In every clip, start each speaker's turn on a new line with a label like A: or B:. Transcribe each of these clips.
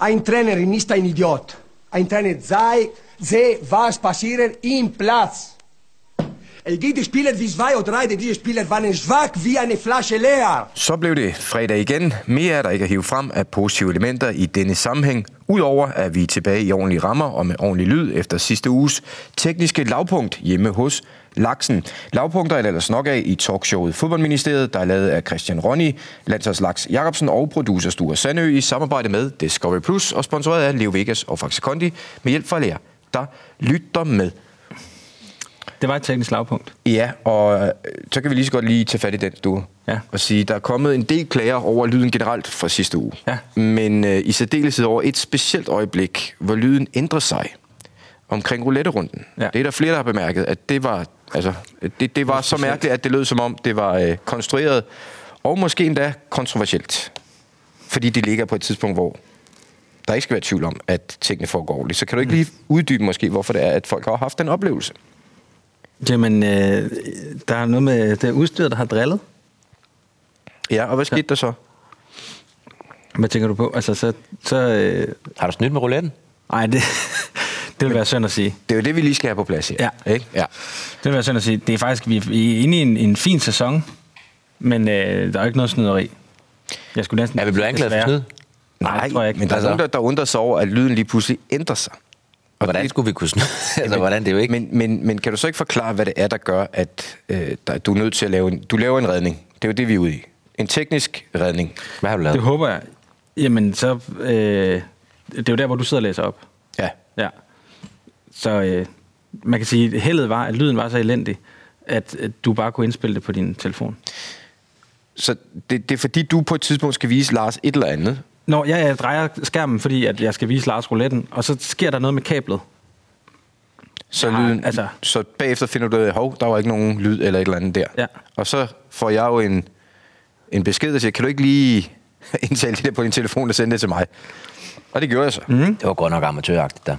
A: Ein Trainer ist ein Idiot. Ein Trainer sei, sehe, was passiert im Platz. Es gibt Spieler wie zwei oder drei, diese Spieler waren schwach wie eine Flasche leer.
B: Så blev det fredag igen. Mere er der ikke at hive frem af positive elementer i denne sammenhæng. Udover at vi er tilbage i ordentlige rammer og med ordentlig lyd efter sidste uges tekniske lavpunkt hjemme hos Laksen. Lavpunkter er der ellers nok af i talkshowet Fodboldministeriet, der er lavet af Christian Ronny, Landsholds Laks Jacobsen og producer Sture Sandø i samarbejde med Discovery Plus og sponsoreret af Leo Vegas og Faxe Kondi med hjælp fra jer, der lytter med.
C: Det var et teknisk lavpunkt.
B: Ja, og øh, så kan vi lige så godt lige tage fat i den stue.
C: Ja.
B: Og sige, der er kommet en del klager over lyden generelt fra sidste uge.
C: Ja.
B: Men øh, i særdeleshed over et specielt øjeblik, hvor lyden ændrer sig omkring roulette-runden.
C: Ja.
B: Det er der flere, der har bemærket, at det var, altså, det, det var så mærkeligt, at det lød som om, det var øh, konstrueret, og måske endda kontroversielt. Fordi det ligger på et tidspunkt, hvor der ikke skal være tvivl om, at tingene foregår ordentligt. Så kan du ikke lige uddybe måske, hvorfor det er, at folk har haft den oplevelse?
C: Jamen, øh, der er noget med det udstyr, der har drillet.
B: Ja, og hvad skete der så?
C: Hvad tænker du på? Altså, så... så øh,
D: Har du snydt med rouletten?
C: ej, det, det vil være synd at sige.
B: Det er jo det, vi lige skal have på plads her.
C: Ja.
B: Ikke? ja.
C: Det vil være synd at sige. Det er faktisk, vi er inde i en, en fin sæson, men øh, der er jo ikke noget snyderi. Jeg skulle næsten...
D: Er vi blevet anklaget for
C: desværre-
D: snyd?
C: Nej,
B: Nej,
C: det tror jeg ikke.
B: men der er
D: Altså-
B: nogen, der, der undrer sig over, at lyden lige pludselig ændrer sig. Og
D: Hvordan
B: det-
D: skulle vi kunne snyde? altså, hvordan? Det er jo ikke...
B: Men, men, men kan du så ikke forklare, hvad det er, der gør, at øh, der, du er nødt til at lave en... Du laver en redning. Det er jo det, vi er ude i. En teknisk redning.
D: Hvad har du lavet?
C: Det håber jeg. Jamen, så... Øh, det er jo der, hvor du sidder og læser op.
B: Ja.
C: Ja. Så øh, man kan sige, at heldet var, at lyden var så elendig, at, at du bare kunne indspille det på din telefon.
B: Så det, det er fordi, du på et tidspunkt skal vise Lars et eller andet.
C: Nå, ja, jeg drejer skærmen, fordi at jeg skal vise Lars rouletten, og så sker der noget med kablet.
B: Så,
C: Nej,
B: lyden,
C: altså-
B: altså... så bagefter finder du ud af, hov, der var ikke nogen lyd eller et eller andet der.
C: Ja.
B: Og så får jeg jo en, en besked, der siger, kan du ikke lige indtale det der på din telefon og sende det til mig? Og det gjorde jeg så. Mm.
D: Det var godt nok amatøragtigt der.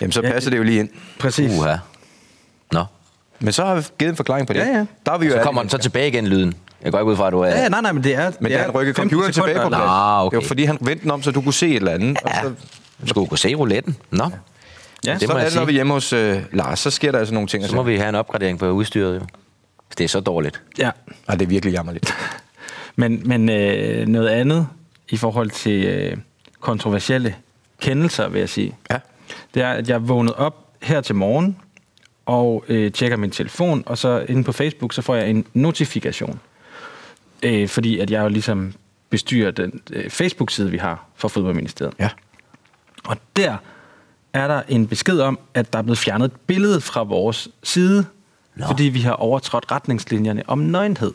B: Jamen, så
C: Ja,
B: passer det jo lige ind.
C: Præcis.
D: Uha. Nå.
B: Men så har vi givet en forklaring på det.
C: Ja, ja.
B: Der er vi jo
D: Så
B: alle
D: kommer den så tilbage igen, lyden. Jeg går ikke ud fra, at du er...
C: Ja, nej, nej, men det er...
B: Men
C: det
B: da
C: er
B: han rykkede
C: 15
B: computeren
C: sekunder.
B: tilbage på plads.
D: Nå, Ah, okay.
B: Det var fordi, han vendte den om, så du kunne se et eller andet. Ja. Og så,
D: Du skulle kunne se rouletten. Nå.
C: Ja,
D: det
B: så
D: må
B: er
D: jeg
B: det, når vi er
D: sige.
B: hjemme hos øh, Lars, så sker der altså nogle ting.
D: Så må vi have en opgradering på udstyret, jo. Det er så dårligt.
C: Ja,
B: Nej, det er virkelig jammerligt.
C: men, men øh, noget andet i forhold til øh, kontroversielle kendelser, vil jeg sige.
B: Ja.
C: Det er, at jeg er vågnet op her til morgen og øh, tjekker min telefon, og så inde på Facebook, så får jeg en notifikation. Øh, fordi at jeg jo ligesom bestyrer den øh, Facebook-side, vi har for Fodboldministeriet.
B: ja.
C: Og der er der en besked om, at der er blevet fjernet et billede fra vores side,
D: Nå.
C: fordi vi har overtrådt retningslinjerne om nøgenhed.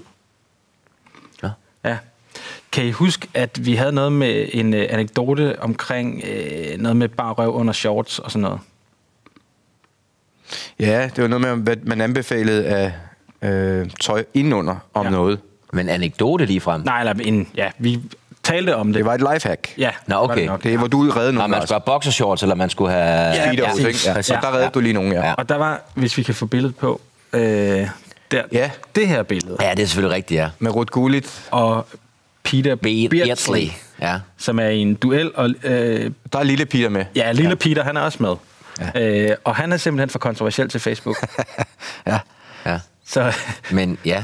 D: Nå.
C: Ja. Kan I huske, at vi havde noget med en øh, anekdote omkring øh, noget med bare røv under shorts og sådan noget?
B: ja, det var noget med, hvad man anbefalede af øh, tøj indenunder om
C: Ja.
B: ja. noget.
D: Men anekdote lige frem.
C: Nej, eller en, ja, vi talte om det.
B: Det var et lifehack.
C: Ja,
D: Nå,
C: det var
D: okay.
C: det nok.
B: Det er, hvor du redde
D: Nå,
B: nogen,
D: man
B: Lars.
D: skulle have boxershorts, eller man skulle have...
C: Ja,
B: Speedos,
C: præcis.
B: ikke? Ja. Så
C: Ja.
B: der reddede du lige nogen, ja.
D: Ja.
B: ja.
C: Og der var, hvis vi kan få billedet på, øh, der,
B: Ja.
C: det her billede.
D: Ja, det er selvfølgelig rigtigt, ja.
B: Med Ruth Gullit.
C: Og Peter
D: Be- Beardsley.
C: Beardsley,
D: Ja.
C: som er i en duel, og øh,
B: Der er lille Peter med.
C: Ja, lille ja. Peter, han er også med. Ja. Øh, og han er simpelthen for kontroversiel til Facebook.
B: ja.
D: ja.
C: så
D: Men ja.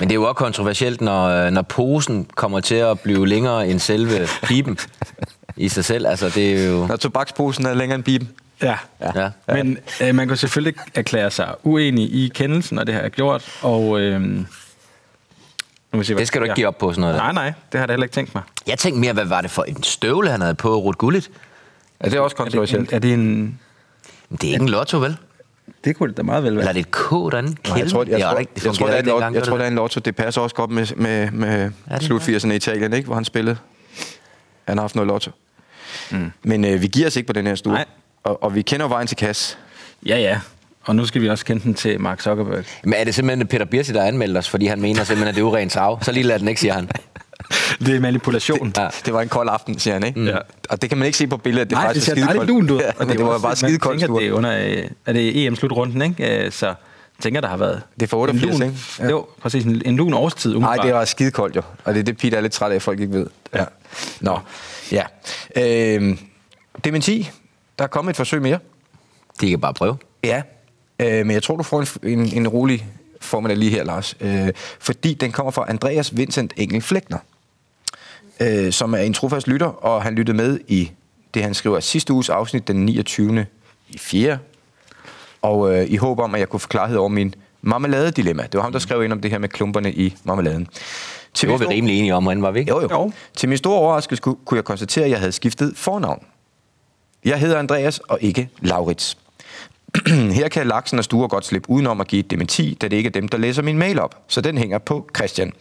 D: Men det er jo også kontroversielt, når, øh, når posen kommer til at blive længere end selve piben i sig selv. Altså, det er jo...
B: Når tobaksposen er længere end biben.
C: ja.
D: Ja.
C: Men øh, man kan selvfølgelig ikke erklære sig uenig i kendelsen, og det har jeg gjort. Og, øh, nu må vi se, hvad-
D: Det skal du ikke
C: ja.
D: give op på, sådan noget der.
C: Nej, nej, det har jeg da heller ikke tænkt mig.
D: Jeg tænkte mere, hvad var det for en støvle, han havde på Ruth Gullit?
B: Ja, det er også
C: Er det, en,
B: kontroversielt.
C: er det en...
D: Men Det er ikke en lotto, vel?
C: Det kunne det da meget vel
D: Eller
C: være.
D: er det et K derinde?
B: Nej, jeg tror, jeg,
D: det,
B: tror,
D: var
B: jeg,
D: ikke-
B: jeg tror,
D: fungerede
B: der er en
D: ikke dengang,
B: lot- jeg
D: gjorde
B: tror, der
D: det
B: er en lotto. Det passer også godt med, med, med
D: Ja, det
B: slut
D: gør
B: 80'erne i Italien, ikke? hvor han spillede. Han har haft noget lotto. Mm. Men øh, vi giver os ikke på den her stue.
C: Nej.
B: Og, og vi kender jo vejen til kasse.
C: Ja, ja. Og nu skal vi også kende den til Mark Zuckerberg.
D: det? Men er det simpelthen Peter Birsi, der anmeldte os, fordi han mener simpelthen, at det er urent trav? Så lige lad den ikke, siger han.
C: Det er manipulation.
D: Ja.
B: Det var en kold aften, siger han, ikke?
C: Ja.
B: Og det kan man ikke se på billedet. Det er
C: Mm. Nej, det
B: faktisk
C: ser
B: en
C: dejligt
B: skidekold-
C: lunt ud.
B: Ja, men det, det var bare skide koldt
C: stue.
B: stue.
C: Det er, under, øh, er det EM-slutrunden, ikke? Øh, Så jeg tænker, der har været...
B: Det er for 88,
C: en lun,
B: ikke? Ja.
C: Jo, præcis. En, en lun årstid.
B: Nej,
C: umiddelbart.
B: det var skide koldt jo. Og det er det, Peter er lidt træt af, at folk ikke ved. Ja. Nå, ja. Øh, dementi, der er kommet et forsøg mere.
D: De kan bare prøve.
B: Ja, øh, men jeg tror, du får en, en, en rolig formiddag lige her, Lars. Øh, fordi den kommer fra Andreas Vincent Engel Flækner, øh, som er en trofast lytter, og han lyttede med i det, han skriver, sidste uges afsnit den 29. i 4. Og øh, i håb om, at jeg kunne få klarhed over min marmeladedilemma. Det var ham, der skrev ind om det her med klumperne i marmeladen. Til
D: Det var
B: min
D: vi
B: store-
D: rimelig enige om, herinde, var vi ikke?
B: Jo, jo.
C: Jo.
B: jo. Til min store overraskelse ku- kunne jeg konstatere, at jeg havde skiftet fornavn. Jeg hedder Andreas og ikke Laurits. Her kan Laksen og Sture godt slippe udenom at give et dementi, da det ikke er dem, der læser min mail op. Så den hænger på Christian.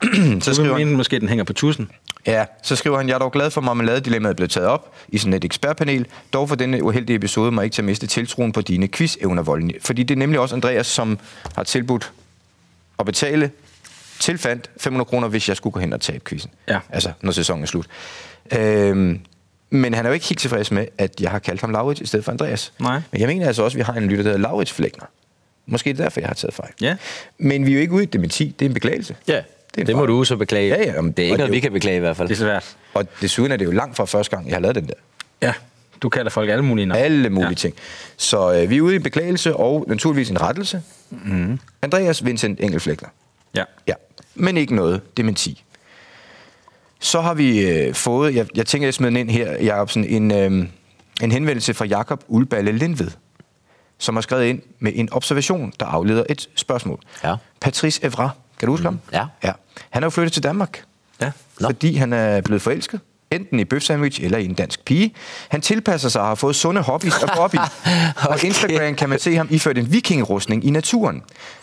B: så
C: Du
B: skriver
C: vil
B: han,
C: mene, måske den hænger på tusen.
B: ja, så skriver han, jeg er dog glad for, at marmeladedilemmaet blev taget op i sådan et ekspertpanel. Dog for denne uheldige episode må jeg ikke til at miste tiltroen på dine quiz-evner, Volden. Fordi det er nemlig også Andreas, som har tilbudt at betale tilfandt 500 kroner, hvis jeg skulle gå hen og tabe quizzen.
C: Ja.
B: Altså, når sæsonen er slut. Øhm, men han er jo ikke helt tilfreds med, at jeg har kaldt ham Laurits i stedet for Andreas.
C: Nej.
B: Men jeg mener altså også, at vi har en lytter, der hedder Laurits Flækner. Måske er det derfor, jeg har taget fejl.
C: Ja.
B: Men vi er jo ikke ude i et dementi. Det er en beklagelse.
D: Ja,
B: er en
D: det, det må
B: fejl.
D: du så beklage.
B: Ja, ja, men
D: det
B: og
D: er ikke noget,
B: det-
D: vi kan beklage i hvert fald.
C: Det er svært.
B: Og desuden er det jo langt fra første gang, jeg har lavet den der.
C: Ja, du kalder folk alle mulige navne.
B: Alle mulige ja.
C: Ja.
B: ting. Så øh, vi er ude i en beklagelse og naturligvis en rettelse.
D: Mhm.
B: Mm-hmm. Andreas Vincent Engelflækler.
C: Ja.
B: Ja, men ikke noget dementi. Så har vi øh, fået, jeg, jeg tænker, jeg smider den ind her, Jacobsen, en, øh, en henvendelse fra Jakob Ulballe Lindved, som har skrevet ind med en observation, der afleder et spørgsmål.
D: Ja. Mhm.
B: Patrice Evra, kan du huske mm. ham?
D: ja.
B: ja. Han er jo flyttet til Danmark,
C: Ja.
D: Nå.
B: fordi han er blevet forelsket. Enten i bøfsandwich eller i en dansk pige. Han tilpasser sig og har fået sunde hobbies at gå op i. okay. Og
D: Okay.
B: Instagram kan man se ham iført en vikingerustning i naturen.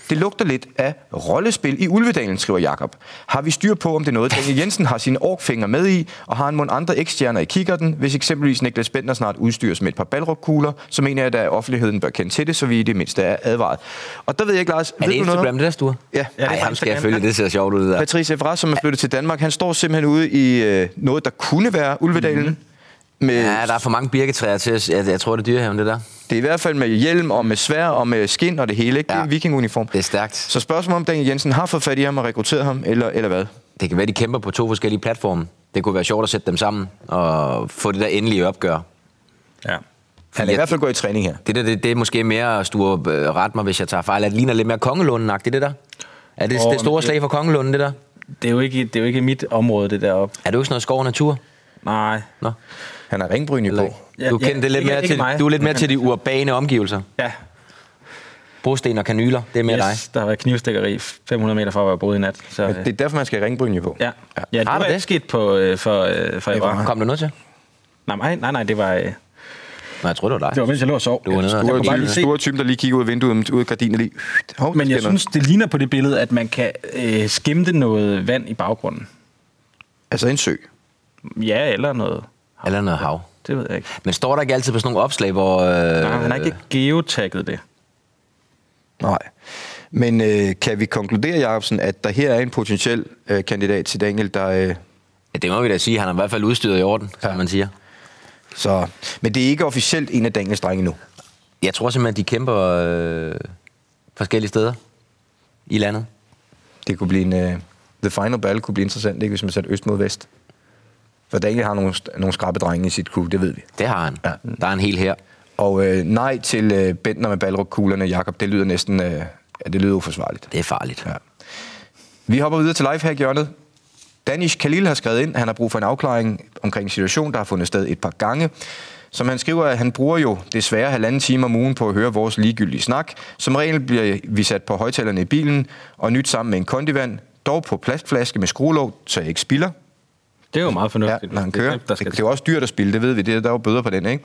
B: Det lugter lidt af rollespil i Ulvedalen, skriver Jakob. Har vi styr på, om det er noget, Daniel Jensen har sine orkfinger med i, og har han mon andre ekstjerner i kikkerten? Hvis eksempelvis Niklas Bender snart udstyres med et par balrokkugler, så mener jeg, at der offentligheden bør kende til det, så vi i det mindste er advaret. Og der ved jeg ikke, Lars...
D: Er
B: ved
D: det
B: du noget om-
D: Instagram, det der store?
B: Ja.
C: Ja, det er
D: Ej,
C: fra
D: ham skal jeg
C: Instagram.
D: følge, det ser sjovt ud. Der.
B: Patrice Evra, som er flyttet til Danmark, han står simpelthen ude i øh, noget, der kunne være Ulvedalen.
C: Mhm.
B: Mm-hmm. Med,
D: Ja, der er for mange birketræer til os. Jeg, jeg tror, det er dyrehaven, det der.
B: Det er i hvert fald med hjelm og med svær og med skin og det hele. Ikke? Ja. Det er
D: Ja.
B: en vikinguniform.
D: Det er stærkt.
B: Så spørgsmålet om Daniel Jensen har fået fat i ham og rekrutteret ham, eller, eller hvad?
D: Det kan være, de kæmper på to forskellige platforme. Det kunne være sjovt at sætte dem sammen og få det der endelige opgør.
C: ja.
B: Han er i hvert fald gået i træning her.
D: Det der, det, det er måske mere stor ret øh, mig, hvis jeg tager fejl. Er det ligner lidt mere kongelunden det der? Er det
C: Åh,
D: oh, det store
C: men-
D: slag for kongelunden, det der?
C: Det er, jo ikke, det er jo ikke mit område, det deroppe.
D: Er du ikke sådan noget skov og natur?
C: Nej.
D: Nå.
B: Han har ringbryn i på.
D: Ja, du
C: Ja,
D: kender
C: ja,
D: det lidt
C: ikke-
D: mere
C: ikke
D: til,
C: mig.
D: du er lidt mere til de urbane omgivelser.
C: Ja.
D: Brosten og kanyler, det er mere yes. dig.
C: Yes, der har været knivstikkeri 500 meter fra, hvor jeg boede i nat. Så,
B: Men
C: øh,
B: det er derfor, man skal have ringbryn i på.
C: ja. ja, det
D: Har
C: var
D: du
C: ikke
D: det?
C: sket på, øh, for, øh, for Iran.
D: Kom der noget til?
C: Nej, nej, nej, nej, det var, øh,
D: Nej, jeg tror, det var dig.
C: det var mens jeg lå og sov.
D: Du var nede og-
C: jeg kunne bare
B: Store,
C: lige se.
B: store typen, der lige kigger ud af vinduet, men ud af gardinen lige... Hov, der
C: Men jeg
B: sker noget.
C: synes, det ligner på det billede, at man kan øh, skimte noget vand i baggrunden.
B: Altså en sø.
C: Ja, eller noget.
D: Eller noget hav.
C: Det ved jeg ikke.
D: Men står der ikke altid på sådan nogle opslag, hvor... Øh,
C: Nej, han har ikke geotagget det.
B: Nej. Men øh, kan vi konkludere, Jacobsen, at der her er en potentiel øh, kandidat til Daniel, der... Øh,
D: Ja, det må vi da sige. Han er i hvert fald udstyret i orden, ja. som man siger.
B: så... Men det er ikke officielt en af Daniels drenge nu.
D: Jeg tror simpelthen, at de kæmper øh, forskellige steder i landet.
B: Det kunne blive en... Øh, the final battle kunne blive interessant, ikke, hvis man satte øst mod vest. For Daniel har nogle, nogle skrappe drenge i sit crew, det ved vi.
D: Det har han.
B: Ja.
D: Ja. Der er en hel her.
B: Og øh, nej til øh, Bentner med Balrog-kuglerne, Jakob, det lyder næsten... Øh, ja, det lyder uforsvarligt.
D: Det er farligt. Ja.
B: Ja. Vi hopper videre til lifehack-hjørnet. Danish Khalil har skrevet ind, han har brug for en afklaring omkring en situation, der har fundet sted et par gange. Som han skriver, at han bruger jo desværre halvanden time om ugen på at høre vores ligegyldige snak. Som regel bliver vi sat på højtalerne i bilen og nyt sammen med en kondivand, dog på plastflaske med skruelåg, så jeg ikke spilder.
C: Det er jo meget
B: Ja,
C: fornuftigt.
B: når han
C: Det er
B: kører.
C: det, der
B: Det,
C: skal
B: det er jo også dyrt at spille, det ved vi. Det, der er jo bøder på den, ikke?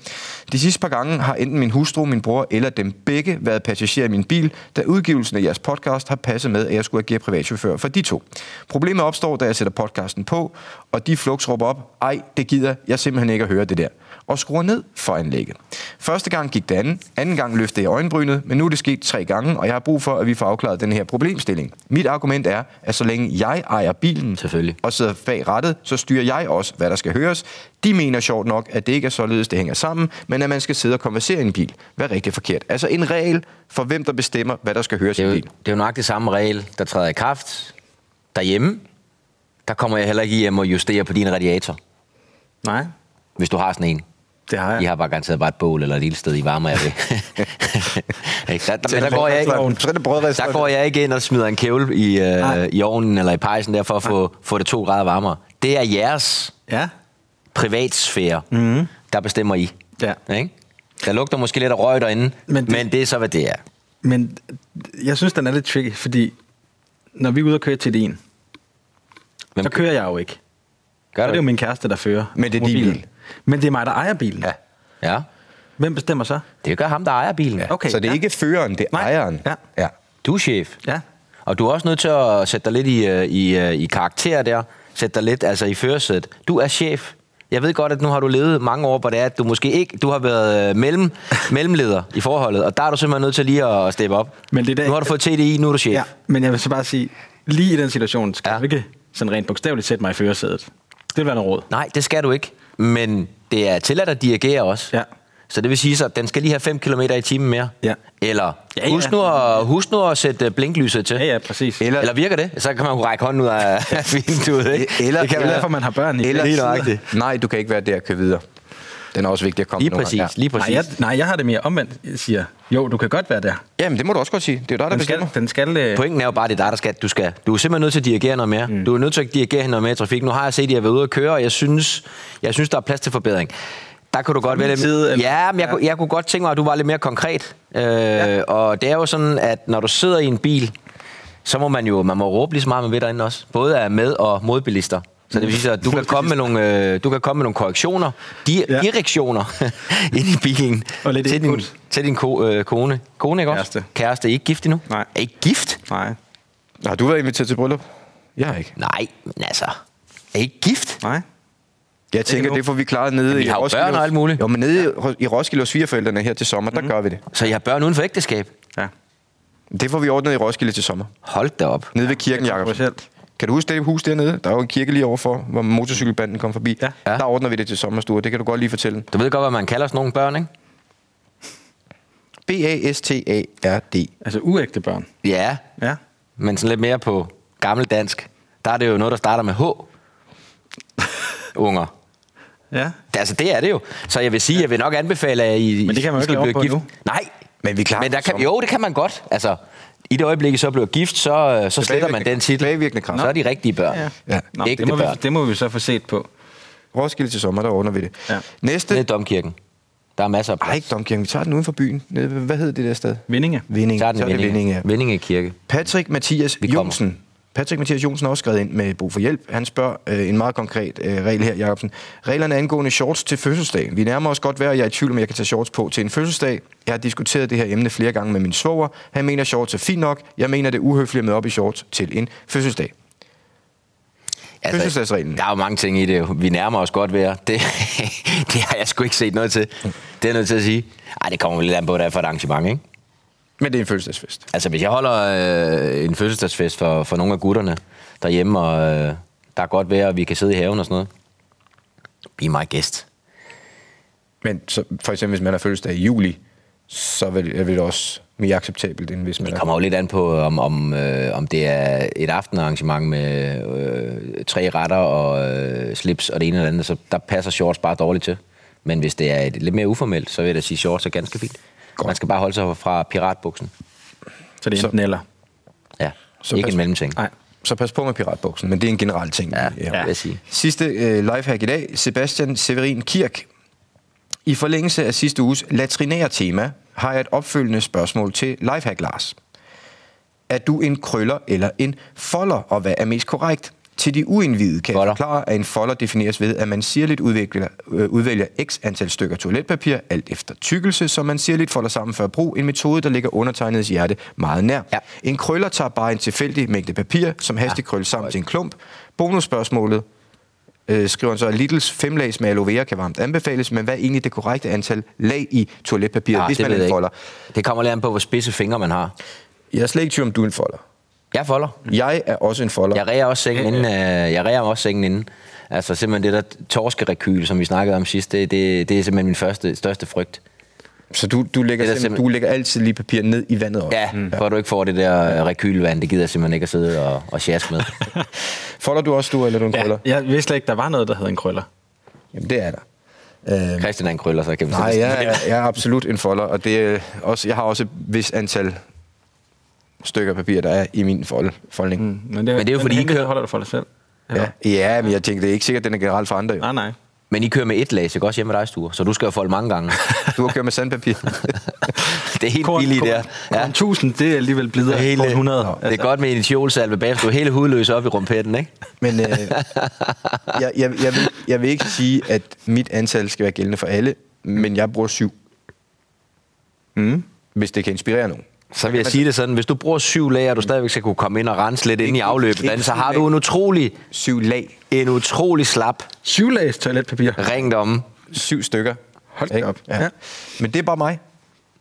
B: De sidste par gange har enten min hustru, min bror eller dem begge været passagerer i min bil, da udgivelsen af jeres podcast har passet med, at jeg skulle agere privatchauffør for de to. Problemet opstår, da jeg sætter podcasten på, og de flux råber op, ej, det gider jeg simpelthen ikke at høre det der, og skruer ned for anlægget. Første gang gik det anden, anden gang løftede jeg øjenbrynet, men nu er det sket tre gange, og jeg har brug for, at vi får afklaret den her problemstilling. Mit argument er, at så længe jeg ejer bilen,
D: Selvfølgelig.
B: og sidder bag rettet, så styrer jeg også, hvad der skal høres. De mener sjovt nok, at det ikke er således, det hænger sammen, men at man skal sidde og konversere i en bil. Hvad er rigtig forkert? Altså en regel for, hvem der bestemmer, hvad der skal høres
D: Det, er
B: i
D: jo,
B: en bil.
D: det er jo nok det samme regel, der træder i kraft derhjemme. Der kommer jeg heller ikke hjem og justere på din radiator.
C: Nej,
D: Hvis du har sådan en.
C: det har jeg.
D: I har bare garanteret bare et bål eller et lille sted, I varmer jer ved. Ikke? der, der, men der, går jeg ikke,
B: Så er det brødrestaurant.
D: der går jeg ikke ind og smider en kævel i, øh,
C: Nej.
D: i ovnen eller i pejsen der for at få, få det to grader varmere. Det er jeres
C: Ja.
D: privatsfære, mm. der bestemmer I.
C: Mhm. Ja.
D: Ikke? Der lugter måske lidt af røg derinde, men
C: Men
D: det,
C: det-
D: men det er så, hvad det er.
C: Men jeg synes, den er lidt tricky, fordi når vi er ude og køre til det en,
D: Hvem
C: så kører jeg jo ikke. Så
D: Gør
C: er
D: du
C: det jo
D: det?
C: min kæreste, der fører
B: Men det er din
C: mobilen.
B: bil.
C: Men det er mig, der ejer bilen.
B: Ja.
D: Ja,
C: Hvem bestemmer så?
D: det gør ham, der ejer bilen.
B: Ja.
D: Ja.
B: Okay,
C: Okay,
B: så det er ja.
C: ja.
B: ikke føreren, det er
C: Nej,
B: ejeren.
C: ja.
B: ja.
D: Du er chef.
C: Ja.
D: Og du er også nødt til at sætte dig lidt i, øh, i, øh, i karakter der. Sætte dig lidt altså i førersædet. Du er chef. Jeg ved godt, at nu har du levet mange år, hvor det er, at du måske ikke... Du har været øh, mellem, mellemleder i forholdet, og der er du simpelthen nødt til lige at, at steppe op.
C: Men det er da-
D: nu har du fået TDI, nu er du chef.
C: ja. Men jeg vil så bare sige, lige i den situation skal
D: Ja.
C: ja. jeg ikke sådan rent bogstaveligt sætte mig i førersædet. Det vil være noget råd.
D: Nej, det skal du ikke. Men det er tilladt at dirigere også.
C: Ja.
D: Så det vil sige så, at den skal lige have 5 km i timen mere.
C: Ja.
D: Eller
C: Ja, ja.
D: Husk, nu at, husk nu at sætte øh, blinklyset til.
C: Ja, ja, præcis.
D: Eller, eller virker det? Så kan man jo række hånden ud af af vinduet, ikke?
B: E- Eller-
D: det kan
C: Det er
D: være.
C: derfor, man har børn i.
B: Eller
D: Helt
B: sidder-
D: nøjagtigt.
B: Nej, du kan ikke være der og køre videre. Den er også vigtig at komme
D: Lige
B: nogle
D: præcis,
B: gange.
D: lige præcis.
C: Nej, jeg, nej, jeg har det mere omvendt. Jeg siger, jo, du kan godt være der.
B: Ja. Jamen, det må du også godt sige. Det er jo dig, der
C: Den
B: bestemmer.
C: skal, den skal, øh,
D: Pointen er jo bare, det er dig, der skal. Du, skal. du er simpelthen nødt til at dirigere noget mere. Mm. Du er nødt til at dirigere hende noget mere i trafik. Nu har jeg set, at jeg har været ude at køre, og jeg synes, jeg synes der er plads til forbedring. Der kunne du godt
C: min
D: vælge...
C: side, eller-
D: ja, men jeg,
C: Ja.
D: Kunne, jeg kunne godt tænke mig, at du var lidt mere konkret. Øh, ja. Og det er jo sådan, at når du sidder i en bil, så må man jo man må råbe lige så meget, man vil derinde også. Både af med- og modbilister. Så det vil sige, at du kan komme med nogle, øh, du kan komme med nogle korrektioner, di-
C: Ja.
D: direktioner ind i bilen
C: Og lidt
D: til, din,
C: input.
D: til din ko, øh, kone. Kone, ikke også?
C: Kæreste.
D: Kæreste, I er ikke gift endnu?
C: Nej.
D: Er I ikke gift?
C: Nej.
B: Har du været inviteret til bryllup? Jeg har ikke.
D: Nej, men altså, er I ikke gift?
C: Nej.
B: Jeg tænker,
C: endnu.
B: det får vi klaret nede
D: vi
B: i
D: har jo
B: Roskilde.
D: børn og alt muligt.
B: Jo, men nede ja. i Roskilde og svigerforældrene her til sommer, der mm. gør vi det.
D: Så jeg har børn uden for ægteskab?
C: Ja.
B: Det får vi ordnet i Roskilde til sommer.
D: Hold da op.
B: Nede ved kirken, Jacob.
C: Specielt.
B: Kan du huske det hus dernede? Der er jo en kirke lige overfor, hvor motorcykelbanden kom forbi.
C: Ja.
D: Ja.
B: Der ordner vi det til sommerstue. Det kan du godt lige fortælle.
D: Du ved godt, hvad man kalder sådan nogle børn, ikke?
B: B-A-S-T-A-R-D.
C: Altså uægte børn.
D: Ja,
C: Ja.
D: men sådan lidt mere på gammeldansk. Der er det jo noget, der starter med H. Unger.
C: Ja.
D: Altså, det er det jo. Så jeg vil sige, jeg vil nok anbefale, at I
C: Men det kan man jo
D: I
C: ikke lave om på
D: gift.
C: endnu.
D: Nej.
B: Men vi klarer
D: Men der
B: det
D: kan,
B: sommer.
D: jo, det kan man godt. Altså, i det øjeblik, I så bliver gift, så, øh, så sletter man den titel.
B: Tilbagevirkende kraft.
D: Så er de rigtige børn.
C: ja.
B: Ja.
C: Nå,
D: Ægte
C: det, må vi,
D: børn.
C: det må vi så få set på.
B: Roskilde til sommer, der ordner vi det.
C: Ja.
B: Næste.
D: Det er domkirken. Der er masser af
B: Ej,
D: plads.
B: ikke Domkirken. Vi tager den uden for byen. Nede ved- Hvad hed det der sted?
C: Vindinge.
B: Vindinge.
D: Så er den
B: Så er det Vindinge, ja.
D: Vindinge. Vindinge Kirke.
B: Patrick Mathias
D: Vi kommer.
B: Jonsen. Patrick Mathias Jonsen har også skrevet ind med brug for hjælp. Han spørger øh, en meget konkret øh, regel her, Jacobsen. Reglerne angående shorts til fødselsdag. Vi nærmer os godt være, og jeg er i tvivl om, jeg kan tage shorts på til en fødselsdag. Jeg har diskuteret det her emne flere gange med min svoger. Han mener, shorts er fint nok. Jeg mener, det er uhøfligt med op i shorts til en fødselsdag. Fødselsdagsreglen.
D: Altså, Der er jo mange ting i det. jo. Vi nærmer os godt ved jer. det, det har jeg sgu ikke set noget til. Det er jeg nødt til at sige. Ej, det kommer lidt an på, hvad det er for et arrangement, ikke?
B: Men det er en fødselsdagsfest.
D: Altså, hvis jeg holder øh, en fødselsdagsfest for, for nogle af gutterne derhjemme, og øh, der er godt vejr, og vi kan sidde i haven og sådan noget. Be my guest.
B: Men så, for eksempel, hvis man har fødselsdag i juli, så vil, er det også mere acceptabelt, end hvis man
D: Det
B: er-
D: kommer jo lidt an på, om, om, øh, om det er et aftenarrangement med øh, tre retter og øh, slips og det ene eller andet, så der passer shorts bare dårligt til. Men hvis det er et, lidt mere uformelt, så vil jeg da sige, at shorts er ganske fint.
B: Godt.
D: Godt. Man skal bare holde sig fra piratbuksen.
C: Så det er enten så. eller.
D: Ja,
B: Så
D: så ikke
B: pas-
D: en mellemting.
C: Nej.
B: Så pas på med piratbuksen, men det er en generel ting.
D: Ja, ja, vil jeg sige.
B: Sidste øh, lifehack i dag. Sebastian Severin Kirk. I forlængelse af sidste uges latrinære tema, har jeg et opfølgende spørgsmål til lifehack Lars. Er du en krøller eller en folder, og hvad er mest korrekt? Til de uindvidede kan
D: Folder.
B: jeg forklare, at en folder defineres ved, at man sirligt udvikler, øh, udvælger x antal stykker toiletpapir, alt efter tykkelse, som man sirligt folder sammen før brug, en metode, der ligger undertegnets hjerte meget nær.
D: Ja.
B: En krøller tager bare en tilfældig mængde papir, som hastigt krølles sammen til en klump. Bonusspørgsmålet øh, skriver han så, at Lidls femlags med aloe vera kan varmt anbefales, men hvad er egentlig det korrekte antal lag i toiletpapir, ja, hvis
D: Ah,
B: man
D: det ved
B: er en
D: jeg
B: folder?
D: ikke. Det kommer lidt an på, hvor spidse fingre man har.
B: Jeg er slet ikke i tvivl om, du er en folder.
D: Jeg folder.
B: Jeg er også en folder.
D: Jeg ræger også sengen inden. Øh, jeg ræger også sengen inden. Altså simpelthen det der torskerekyl, som vi snakkede om sidst, det, det, det er simpelthen min første, største frygt.
B: Så du, du, lægger
D: Det er da
B: simpelthen, Mm. du lægger altid lige papir ned i vandet også?
D: Ja, mm. for at du ikke får det der øh, rekylvand, det gider jeg simpelthen ikke at sidde og, og sjaske med.
B: Folder du også, du, eller er du en krøller?
C: Jeg vidste slet ikke, der var noget, der hed en krøller.
B: Jamen, det er der. Øhm,
D: Christian er en krøller, så jeg kan
B: Nej, jeg, er- jeg er absolut en folder, og det er også, jeg har også et vis antal stykker papir, der er i min fold, foldning. Mm.
C: Men det,
D: Men det er jo
C: den
D: fordi, I
C: hemmelighed
D: kører-
C: holder du for dig selv. Ah,
B: Ja. ja, men jeg tænkte, det er ikke sikkert, den er generelt for andre. Jo.
C: Nej, nej.
D: Men I kører med et lag, så også hjemme med dig, Sture. Så du skal jo folde mange gange.
B: Du har kørt med sandpapir.
D: det er helt billigt, der.
C: Ja. 1000, det er alligevel blidere Altså, hele, 100.
D: Det er godt med initiolsalve bagefter. Du er helt hudløs op i rumpetten, ikke?
B: Men øh, jeg, jeg, jeg, vil, jeg vil ikke sige, at mit antal skal være gældende for alle, men jeg bruger syv,
C: Mm.
B: hvis det kan inspirere nogen.
D: Så vil jeg sige det sådan, hvis du bruger syv lag, og du stadigvæk skal kunne komme ind og rense lidt ind i afløbet,
B: ikke
D: Dan, så har
B: syv lag.
D: du en utrolig,
B: Syv lag.
D: en utrolig slap
C: Syv lags toiletpapir.
D: ringdomme.
B: Syv stykker.
C: Hold da
B: Ikke?
C: op.
B: Ja.
C: Ja.
B: Men det er bare mig.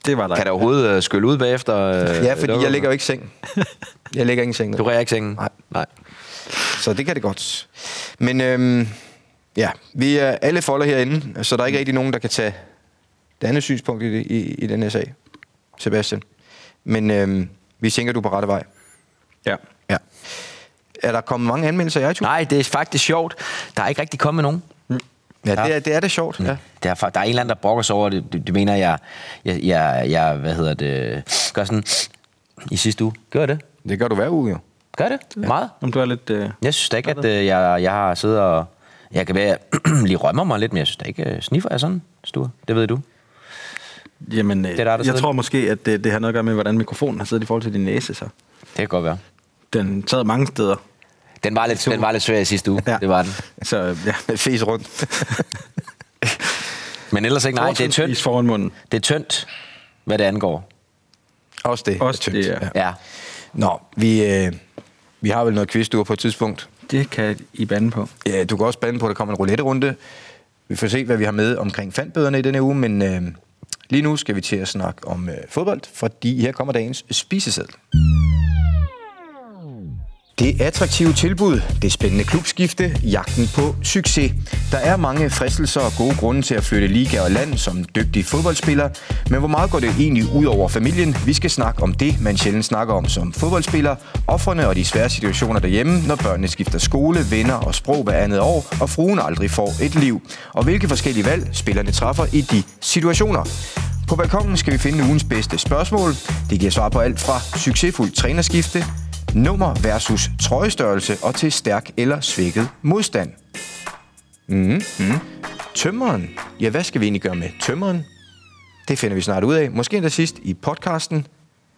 C: Det var dig.
D: Kan der overhovedet øh, skylle ud bagefter? øh,
B: Ja, fordi
D: dukker?
B: jeg ligger jo ikke i seng. Jeg ligger ikke i seng.
D: Du rører ikke sengen?
B: Nej.
D: Nej.
B: Så det kan det godt. Men øhm, ja, vi er alle folder herinde, så der er ikke rigtig nogen, der kan tage det andet synspunkt i, det- i, i den her sag, Sebastian. Men øhm, vi tænker, du er på rette vej.
C: Ja.
B: Ja. Er der kommet mange anmeldelser i iTunes?
D: Nej, det er faktisk sjovt. Der er ikke rigtig kommet nogen. Mm.
B: Ja, Mm. det er det, er det sjovt. Ja.
D: Der er, fa- der er en eller anden, der brokker sig over det. Det, det mener jeg, jeg, jeg, jeg, hvad hedder det, gør sådan i sidste uge. Gør det?
B: Det gør du hver uge, jo.
D: Gør det? Ja. Meget?
C: Om du er lidt... Øh,
D: Jeg synes da ikke, at øh, jeg, jeg har siddet og... Jeg kan være, jeg lige rømmer mig lidt, men jeg synes da ikke, øh, sniffer jeg sådan, Sture. Det ved du.
C: jamen, øh,
D: er der, der
C: jeg
D: sidder-
C: tror måske, at øh, det, det har noget at gøre med, hvordan mikrofonen har siddet i forhold til din næse, så.
D: Det kan godt være.
C: Den sad mange steder.
D: Den var lidt, den var lidt svær i sidste uge. Ja. Det var den.
C: Så øh, ja.
B: Fes rundt.
D: Men ellers ikke. Nej, det er
C: Fortrinsvis
D: tyndt.
C: foran munden.
D: Det er tyndt, hvad det angår.
B: Også det.
C: Også
B: er
C: det,
B: tyndt.
C: ja.
D: Ja.
B: Nå, vi, øh, vi har vel noget quizdur på et tidspunkt.
C: Det kan I bande på.
B: Ja, du kan også bande på, at der kommer en roulette-runde. Vi får se, hvad vi har med omkring fandbøderne i denne uge, men øh, lige nu skal vi til at snakke om øh, fodbold, fordi her kommer dagens spiseseddel. Det attraktive tilbud, det spændende klubskifte, jagten på succes. Der er mange fristelser og gode grunde til at flytte liga og land som dygtig fodboldspiller, men hvor meget går det egentlig ud over familien? Vi skal snakke om det, man sjældent snakker om som fodboldspiller, offrene og de svære situationer derhjemme, når børnene skifter skole, venner og sprog hver andet år, og fruen aldrig får et liv, og hvilke forskellige valg spillerne træffer i de situationer. På balkongen skal vi finde ugens bedste spørgsmål. Det giver svar på alt fra succesfuldt trænerskifte, nummer versus trøjestørrelse og til stærk eller svækket modstand. Mm. Mm. Tømmeren. Ja, hvad skal vi egentlig gøre med tømmeren? Det finder vi snart ud af. Måske endda sidst i podcasten.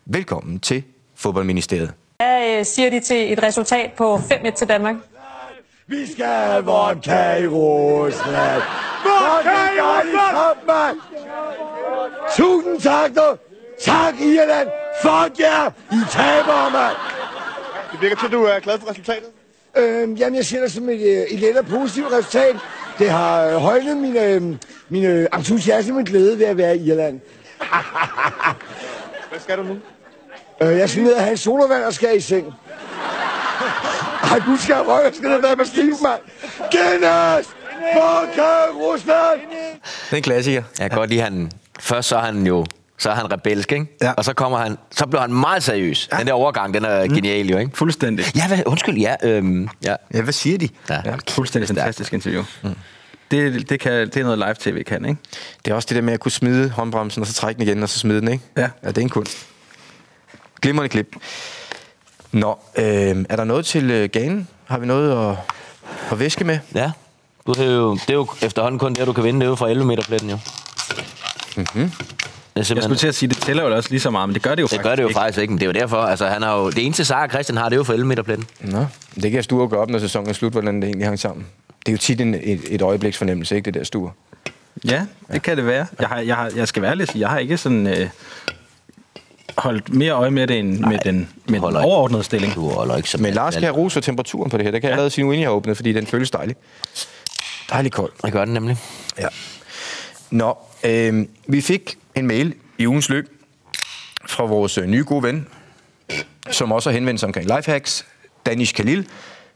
B: Velkommen til Fodboldministeriet.
E: Hvad øh, siger de til et resultat på 5-1 til Danmark?
A: Vi skal have vodka i Rusland. Vodka i Rusland! Tusind tak, du. Tak, Irland. Fuck jer. I taber, mand.
F: Det virker til, at du er glad for resultatet.
A: Øhm, jamen, jeg ser det som et, øh, et let og positivt resultat. Det har øh, højnet min, øh, min øh, entusiasme og glæde ved at være i Irland.
F: Hvad skal du nu?
A: Øh, jeg skal ned og have en solovand og skal i seng. Ej, du skal have røg, jeg skal ned være med Steve, mand. Guinness! Vodka i Rusland!
B: Det er en klassiker.
D: Jeg kan godt lide, han... Først så er han jo... Så er han rebelsk, ikke?
B: Ja.
D: Og så kommer han... Så bliver han meget seriøs. Ja. Den der overgang, den er genial jo, ikke?
C: Fuldstændig.
D: Ja, hvad, undskyld, ja. Øhm, ja.
B: Ja, hvad siger de?
D: Ja.
C: Fuldstændig fantastisk interview. Mm. Det, det, kan, det er noget live-tv kan, ikke?
B: Det er også det der med at kunne smide håndbremsen, og så trække den igen, og så smide den, ikke?
C: Ja.
B: ja det er en kunst. Glimrende klip. Nå, øh, er der noget til øh, ganen? Har vi noget at, at væske med?
D: Ja. Du har jo, det er jo efterhånden kun det, du kan vinde. Det er jo fra 11 meter pletten, jo. Mm-hmm. Det er
C: Jeg
D: simpelthen...
C: skulle til at sige, det tæller jo også lige så meget, men det gør det jo
D: Det
C: faktisk
D: gør det jo
C: ikke.
D: faktisk ikke, men det er jo derfor. Altså, han har jo, det eneste sejr, Christian har, det er jo for 11 meter pletten.
B: Nå, det kan jeg stue og gøre op, når sæsonen er slut, hvordan det egentlig hang sammen. Det er jo tit en, et, et øjebliks fornemmelse, ikke det der stue?
C: Ja, det kan det være. Jeg, har, jeg, har, jeg skal være ærlig og sige, jeg har ikke sådan øh, holdt mere øje med det end med den, med den
D: holder ikke.
C: overordnede stilling.
D: Du holder ikke så
B: Men Lars kan
D: kan...
B: have ros for temperaturen på det her. Det kan jeg allerede sige nu, inden jeg har åbnet, fordi den føles dejlig. Dejlig kold.
D: Det gør den nemlig.
B: Ja. Nå, øh, vi fik en mail i ugens løb fra vores øh, nye gode ven, som også har henvendt sig omkring lifehacks, Danish Khalil,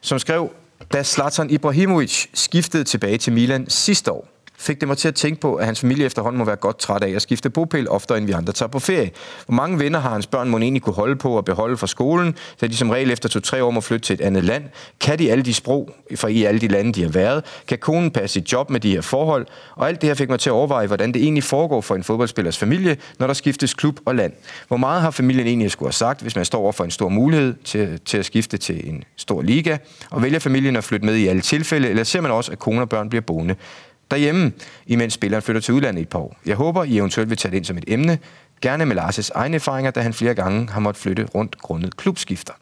B: som skrev, da Zlatan Ibrahimovic skiftede tilbage til Milan sidste år, fik det mig til at tænke på, at hans familie efterhånden må være godt træt af at skifte bopæl oftere, end vi andre tager på ferie. Hvor mange venner har hans børn må egentlig kunne holde på og beholde fra skolen, da de som regel efter to-tre år må flytte til et andet land? Kan de alle de sprog fra i alle de lande, de har været? Kan konen passe sit job med de her forhold? Og alt det her fik mig til at overveje, hvordan det egentlig foregår for en fodboldspillers familie, når der skiftes klub og land. Hvor meget har familien egentlig skulle have sagt, hvis man står over for en stor mulighed til, til at skifte til en stor liga? Og vælger familien at flytte med i alle tilfælde, eller ser man også, at kone og børn bliver boende derhjemme, imens spilleren flytter til udlandet i et par år? Jeg håber, I eventuelt vil tage det ind som et emne, gerne med Lars' egne erfaringer, da han flere gange har måttet flytte rundt grundet klubskifter.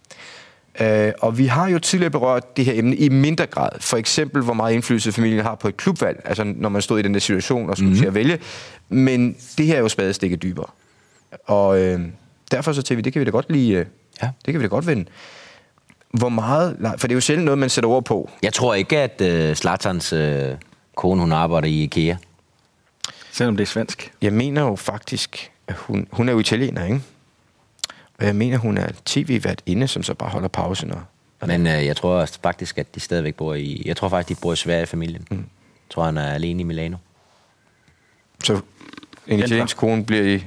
B: Øh, og vi har jo tidligere berørt det her emne i mindre grad. For eksempel, hvor meget indflydelse familien har på et klubvalg, altså når man stod i den der situation og skulle mm. til at vælge. Men det her er jo spadestikket dybere. Og øh, derfor så til vi, det kan vi da godt lige, øh, ja. det kan vi da godt vende. Hvor meget, for det er jo sjældent noget, man sætter ord på.
D: Jeg tror ikke, at øh, Zlatans øh, kone, hun arbejder i IKEA.
C: Selvom det er svensk.
B: Jeg mener jo faktisk, at hun, hun er jo italiener, ikke? Og jeg mener, hun er tv-vært inde, som så bare holder pause, når
D: Men øh, jeg tror også faktisk, at de stadigvæk bor i... Jeg tror faktisk, de bor i Sverige, familien. Mm. Jeg tror, han er alene i Milano.
B: Så en italiensk kone bliver i... Det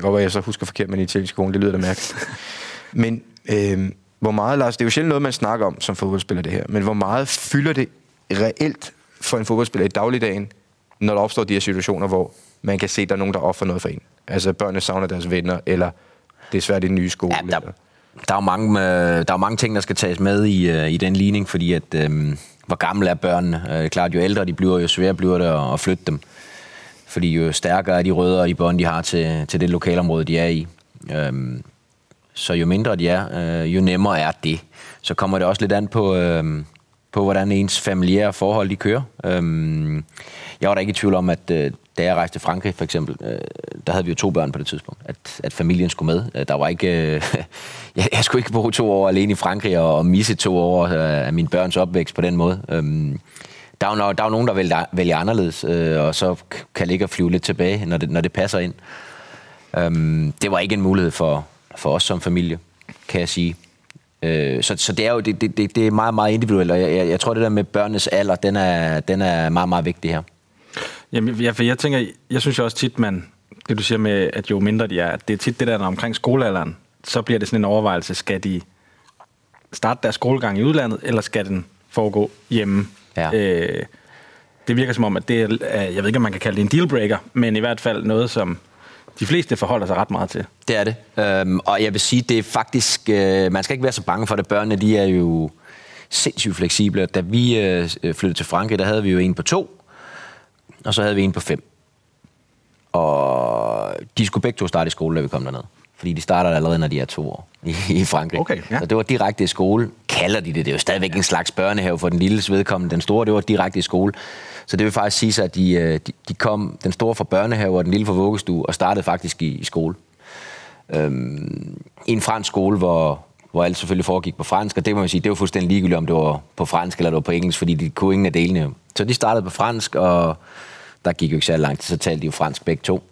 B: kan godt være, jeg så husker forkert, men en italiensk kone, det lyder da mærkeligt. men øh, hvor meget, Lars, det er jo sjældent noget, man snakker om som fodboldspiller det her, men hvor meget fylder det reelt for en fodboldspiller i dagligdagen, når der opstår de her situationer, hvor man kan se, at der er nogen, der offer noget for en? Altså, børnene savner deres venner, eller det er svært i den nye skole.
D: Ja, der,
B: eller-
D: der, er jo mange, øh, der er jo mange ting, der skal tages med i, øh, i den ligning, fordi at, øh, hvor gamle er børnene? Øh, det er klart, jo ældre de bliver, jo sværere bliver det at, at flytte dem. Fordi jo stærkere er de rødder og de bånd, de har til, til det lokalområde, de er i. Øhm, så jo mindre de er, øh, jo nemmere er det. Så kommer det også lidt an på, øh, på hvordan ens familiære forhold de kører. Øhm, jeg var da ikke i tvivl om, at øh, da jeg rejste til Frankrig for eksempel, øh, der havde vi jo to børn på det tidspunkt, at, at familien skulle med. Øh, Der var ikke, øh, jeg, jeg skulle ikke bo to år alene i Frankrig og, og misse to år øh, af mine børns opvækst på den måde. Øhm, der er jo, no- der er jo nogen, der vælger, vælger anderledes, øh, og så k- kan ligge og flyve lidt tilbage, når det, når det passer ind. Øhm, det var ikke en mulighed for, for os som familie, kan jeg sige. Øh, så, så det er jo det, det, det, det er meget, meget individuelt, og jeg, jeg, jeg tror, det der med børnenes alder, den er, den er meget, meget vigtig her.
C: Jamen, jeg, for jeg tænker, jeg synes jo også tit, man, det du siger med, at jo mindre de er, det er tit det der, når omkring skolealderen, så bliver det sådan en overvejelse, skal de starte deres skolegang i udlandet, eller skal den foregå hjemme?
D: Ja.
C: Øh, det virker som om, at det er, jeg ved ikke, om man kan kalde det en dealbreaker, men i hvert fald noget, som de fleste forholder sig ret meget til.
D: Det er det. Øhm, og jeg vil sige, det er faktisk... Øh, man skal ikke være så bange for det. Børnene, de er jo sindssygt fleksible. Da vi øh, flyttede til Frankrig, der havde vi jo en på to, og så havde vi en på fem. Og de skulle begge to starte i skole, da vi kom derned. Fordi de starter allerede, når de er to år i, i Frankrig.
C: Okay, ja.
D: Så det var direkte i skole. Kalder de det? Det er jo stadigvæk en slags børnehave for den lille vedkommende. Den store, det var direkte i skole. Så det vil faktisk sige sig, at de, øh, de, de kom, den store fra børnehave og den lille fra vuggestue, og startede faktisk i, i skole i en fransk skole, hvor, hvor alt selvfølgelig foregik på fransk, og det må man sige, det var fuldstændig ligegyldigt, om det var på fransk eller det var på engelsk, fordi de kunne ingen af delene. jo. Så de startede på fransk, og der gik jo ikke særlig lang tid, så talte de jo fransk begge to.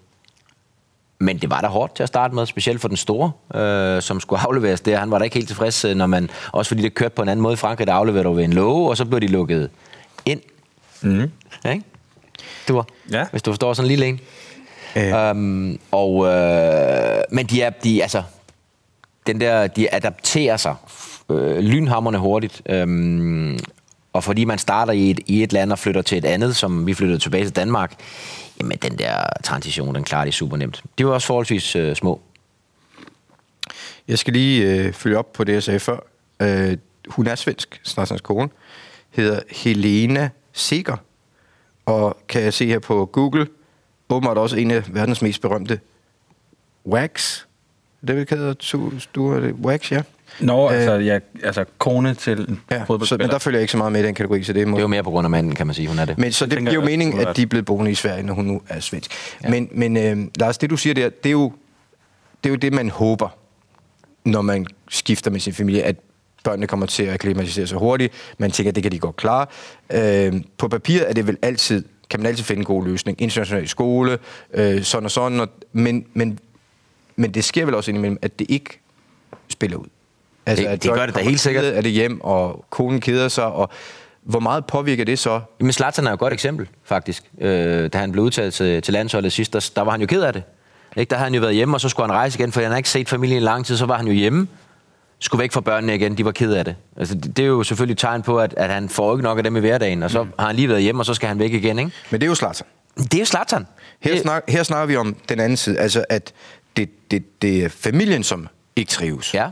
D: Men det var da hårdt til at starte med, specielt for den store, øh, som skulle afleveres der. Han var da ikke helt tilfreds, øh, når man, også fordi det kørte på en anden måde i Frankrig, der afleverede du ved en låge, og så blev de lukket ind. Mm. Ja, ikke? Du var,
C: Ja.
D: ja. hvis du forstår sådan en lille en. Øhm, og, øh, men de er, de, altså, den der, de adapterer sig øh, lynhammerne hurtigt. Øhm, og fordi man starter i et, i et land og flytter til et andet, som vi flyttede tilbage til Danmark, jamen den der transition, den klarer de super nemt. De var også forholdsvis øh, små.
B: Jeg skal lige øh, følge op på det, jeg sagde før. Øh, hun er svensk, Snarsens kone. Hedder Helena Seger. Og kan jeg se her på Google, åbenbart også en af verdens mest berømte Wax. Er Det vil hedder tu- du er det Wax, ja.
C: Nå,
B: Øh,
C: øh, altså, jeg, altså kone til en
B: ja så,
C: fodboldspiller.
B: men der følger jeg ikke så meget med i den kategori, så det må
D: Det er jo mere på grund af manden, kan man sige, hun er det.
B: men så det
C: tænker
B: giver jo
C: jeg, at det
B: mening,
C: kunne være-
B: at de er blevet boende i Sverige, når hun nu er svensk. Ja. Men, men øh, Lars, det du siger der, det er, jo, det er jo det, man håber, når man skifter med sin familie, at børnene kommer til at akklimatisere sig hurtigt. Man tænker, at det kan de godt klare. Øh, på papiret er det vel altid, kan man altid finde en god løsning. International skole, øh, sådan og sådan. Og, men, men, men det sker vel også indimellem, at det ikke spiller ud. Altså,
D: Det-
B: at
D: det gør
B: børnene
D: det da
B: kommer
D: helt sikkert.
B: tidligt, Er det hjem, og konen keder sig, og Hvor meget påvirker det så?
D: Men Zlatan er jo et godt eksempel, faktisk. Øh, da han blev udtaget til, til landsholdet sidst, der, der var han jo ked af det. Ikke? Der havde han jo været hjemme, og så skulle han rejse igen, for han havde ikke set familien i lang tid, så var han jo hjemme. Skulle væk fra børnene igen, de var ked af det. Altså, det, det er jo selvfølgelig et tegn på, at, at han får ikke nok af dem i hverdagen, og så mm. har han lige været hjemme, og så skal han væk igen. Ikke?
B: Men det er jo Zlatan.
D: Det er jo Zlatan.
B: Her,
D: Det-
B: snak, her snakker vi om den anden side, altså at det, det, det er familien, som ikke trives.
D: Ja.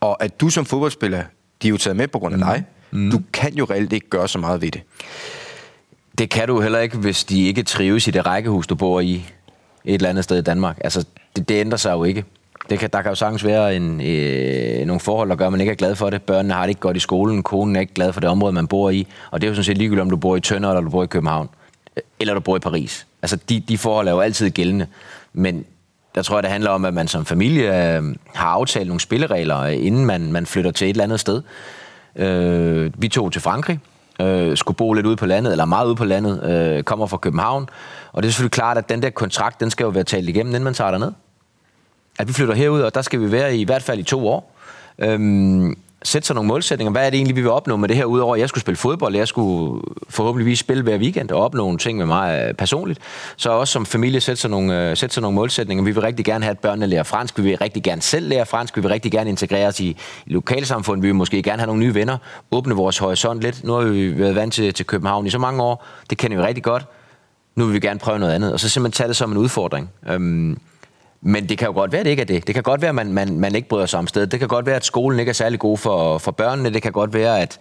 B: Og at du som fodboldspiller, de er jo taget med på grund af dig. Mm. Du kan jo reelt ikke gøre så meget ved det.
D: Det kan du heller ikke, hvis de ikke trives i det rækkehus, du bor i et eller andet sted i Danmark. Altså, det, det ændrer sig jo ikke. Det kan, der kan jo sagtens være en, øh, nogle forhold, der gør, at man ikke er glad for det. Børnene har det ikke godt i skolen, konen er ikke glad for det område, man bor i. Og det er jo sådan set ligegyldigt, om du bor i Tønder, eller du bor i København, øh, eller du bor i Paris. Altså, de, de forhold er jo altid gældende. Men der tror jeg, det handler om, at man som familie øh, har aftalt nogle spilleregler, øh, inden man, man flytter til et eller andet sted. Øh, vi tog til Frankrig, øh, skulle bo lidt ude på landet, eller meget ude på landet, øh, kommer fra København. Og det er selvfølgelig klart, at den der kontrakt, den skal jo være talt igennem, inden man tager derned. At vi flytter herud, og der skal vi være i, i hvert fald i to år. Øhm, sætte sig nogle målsætninger. Hvad er det egentlig, vi vil opnå med det her, udover at jeg skulle spille fodbold, jeg skulle forhåbentligvis spille hver weekend og opnå nogle ting med mig øh, personligt. Så også som familie sætte sig, nogle, øh, sætte sig nogle målsætninger. Vi vil rigtig gerne have, at børnene lærer fransk. Vi vil rigtig gerne selv lære fransk. Vi vil rigtig gerne integrere os i i lokalsamfundet. Vi vil måske gerne have nogle nye venner. Åbne vores horisont lidt. Nu har vi været vant til, til København i så mange år. Det kender vi rigtig godt. Nu vil vi gerne prøve noget andet. Og så simpelthen tage det som en udfordring. Øhm, men det kan jo godt være, at det ikke er det. Det kan godt være, at man, man, man ikke bryder sig om stedet. Det kan godt være, at skolen ikke er særlig god for, for børnene. Det kan godt være, at,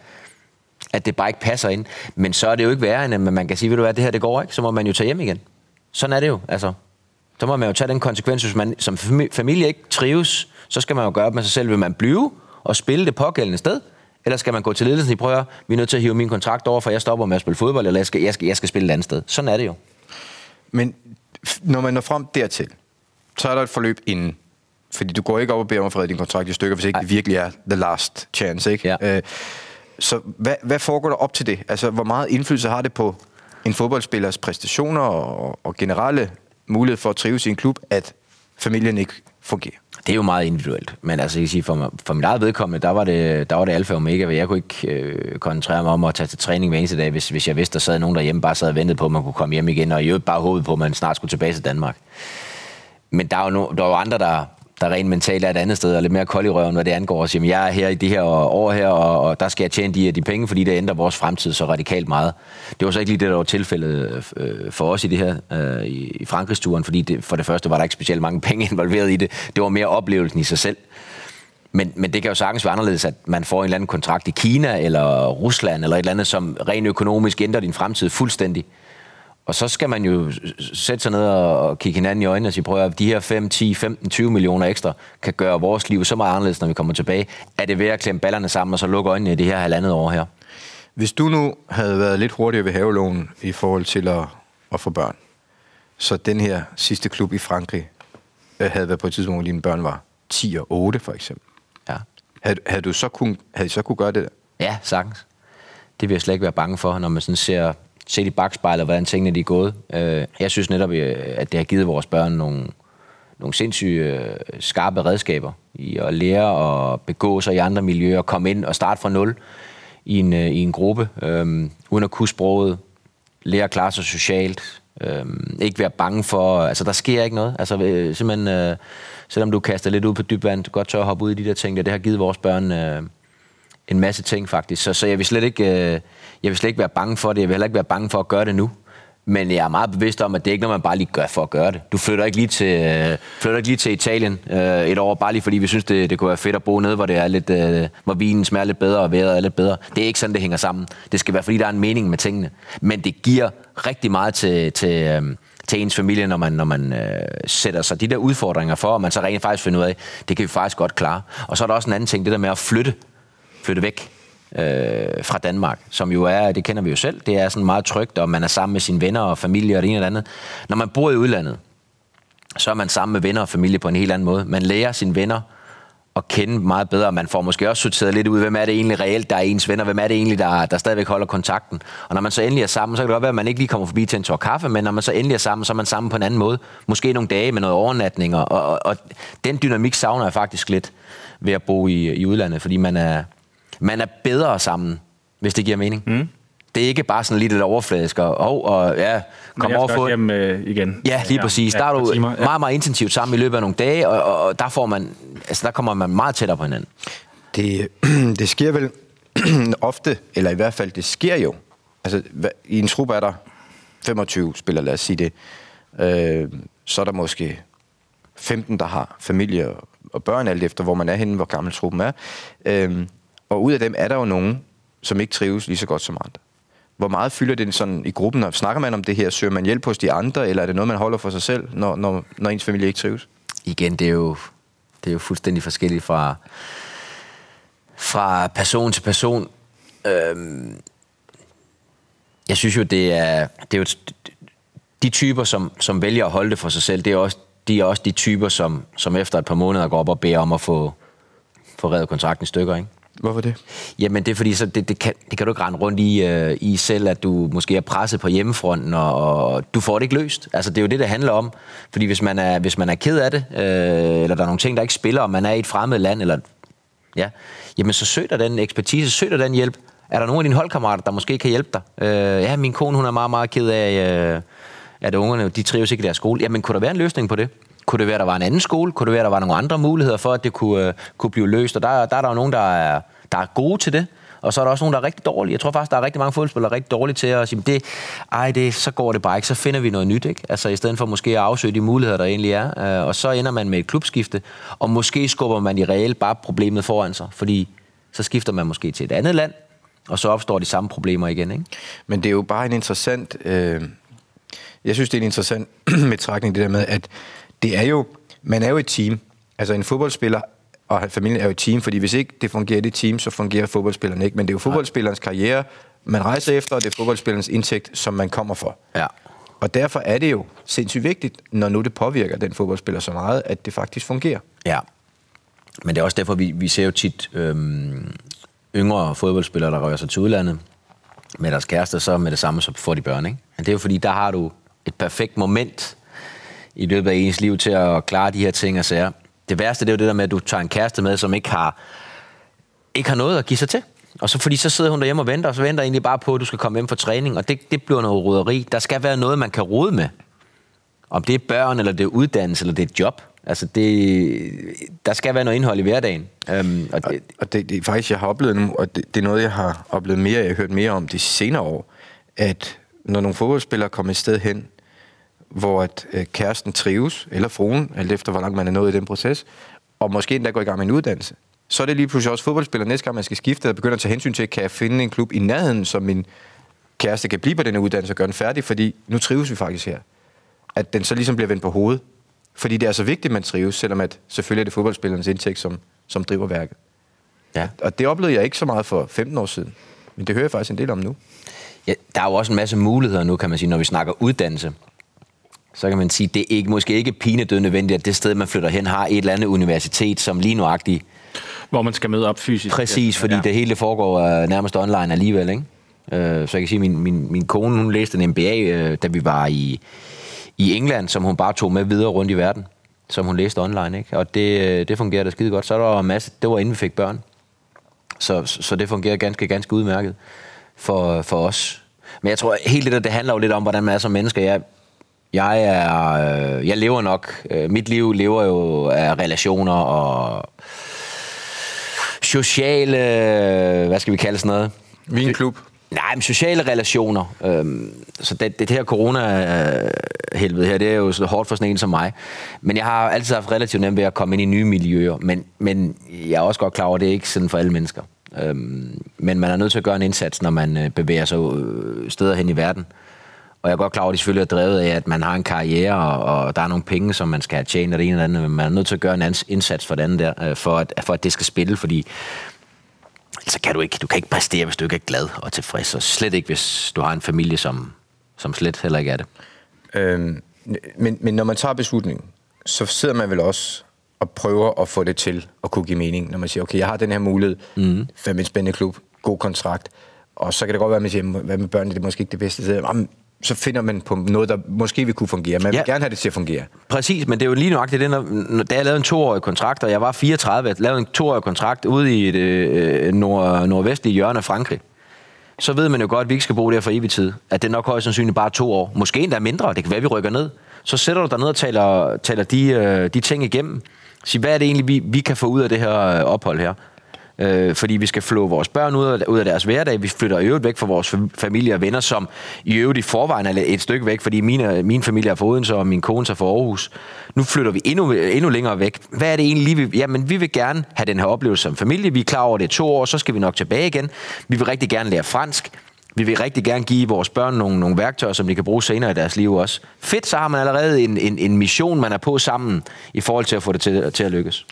D: at det bare ikke passer ind. Men så er det jo ikke værre, end at man kan sige, ved du hvad, det her det går ikke, så må man jo tage hjem igen. Sådan er det jo, altså. Så må man jo tage den konsekvens, hvis man som fami- familie ikke trives, så skal man jo gøre op med sig selv, vil man blive og spille det pågældende sted, eller skal man gå til ledelsen i prøver, vi er nødt til at hive min kontrakt over, for jeg stopper med at spille fodbold, eller jeg skal, jeg skal, jeg skal spille et andet sted. Sådan er det jo.
B: Men f- når man når frem dertil, så er der et forløb inden. Fordi du går ikke op og beder om at frede din kontrakt i stykker, hvis ikke
D: Nej.
B: det virkelig er the last chance. Ikke?
D: Ja.
B: Øh, så hvad, hvad foregår der op til det? Altså, hvor meget indflydelse har det på en fodboldspillers præstationer og, og generelle mulighed for at trives i en klub, at familien ikke fungerer?
D: Det er jo meget individuelt, men altså jeg kan sige, for, mig- for mit eget vedkommende, der var det, der var det alfa og omega, og jeg kunne ikke øh, koncentrere mig om at tage til træning hver eneste dag, hvis, hvis jeg vidste, der sad nogen derhjemme, bare sad og ventede på, at man kunne komme hjem igen, og i øvrigt bare håbede på, at man snart skulle tilbage til Danmark. Men der er jo, no, der er jo andre, der, der rent mentalt er et andet sted, og lidt mere kold i røven, hvad det angår, og siger, "Jamen, jeg er her i det her år her, og, og der skal jeg tjene de her de penge, fordi det ændrer vores fremtid så radikalt meget. Det var så ikke lige det, der var tilfældet øh, for os i det her, øh, i, i Frankrigs-turen, fordi det, for det første var der ikke specielt mange penge involveret i det. Det var mere oplevelsen i sig selv. Men, men det kan jo sagtens være anderledes, at man får en eller anden kontrakt i Kina eller Rusland eller et eller andet, som rent økonomisk ændrer din fremtid fuldstændig. Og så skal man jo s- s- sætte sig ned og kigge hinanden i øjnene og sige, prøv at høre, de her 5, 10, 15, 20 millioner ekstra kan gøre vores liv så meget anderledes, når vi kommer tilbage. Er det ved at klemme ballerne sammen og så lukke øjnene i det her halvandet år her?
B: Hvis du nu havde været lidt hurtigere ved havelån i forhold til at, at få børn, så den her sidste klub i Frankrig øh, havde været på et tidspunkt, hvor dine børn var 10 og 8 for eksempel.
D: Ja,
B: Havde, havde, du så kun, havde I så kunne gøre det der?
D: ja sagtens. Det vil jeg slet ikke være bange for, når man sådan ser, ser i bagspejlet, hvordan tingene de er gået. Øh, Jeg synes netop, øh, at det har givet vores børn nogle, nogle sindssyge øh, skarpe redskaber i at lære at begå sig i andre miljøer, komme ind og starte fra nul i en, øh, i en gruppe, øh, uden at kunne sproget, lære at klare sig socialt, øhm, ikke være bange for, altså der sker ikke noget, altså øh, simpelthen, øh, selvom du kaster lidt ud på dybt vand, godt tør at hoppe ud i de der ting, der, det har givet vores børn øh, en masse ting faktisk, så, så jeg, vil slet ikke, øh, jeg vil slet ikke være bange for det, jeg vil heller ikke være bange for at gøre det nu, men jeg er meget bevidst om, at det ikke er noget, man bare lige gør for at gøre det. Du flytter ikke lige til, øh, flytter ikke lige til Italien øh, et år, bare lige fordi vi synes, det, det kunne være fedt at bo nede, hvor, det er lidt, øh, hvor vinen smager lidt bedre og vejret er lidt bedre. Det er ikke sådan, det hænger sammen. Det skal være, fordi der er en mening med tingene. Men det giver rigtig meget til, til, øh, til ens familie, når man, når man øh, sætter sig de der udfordringer for, og man så rent faktisk finder ud af, det kan vi faktisk godt klare. Og så er der også en anden ting, det der med at flytte flytte væk øh, fra Danmark, som jo er, det kender vi jo selv, det er sådan meget trygt, og man er sammen med sine venner og familie og det ene og det andet. Når man bor i udlandet, så er man sammen med venner og familie på en helt anden måde. Man lærer sine venner at kende meget bedre, og man får måske også sorteret lidt ud, hvem er det egentlig reelt, der er ens venner, hvem er det egentlig, der, der stadigvæk holder kontakten. Og når man så endelig er sammen, så kan det godt være, at man ikke lige kommer forbi til en tår kaffe, men når man så endelig er sammen, så er man sammen på en anden måde. Måske nogle dage med noget overnatning, og, og, og den dynamik savner jeg faktisk lidt ved at bo i, i udlandet, fordi man er, man er bedre sammen hvis det giver mening. Mm. Det er ikke bare sådan lige lidt overfladisk, og, og, og ja, kom
C: jeg
D: over
C: skal
D: få...
C: også hjem øh, igen.
D: Ja, lige præcis. Der er
C: et par
D: du
C: timer, ja.
D: meget, meget intensivt sammen i løbet af nogle dage, og, og, og der, får man, altså, der kommer man meget tættere på hinanden.
B: Det, det sker vel ofte, eller i hvert fald, det sker jo. Altså, hva- i en trup er der 25 spillere, lad os sige det. Øh, så er der måske 15, der har familie og- og børn, alt efter hvor man er henne, hvor gammel truppen er. Øh, og ud af dem er der jo nogen, som ikke trives lige så godt som andre. Hvor meget fylder det sådan i gruppen, og snakker man om det her? Søger man hjælp hos de andre, eller er det noget, man holder for sig selv, når, når, når ens familie ikke trives?
D: igen, det er jo, det er jo fuldstændig forskelligt fra, fra person til person. Øhm, jeg synes jo, det er, det er jo, et- de typer, som, som vælger at holde det for sig selv, det er også, de er også de typer, som, som efter et par måneder går op og beder om at få, få reddet kontrakten i stykker, ikke?
B: Hvorfor det?
D: Jamen det er fordi, så det, det, kan, det kan du ikke rende rundt i, øh, i selv, at du måske er presset på hjemmefronten, og, og du får det ikke løst. Altså det er jo det, det handler om. Fordi hvis man er, hvis man er ked af det, øh, eller der er nogle ting, der ikke spiller, og man er i et fremmed land, eller ja, jamen så søg dig den ekspertise, søg dig den hjælp. Er der nogen af dine holdkammerater, der måske kan hjælpe dig? Øh, ja, min kone, hun er meget, meget ked af, øh, at ungerne, de trives ikke i deres skole. Jamen, kunne der være en løsning på det? Kunne det være, der var en anden skole? Kunne det være, der var nogle andre muligheder for, at det kunne, øh, kunne blive løst? Og der, der er der jo nogen, der er, der er gode til det. Og så er der også nogen, der er rigtig dårlige. Jeg tror faktisk, der er rigtig mange fodboldspillere, der er rigtig dårlige til at sige, det, ej, det, så går det bare ikke, så finder vi noget nyt. Ikke? Altså i stedet for måske at afsøge de muligheder, der egentlig er. Øh, Og så ender man med et klubskifte, og måske skubber man i reelt bare problemet foran sig, fordi så skifter man måske til et andet land, og så opstår de samme problemer igen. Ikke?
B: Men det er jo bare en interessant... Øh, jeg synes, det er en interessant betragtning, det der med, at det er jo... Man er jo et team. Altså en fodboldspiller og familien er jo et team, fordi hvis ikke det fungerer i det team, så fungerer fodboldspilleren ikke. Men det er jo fodboldspillerens karriere, man rejser efter, og det er fodboldspillerens indtægt, som man kommer for.
D: Ja.
B: Og derfor er det jo sindssygt vigtigt, når nu det påvirker den fodboldspiller så meget, at det faktisk fungerer.
D: Ja. Men det er også derfor, vi, vi ser jo tit øhm, yngre fodboldspillere, der rører sig til udlandet med deres kæreste, så med det samme, så får de børn. Ikke? Men det er jo fordi, der har du et perfekt moment i løbet af ens liv til at klare de her ting og sager. Det værste, det er jo det der med, at du tager en kæreste med, som ikke har ikke har noget at give sig til. Og så, fordi så sidder hun derhjemme og venter, og så venter egentlig bare på, at du skal komme hjem fra træning, og det, det bliver noget roderi. Der skal være noget, man kan rode med. Om det er børn, eller det er uddannelse, eller det er et job. Altså, det, der skal være noget indhold i hverdagen. Øhm, og det,
B: og det, det er faktisk, jeg har oplevet nu, og det, det er noget, jeg har oplevet mere, jeg har hørt mere om de senere år, at når nogle fodboldspillere kommer et sted hen, hvor at, øh, kæresten trives, eller fruen, alt efter hvor langt man er nået i den proces, og måske endda går i gang med en uddannelse, så er det lige pludselig også fodboldspiller næste gang, man skal skifte, og begynder at tage hensyn til, kan jeg finde en klub i nærheden, som min kæreste kan blive på den her uddannelse og gøre den færdig, fordi nu trives vi faktisk her. At den så ligesom bliver vendt på hovedet. Fordi det er så vigtigt, man trives, selvom at selvfølgelig er det fodboldspillernes indtægt, som, som driver værket.
D: ja.
B: Og det oplevede jeg ikke så meget for 15 år siden. Men det hører jeg faktisk en del om nu.
D: Ja, der er jo også en masse muligheder nu, kan man sige, når vi snakker uddannelse. Så kan man sige, det er ikke, måske ikke pinedød nødvendigt, at det sted, man flytter hen, har et eller andet universitet, som lige nuagtigt
C: Hvor man skal møde op fysisk.
D: Præcis, fordi ja. det hele det foregår øh, nærmest online alligevel, ikke? Øh, så jeg kan sige, at min, min, min kone, hun læste en MBA, øh, da vi var i, i England, som hun bare tog med videre rundt i verden, som hun læste online, ikke? Og det, øh, det fungerede da skide godt. Så er der var en masse, det var inden vi fik børn. Så, så så det fungerer ganske, ganske udmærket for, for os. Men jeg tror, helt det der, det handler jo lidt om, hvordan man er som mennesker. Jeg, jeg, er, øh, jeg lever nok, øh, mit liv lever jo af relationer og sociale, hvad skal vi kalde sådan noget?
B: Min klub.
D: Nej, men sociale relationer. Øhm, så det, det her corona-helvede her, det er jo så hårdt for sådan en som mig. Men jeg har altid haft relativt nemt ved at komme ind i nye miljøer. Men, men jeg er også godt klar over, at det er ikke sådan for alle mennesker. Øhm, men man er nødt til at gøre en indsats, når man øh, bevæger sig øh, steder hen i verden. Og jeg er godt klar over, at de selvfølgelig er drevet af, at man har en karriere, og, og der er nogle penge, som man skal have tjent, og det ene eller andet, men man er nødt til at gøre en anden indsats for det andet der, øh, for at, for at det skal spille, fordi så kan du ikke, du kan ikke præstere, hvis du ikke er glad og tilfreds, og slet ikke, hvis du har en familie, som, som slet heller ikke er det.
B: Øhm, men, men når man tager beslutningen, så sidder man vel også og prøver at få det til at kunne give mening. Når man siger, okay, jeg har den her mulighed. Mm. Fem en spændende klub. God kontrakt. Og så kan det godt være, at man siger, hvad med børnene, det er måske ikke det bedste sted. Jamen, så finder man på noget, der måske vil kunne fungere. Man ja.
D: Ja.
B: vil gerne have det til at fungere.
D: Præcis, men det er jo lige nøjagtigt det, når, når, da jeg lavede en toårig kontrakt, og jeg var øh, 34, jeg lavede en toårig kontrakt ude i det øh, nord, nordvestlige hjørne af Frankrig. så ved man jo godt, at vi ikke skal bo der for evig tid. At det er nok højst sandsynligt bare to år. Måske endda mindre, det kan være, vi rykker ned. Så sætter du dig ned og taler, taler de, øh, de ting igennem. Sig, hvad er det egentlig, vi, vi kan få ud af det her øh, ophold her? Øh, fordi vi skal flå vores børn ud af, ud af deres hverdag. Vi flytter i øvrigt væk fra vores fam- familie og venner, som i øvrigt i forvejen er et stykke væk, fordi mine, min familie er fra Odense, og min kone er fra Aarhus. Nu flytter vi endnu, endnu længere væk. Hvad er det egentlig lige? Vi, jamen, vi vil gerne have den her oplevelse som familie. Vi er klar over, at det er to år, så skal vi nok tilbage igen. Vi vil rigtig gerne lære fransk. Vi vil rigtig gerne give vores børn nogle, nogle værktøjer, som de kan bruge senere i deres liv også. Fedt, så har man allerede en, en, en mission, man er på sammen i forhold til at få det til, til at lykkes.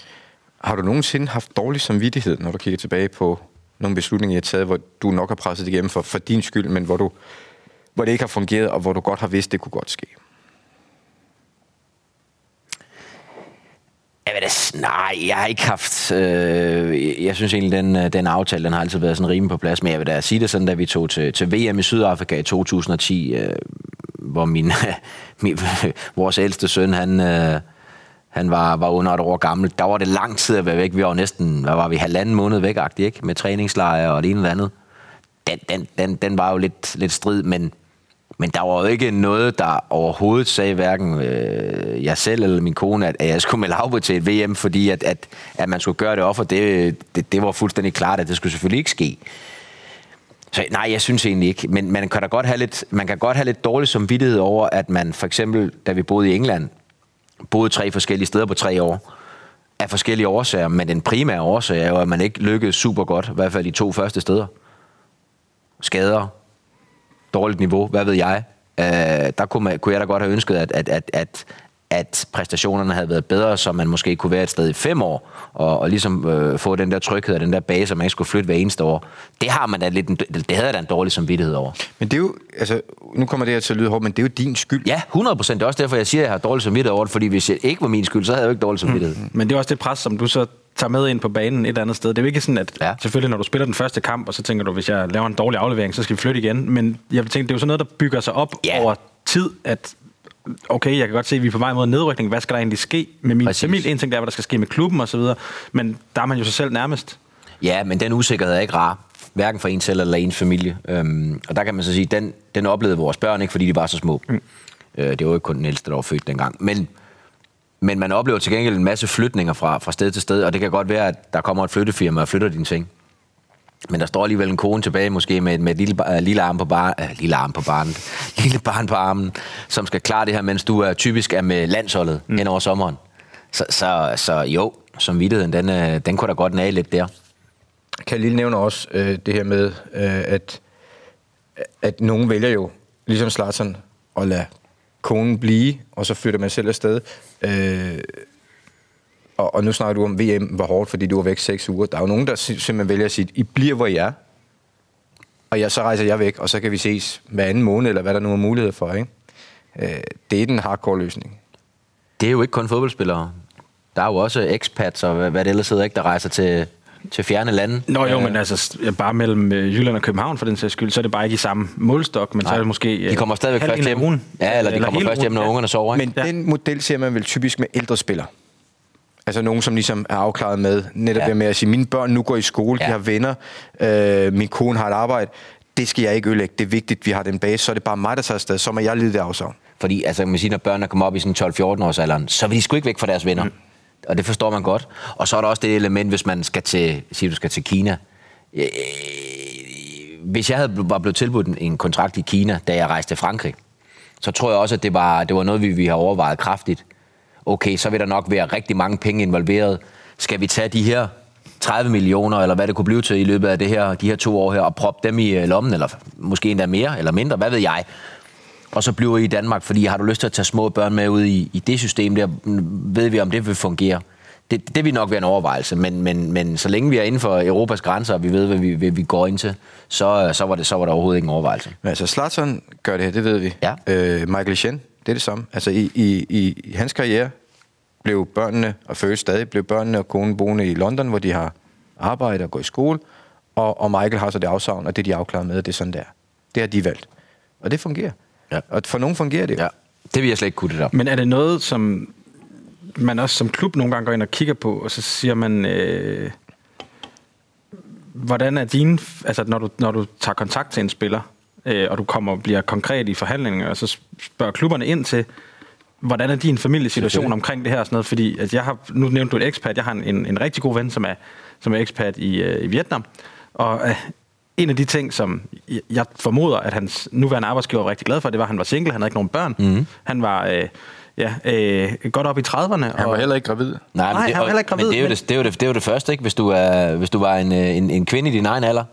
B: Har du nogensinde haft dårlig samvittighed, når du kigger tilbage på nogle beslutninger, I har taget, hvor du nok har presset det igennem for, for din skyld, men hvor, du, hvor det ikke har fungeret, og hvor du godt har vidst, det kunne godt ske?
D: Jeg ved det, s- altså, nej, jeg har ikke haft... Øh, jeg synes egentlig, den, øh, den aftale den har altid været sådan rimelig på plads. Men jeg vil da sige det sådan, da vi tog til, til VM i Sydafrika i 2010, øh, hvor min, min, vores ældste søn, han, øh, han var, var under et år gammel. Der var det lang tid at være væk. Vi var jo næsten, hvad var vi, halvanden måned væk, ikke? Med træningslejre og det ene eller andet. Den, den, den, den var jo lidt, lidt strid, men men der var jo ikke noget, der overhovedet sagde hverken øh, jeg selv eller min kone, at, at jeg skulle melde afbud til et VM, fordi at, at, at man skulle gøre det offer. Det, det, det var fuldstændig klart, at det skulle selvfølgelig ikke ske. Så nej, jeg synes egentlig ikke. Men man kan da godt have lidt, man kan godt have lidt dårlig samvittighed over, at man for eksempel, da vi boede i England, boede tre forskellige steder på tre år af forskellige årsager, men den primære årsag er jo, at man ikke lykkedes super godt, i hvert fald de to første steder. Skader, dårligt niveau, hvad ved jeg. Øh, der kunne, man, kunne jeg da godt have ønsket, at, at, at, at, at præstationerne havde været bedre, så man måske kunne være et sted i fem år, og, og ligesom øh, få den der tryghed og den der base, at man ikke skulle flytte hver eneste år. Det har man da lidt en, det havde jeg da en dårlig samvittighed over.
B: Men det er jo, altså, nu kommer det her til at lyde hårdt, men det er jo din skyld.
D: Ja, 100 procent. Det er også derfor, jeg siger, at jeg har dårlig samvittighed over det, fordi hvis det ikke var min skyld, så havde jeg jo ikke dårlig samvittighed.
C: Men det er også det pres, som du så tager med ind på banen et eller andet sted. Det er jo ikke sådan, at
D: Ja.
C: ja. selvfølgelig, når du spiller den første kamp, og så tænker du, hvis jeg laver en dårlig aflevering, så skal vi flytte igen. Men jeg tænker, det er jo sådan noget, der bygger sig op
D: Ja.
C: ja. over tid, at okay, jeg kan godt se, at vi er på vej mod nedrykning. Hvad skal der egentlig ske med min
D: Præcis.
C: Præcis. familie? En ting der er, hvad der skal ske med klubben osv. Men der er man jo sig selv nærmest.
D: Ja, men den usikkerhed er ikke rar. Hverken for en selv eller ens familie. Øhm, og der kan man så sige, den, den oplevede vores børn ikke, fordi de var så små. Mm. Øh, det var jo ikke kun den ældste, der var født dengang. Men, men man oplever til gengæld en masse flytninger fra, fra sted til sted, og det kan godt være, at der kommer et flyttefirma og flytter dine ting. Men der står alligevel en kone tilbage, måske med, med et lille, ba- øh, lille arm på barn, øh, lille arm på barnet, lille barn på armen, som skal klare det her, mens du er typisk er med landsholdet mm. hen over sommeren. Så, så, så jo, som vidtigheden, den, øh, den kunne da godt nage lidt der.
B: Khalil nævner også øh, det her med, øh, at, at nogen vælger jo, ligesom Slatsen, at lade konen blive, og så flytter man selv afsted. Øh, og, og nu snakker du om, VM var hårdt, fordi du var væk seks uger. Der er jo nogen, der si- simpelthen vælger at sige, I bliver, hvor I er, og jeg, så rejser jeg væk, og så kan vi ses hver anden måned, eller hvad der nu er mulighed for. Ikke? Øh, det er den hardcore løsning.
D: Det er jo ikke kun fodboldspillere. Der er jo også expats og hvad, hvad det ellers hedder, ikke, der rejser til, til fjerne lande.
C: Nå jo, men altså s- ja, bare mellem øh, Jylland og København for den sags skyld, så er det bare ikke i samme målstok, men Nej. så er det måske... øh,
D: De kommer stadigvæk
C: halvdelen
D: først
C: af
D: hjem.
C: ugen.
D: Ja, eller de kommer
C: hele
D: først hjem,
C: ugen.
D: når
C: Ja.
D: ungerne sover. Ikke?
B: Men ja. den model ser man vel typisk med ældre spillere. Altså nogen, som ligesom er afklaret med, netop
D: Ja.
B: ja. det med at sige, mine børn nu går i skole, ja.
D: Ja.
B: de har venner, øh, min kone har et arbejde, det skal jeg ikke ødelægge, det er vigtigt, vi har den base, så er det bare mig, der tager afsted, så må jeg lide det afsavn.
D: Fordi altså, man siger, når børnene kommer op i sådan 12-14 års alderen, så vil de sgu ikke væk fra deres venner. Mm. Og det forstår man godt. Og så er der også det element, hvis man skal til, siger, du skal til Kina. Øh, Hvis jeg havde bl- var blevet tilbudt en- en kontrakt i Kina, da jeg rejste til Frankrig, så tror jeg også, at det var, det var noget, vi, vi har overvejet kraftigt. Okay, så vil der nok være rigtig mange penge involveret. Skal vi tage de her 30 millioner, eller hvad det kunne blive til i løbet af det her, de her to år her, og proppe dem i øh, lommen, eller måske endda mere, eller mindre, hvad ved jeg og så bliver I i Danmark, fordi har du lyst til at tage små børn med ud i, i det system der, mm, ved vi om det vil fungere. Det, det vil nok være en overvejelse, men, men, men så længe vi er inden for Europas grænser, og vi ved, hvad vi, hvad vi går ind til, så, øh, så, var det, så var der overhovedet ikke en overvejelse.
B: Men altså, Slatern gør det her, det ved vi.
D: Ja.
B: Øh, Michael Chen, det er det samme. Altså, i, i, i, i hans karriere blev børnene, og føles stadig, blev børnene og konen boende i London, hvor de har arbejde og går i skole, og, og Michael har så det afsavn, og det de er afklaret med, og det er sådan der. Det har de valgt. Og det fungerer.
D: Ja.
B: Og for nogen fungerer det. jo.
D: Det vil jeg slet ikke kunne det der.
C: Men er det noget, som man også som klub nogle gange går ind og kigger på, og så siger man, øh, hvordan er dine, altså når du, når du tager kontakt til en spiller, øh, og du kommer og bliver konkret i forhandlingerne, og så spørger klubberne ind til, hvordan er din familiesituation omkring det her og sådan noget, fordi at jeg har, nu nævnte du et ekspat, jeg har en, en, en rigtig god ven, som er, som er ekspat i, øh, i Vietnam, og øh, en af de ting, som jeg- jeg formoder, at hans nuværende arbejdsgiver var rigtig glad for, det var, at han var single, han havde ikke nogen børn, mm. han var øh, ja, øh, godt op i 30'erne.
B: Han
C: og,
B: var heller ikke gravid.
D: Nej,
C: Nej,
D: men, det,
C: han var
D: og-
C: heller ikke gravid,
D: men, det, er jo
C: men-
D: det, det, er jo det, det er jo det første, ikke? Hvis du, er, hvis du var en, øh, en, en kvinde i din egen alder,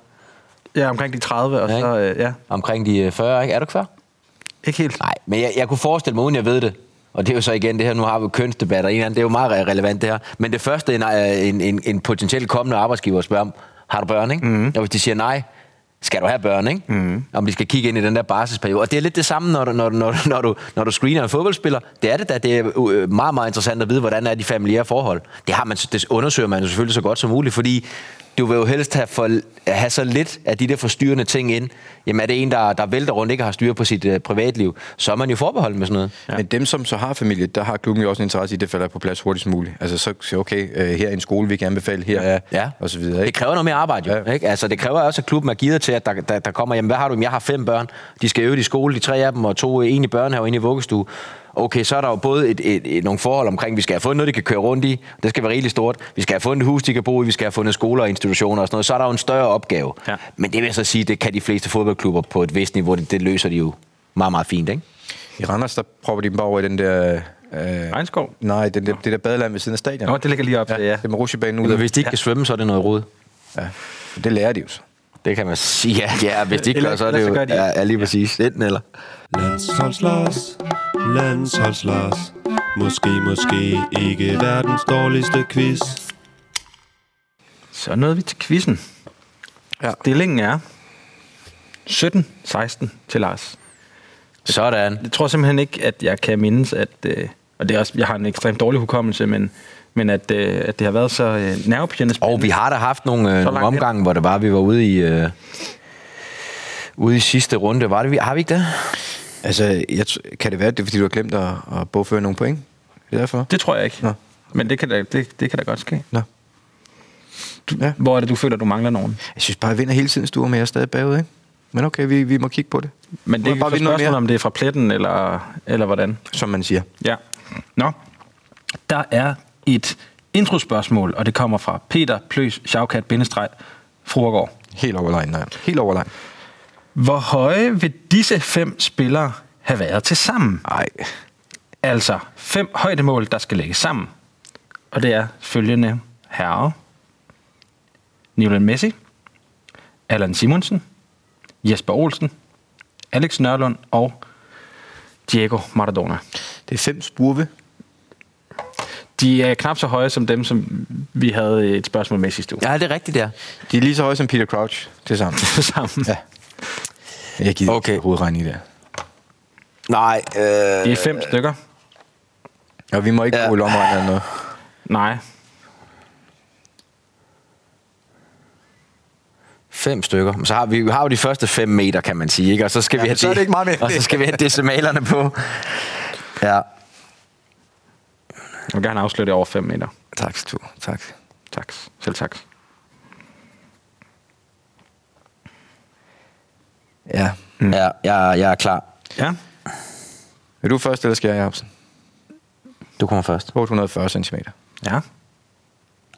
C: Ja, omkring de 30, og
D: Ja,
C: så,
D: ikke?
C: øh, ja,
D: omkring de øh, 40, ikke? Er du ikke 40?
C: ikke helt.
D: Nej, men jeg, jeg kunne forestille mig, uden jeg ved det, og det er jo så igen det her, nu har vi jo kønsdebatter, en anden, det er jo meget re- relevant det her, men det første, en, øh, en, en, en potentielt kommende arbejdsgiver spørger om, har du børn, ikke? Mm. Og hvis de siger nej, skal du have børn, ikke? Mm. Om de skal kigge ind i den der barselsperiode. Og det er lidt det samme, når du, når, du- når, du- når, du, når du screener en fodboldspiller. Det er det da. Det er øh, meget, meget interessant at vide, hvordan er de familiære forhold. Det, har man, det undersøger man jo selvfølgelig så godt som muligt, fordi du vil jo helst have, for, have så lidt af de der forstyrrende ting ind. Jamen er det en, der, der vælter rundt, ikke har styr på sit øh, privatliv, så er man jo forbeholden med sådan noget.
B: Ja. Men dem, som så har familie, der har klubben jo også en interesse i, at det falder på plads hurtigst muligt. Altså så siger okay, øh, her er en skole, vi kan anbefale, her er,
D: Ja.
B: og så videre.
D: Det
B: Ikke?
D: kræver noget mere arbejde, jo.
B: Ja.
D: Ja. Ikke? Altså, det kræver også, at klubben er givet til, at der, der, der kommer, jamen, hvad har du? Jamen, jeg har fem børn. De skal øve i skole, de tre af dem, og to øh, en i børnehave og en i vuggestue. Okay, så er der jo både et, et, et, nogle forhold omkring, vi skal have fundet noget, de kan køre rundt i. Det skal være rigeligt stort. Vi skal have fundet et hus, de kan bo i. Vi skal have fundet skoler og institutioner og sådan noget. Så er der jo en større opgave.
C: Ja.
D: Ja. Men det vil jeg så sige, det kan de fleste fodboldklubber på et vist niveau. Det, det løser de jo meget, meget fint, ikke?
B: I Randers, der propper de dem bare over i den der... Øh,
C: Regnskov?
B: nej, den der, det der badeland ved siden af stadion.
C: Nå, det ligger lige op til, ja.
B: Det er med rutsjebanen ud.
D: Men
B: af-
D: hvis de ikke kan svømme, så er det noget rod.
B: Ja. Det lærer de jo så.
D: Det kan man sige. Ja, ja hvis de ikke
C: Eller-
D: gør, så er det
C: ellers
D: jo
C: så gør de ikke.
D: ja, ja, lige præcis. Enten eller.
G: Landsholdslars, landsholdslars Måske, måske ikke verdens dårligste quiz
C: Så nåede vi til quizzen.
B: Ja.
C: Ja. Stillingen er 17-16 til Lars.
D: Sådan.
C: Jeg tror simpelthen ikke, at jeg kan mindes, at... Øh, og det er også, jeg har en ekstremt dårlig hukommelse, men, men at, øh, at det har været så øh, nervepirrende
D: Og vi har da haft nogle, øh, nogle
C: langt hen.
D: omgange, hvor det var, vi var ude i... Øh, ude i sidste runde. Var det, vi- har vi ikke det?
B: Altså, jeg, t- kan det være, at det er, fordi du har glemt at, at bogføre nogle point? Det er derfor?
C: Det tror jeg ikke.
B: Nå.
C: Nå. Men det kan, da, det, det kan da godt ske.
B: Nå. Ja.
C: Hvor er det, du føler, du mangler nogen?
B: Jeg synes bare, jeg vinder hele tiden, Sture, men jeg er stadig bagud, ikke? Men okay, vi, vi må kigge på det,
C: Men det er
B: Må jeg
C: ikke
B: bare
C: bare
B: vide noget
C: spørgsmål,
B: mere?
C: om det er fra pletten, eller, eller hvordan.
B: som man siger.
C: Ja. Nå. Der er et introspørgsmål, og det kommer fra Peter Pløs Sjavkat bindestreg Fruergaard.
B: Helt overlegen, nej. Helt overlegen.
C: Hvor høje vil disse fem spillere have været til sammen?
B: Nej.
C: Altså fem højdemål, der skal lægges sammen. Og det er følgende herre. Nicolas Messi, Allan Simonsen, Jesper Olsen, Alex Nørlund og Diego Maradona.
B: Det er fem spurve.
C: De er knap så høje som dem, som vi havde et spørgsmål med i sidste uge.
D: Ja, det er rigtigt, der.
B: De er lige så høje som Peter Crouch til sammen.
C: sammen.
B: Ja. Jeg gider
D: Okay.
B: okay. hovedregning der.
D: Nej, øh,
C: Det er fem stykker.
B: Og vi må ikke
D: Ja.
B: bruge lommeregn eller noget.
C: Nej.
D: fem stykker. Men Så har vi, vi har jo de første fem meter, kan man sige, ikke? Og så skal ja, vi have
B: så er det ikke meget mere.
D: Og så skal vi have decimalerne på. Ja.
C: Jeg vil gerne afsløre det over 5 meter.
B: Tak, Sture. Tak.
C: Tak. Selv tak.
B: Ja.
D: Mm. ja jeg, jeg er klar.
C: Ja.
B: Vil du først, eller skal jeg, Jacobsen?
D: Du kommer først.
B: 840 cm.
C: Ja.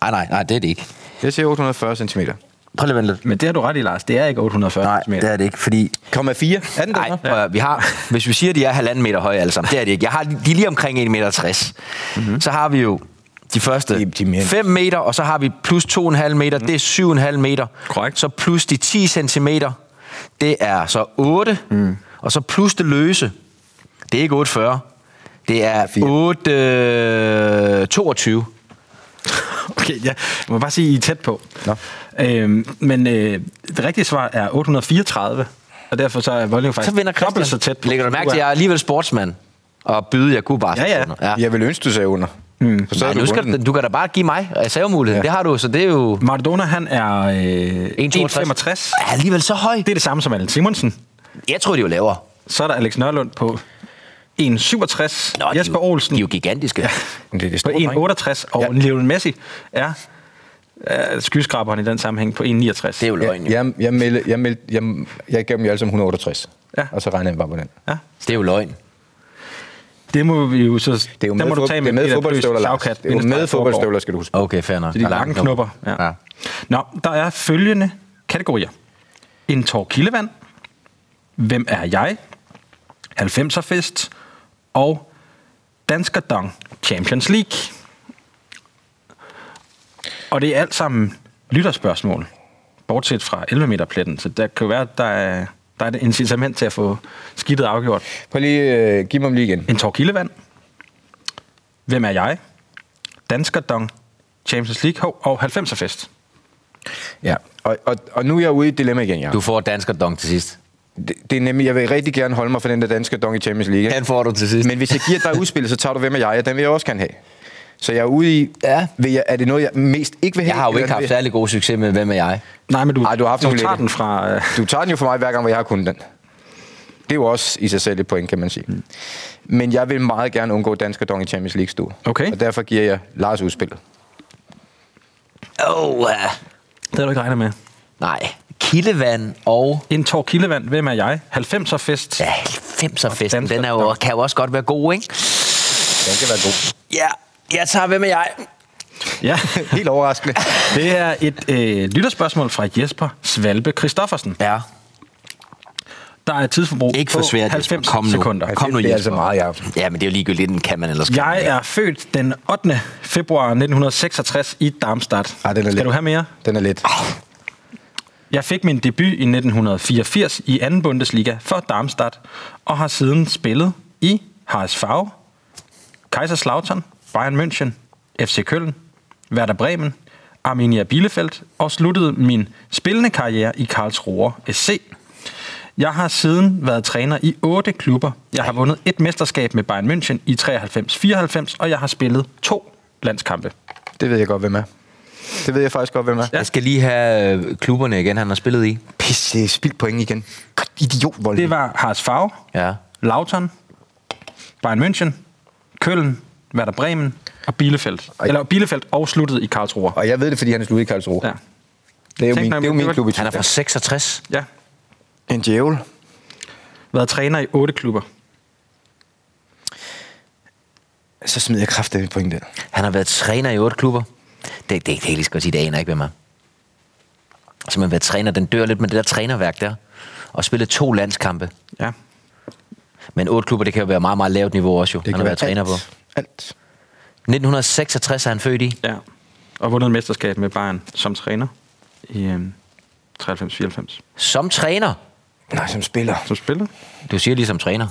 D: Nej, nej, nej, det er det ikke.
B: Jeg siger 840 cm.
D: Prøv lige at vente lidt.
C: Men det har du ret i, Lars. Det er ikke 840
D: Nej,
C: meter.
D: det er det ikke, fordi...
B: Komma 4. Er den
D: Nej, ja. vi har, hvis vi siger, at de er halvanden meter høje alle sammen, det er de ikke. Jeg har, de er lige omkring 1,60 meter.
C: Mhm.
D: Mm-hmm. Så har vi jo de
B: De-
D: første
B: de er mere end-
D: 5 meter, og så har vi plus 2,5 meter, det er 7,5 meter.
C: Mhm. Korrekt.
D: Så plus de 10 centimeter, det er så 8,
C: Mhm.
D: mm. og så plus det løse, det er ikke 8,40, det er 8, øh, 22.
C: Okay, ja. jeg må bare sige, I er tæt på.
B: Nå.
C: Øhm, men øh, det rigtige svar er 834, og derfor så er Volding
D: Så
C: faktisk
D: vinder
C: dobbelt
D: Christian.
C: så tæt på.
D: Lægger du mærke til, at jeg er alligevel sportsmand, og byde, jeg kunne bare.
C: Ja, ja.
B: Jeg vil ønske, du sagde under. Mm. Så
D: Nej,
B: havde
D: nu
B: du
D: skal,
B: vundet
D: du, du kan da bare give mig reservemuligheden. Ja. Det har du, så det er jo...
C: Maradona, han er øh, 1,65.
D: 1,62. Er alligevel så høj.
C: Det er det samme som Allen Simonsen.
D: Jeg tror, de er jo lavere.
C: Så er der Alex Nørlund på 1,67.
D: Nå,
C: Jesper
D: de, er jo-
C: Olsen
D: De er jo gigantiske. Ja.
B: den. Det er det
C: på
B: store drenge.
C: 1,68. Og ja. Lionel Messi er øh, skyskraberen i den sammenhæng på 1,69.
D: Det er jo løgn,
B: Jeg,
D: jo.
B: jeg, jeg, melde, jeg, melde, jeg, jeg gav dem jo alle sammen 168.
C: Ja.
B: Og så regnede jeg bare på den.
C: Ja.
D: Det er jo løgn.
C: Det må vi jo så... Det
B: Det er jo med,
C: må du
B: fod,
C: tage
B: det er med
C: Peter Plys
B: fodboldstøvler, Lars.
C: Savkat,
B: Det er jo med
C: bindestreg
B: fodboldstøvler, skal du huske.
D: Okay, fair nok.
C: Til de lange knopper. Ja.
D: Ja.
C: ja. Nå, der er følgende kategorier. En tår kildevand. Hvem er jeg? 90'er-fest. Og Dansker Dong Champions League. Og det er alt sammen lytterspørgsmål. Bortset fra 11 meter pletten. Så der kan jo være, at der er, der er et incitament til at få skidtet afgjort.
B: Prøv lige, øh, giv mig dem lige igen.
C: En tår kildevand. Hvem er jeg? Dansker Dong. Champions League hov, og 90'er fest.
B: Ja. Og, og, og nu er jeg ude i et dilemma igen, ja.
D: Du får dansker dong til sidst.
B: Det, det er nemlig, jeg vil rigtig gerne holde mig for den der danske dong i Champions League.
D: Den får du til sidst.
B: Men hvis jeg giver dig udspillet, så tager du hvem af jeg, og den vil jeg også gerne have. Så jeg er ude i,
D: Ja.
B: vil jeg, er det noget, jeg mest ikke vil have?
D: Jeg har jo
B: eller
D: ikke haft
B: vil-
D: særlig god succes med, hvem er jeg?
C: Nej, men du,
B: Ej, du har haft
C: du
B: nogle
C: tager
B: lækre.
C: den fra... Øh,
B: Du tager den jo for mig hver gang, hvor jeg har kunnet den. Det er jo også i sig selv et point, kan man sige. Mm. Men jeg vil meget gerne undgå dansk og dong i Champions League stue.
C: Okay.
B: Og derfor giver jeg Lars udspillet.
D: Åh, oh,
C: det havde du ikke regnet med.
D: nej. Kildevand og...
C: En tår kildevand. Hvem er jeg? 90'er fest.
D: Ja, 90'er festen,
C: Dansker
D: den er jo,
C: Dong.
D: kan jo også godt være god, ikke?
B: Den kan være god.
D: Ja, jeg tager hvem er jeg?
C: ja.
B: Helt overraskende.
C: Det er et øh, lytterspørgsmål fra Jesper Svalbe Christoffersen.
D: Ja.
C: Der er et tidsforbrug
D: Ikke for
C: på
D: svært, Jesper.
C: 90
D: Kom nu.
C: sekunder.
D: Kom nu,
B: det er
D: Jesper.
B: altså meget, ja.
D: Ja, men det er jo ligegyldigt, den kan man ellers
C: Jeg er født den 8. februar 1966 i Darmstadt.
B: Ej, den er
C: Skal
B: let.
C: du have mere?
B: Den er lidt.
C: Jeg fik min debut i 1984 i 2. Bundesliga for Darmstadt, og har siden spillet i HSV, Kaiserslautern, Bayern München, FC Köln, Werder Bremen, Arminia Bielefeld og sluttede min spillende karriere i Karlsruher SC. Jeg har siden været træner i otte klubber. Jeg har vundet et mesterskab med Bayern München i 93-94, og jeg har spillet to landskampe.
B: Det ved jeg godt, hvem er. Det ved jeg faktisk godt, hvem er.
D: Jeg skal lige have øh, klubberne igen, han har spillet i.
B: Pisse, spild point igen. Godt idiot, Volden.
C: Det var HSV,
D: Ja.
C: Lautern, Bayern München, Køln, Werder Bremen og Bielefeldt.
B: Ej.
C: Eller Bielefeldt og sluttede i Karlsruhe.
B: Og jeg ved det, fordi han er slut i Karlsruhe.
C: Ja.
B: Det er jo
C: Tænk
B: min,
C: nok,
B: det er jo
C: det
B: min
C: var-
B: klub i
D: Han er fra 66.
C: ja.
B: En djævel.
C: Været træner i otte klubber.
B: Så smider jeg kraftigt et point der.
D: Han har været træner i otte klubber. Det, det, det kan jeg lige så godt sige, det aner jeg ikke, hvem er. Så man været træner, den dør lidt med det der trænerværk der. Og spillet to landskampe.
C: Ja.
D: Men otte klubber, det kan jo være meget, meget lavt niveau også jo. Det han har været træner på.
B: alt. Alt.
D: 1966 er han født i.
C: ja. Og vundet et mesterskab med Bayern som træner i øhm, 93-94.
D: Som træner.
B: Nej, som spiller.
C: Som spiller.
D: Du siger lige som træner.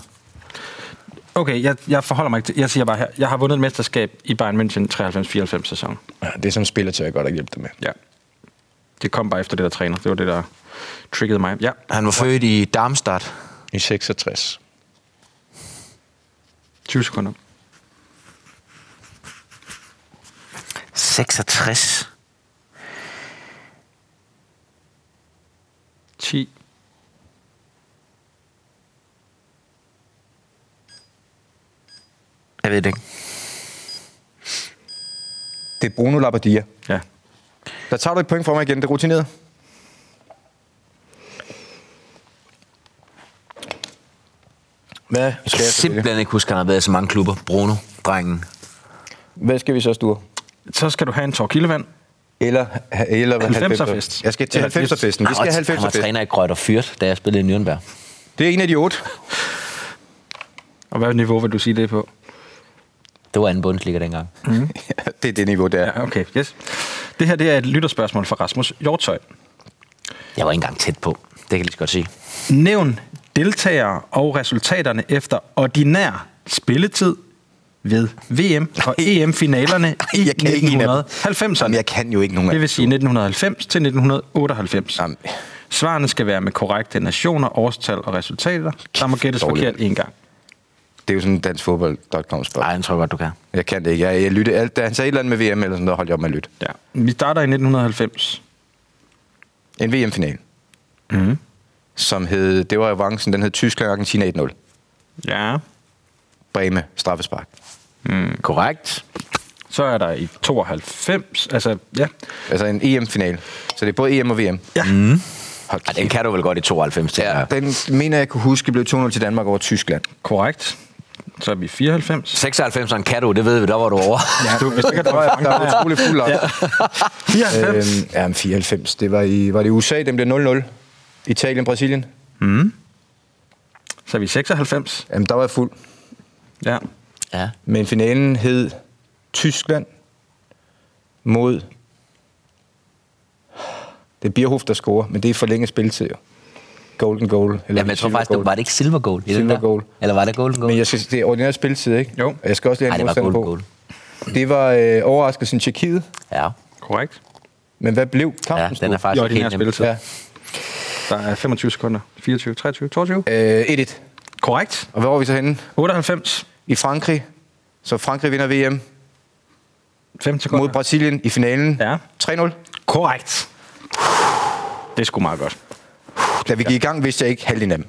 C: Okay, jeg, jeg forholder mig ikke til, Jeg siger bare her. Jeg har vundet et mesterskab i Bayern München 93-94 sæson.
B: Ja, det er som spiller, til jeg godt at hjælpe dig med.
C: Ja. Det kom bare efter det der træner. Det var det, der triggede mig. Ja.
D: Han var født i Darmstadt.
B: I 66.
C: 20 sekunder.
D: 66.
C: 10.
D: Jeg ved det ikke.
B: Det er Bruno Labbadia.
C: Ja.
B: Der tager du et point fra mig igen. Det er rutineret. Hvad skal, jeg
D: Kan jeg
B: så vælge?
D: simpelthen ikke huske, at han har været i så mange klubber. Bruno, drengen.
B: Hvad skal vi så sture?
C: Så skal du have en tår kildevand.
B: Eller, eller
C: 90'er-fest.
B: Jeg skal til
C: Eller
B: 90'er-festen. Vi skal have
D: Han var
B: 90'er-festen.
D: træner i Grøt og Fyrt, da jeg spillede i Nürnberg.
B: Det er en af de otte.
C: Og hvad niveau vil du sige det er på?
D: Det var anden bundsliga dengang.
B: det er det niveau, der.
C: Ja, okay, yes. Det her det er et lytterspørgsmål fra Rasmus Hjortøj.
D: Jeg var ikke engang tæt på. Det kan jeg lige så godt sige.
C: Nævn deltagere og resultaterne efter ordinær spilletid ved VM og EM-finalerne i
B: jeg kan ikke en af dem.
C: 1990'erne.
B: Jamen, jeg kan jo ikke nogen af
C: Det
B: dem.
C: vil sige 1990 til 1998.
B: Jamen.
C: Svarene skal være med korrekte nationer, årstal og resultater. Der må gættes
B: Dårligt.
C: forkert en gang.
B: Det er jo sådan danskfodbold.com spørgsmål.
D: Nej, den tror jeg godt, du kan.
B: Jeg kan det ikke. Jeg, jeg lytte alt. Da han sagde et eller andet med VM, eller sådan noget, holdt jeg op med at lytte.
C: Ja. Vi starter i 1990.
B: En VM-final. Mm.
D: Mhm.
B: Som hed, det var avancen, den hed Tyskland og Argentina 1-0.
C: Ja.
B: Breme, straffespark.
D: Mm. Korrekt.
C: Så er der i 92, altså ja,
B: Altså en EM-final. Så det er både EM og VM. Ja.
D: Ej, den kan du vel godt i 92, til. Ja.
B: Den mener jeg kunne huske blev 2-0 til Danmark over Tyskland.
C: korrekt. Så er vi i 94.
D: 96'eren kan du, det ved vi, der var du over.
C: Ja, du, hvis du kan
B: Der var, der var utrolig fuld op. Ja.
C: 94.
B: Øhm, ja, men 94. Det var i, var det i USA, den blev 0-0. Italien, Brasilien.
C: Så er vi i 96.
B: Jamen, der var jeg fuld.
C: Ja.
D: Ja.
B: Men finalen hed Tyskland mod... Det er Bierhoff, der scorer, men det er forlænget spilletid. jo. Golden goal. Eller
D: Jamen, jeg tror
B: silver
D: faktisk, det
B: goal.
D: var det ikke silver goal? i den
B: Silver
D: der?
B: goal.
D: Eller var det golden goal?
B: Men jeg skal, det er ordinært spilletid, ikke?
C: Jo.
B: Og jeg skal også lige
D: Nej,
B: have
D: det
B: en
D: var
B: modstander
D: golden
B: på.
D: goal.
B: Det var øh, overraskelsen Tjekkiet.
D: Ja,
C: Korrekt.
B: Men hvad blev
D: ja
B: kampen?
D: den er
C: I
D: faktisk
C: ordinær
D: helt nem.
C: spilletid. Ja. Der er 25 sekunder. 24, 23, 22.
B: Ja. Øh, 1-1.
C: Korrekt.
B: Og hvor var vi så henne?
C: 98.
B: I Frankrig. Så Frankrig vinder VM
C: 5 sekunder.
B: mod Brasilien i finalen.
C: Ja.
B: 3-0.
C: Korrekt. Det er sgu meget godt.
B: Da vi gik i gang, vidste jeg ikke halvdelen af dem.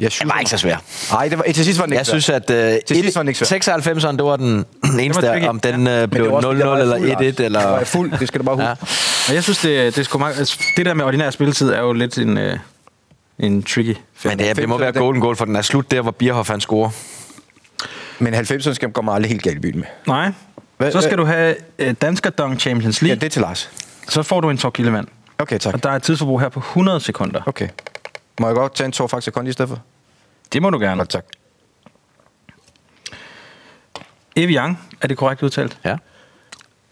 B: Jeg
D: Den var ikke så svær.
B: Nej, det var, til sidst var den ikke
D: Jeg synes, at øh,
B: Til sidst var den ikke svær.
D: 96'eren, det var den eneste,
C: tricky.
D: om den øh,
B: Men
D: blev
B: det var
D: 0-0
B: også fordi, der var fuld,
D: eller
B: Lars.
D: 1-1. Eller...
B: Der var jeg fuld, det skal du bare huske.
D: Ja.
C: Og jeg synes, det, det er sgu meget... altså, Det der med ordinær spilletid er jo lidt en, øh, en tricky.
D: Men det, er- det må være golden goal, for den er slut der, hvor Bierhoff han scorer.
B: Men 90'erne skal gå mig aldrig helt galt i byen med.
C: Nej.
B: Hvad-
C: så skal
B: hvad-
C: du have øh, Dansker Dong Champions
B: Ja,
C: League.
B: det er til Lars.
C: Så får du en tår kildevand.
B: Okay, tak.
C: Og der er et tidsforbrug her på 100 sekunder.
B: Okay. Må jeg godt tage en tår faktisk kondi i stedet for?
C: Det må du gerne.
B: Godt, tak.
C: Evian, er det korrekt udtalt,
D: Ja.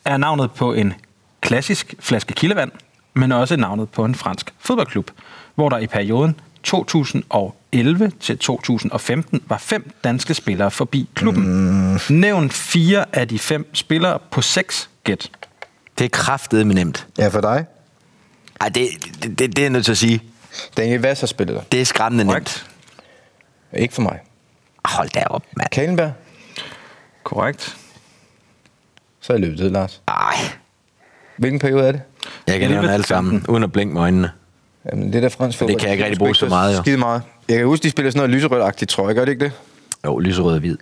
C: er navnet på en klassisk flaske kildevand, men også navnet på en fransk fodboldklub, hvor der i perioden 2011 til 2015 var fem danske spillere forbi klubben. Mm. Nævn fire af de fem spillere på seks gæt.
D: Det er kraftedeme nemt.
B: Ja, for dig.
D: Ej, det, det, det, det er jeg nødt til at sige.
B: Daniel Vass har spillet der.
D: Det er skræmmende
C: Korrekt.
D: nemt.
B: Ikke for mig.
D: Hold da op, mand.
B: Kalenberg,
C: Korrekt.
B: så er jeg løbet til Lars.
D: Ej,
B: Hvilken periode er det?
D: jeg kan nævne alle sammen, uden at blinke med øjnene.
B: Jamen, det der fransk fodbold.
D: kan jeg ikke rigtig bruge så meget, jo.
B: Skide meget. Jeg kan huske, de spiller sådan noget lyserødt-agtigt, tror jeg. Gør det ikke det?
D: Jo, lyserød og hvid.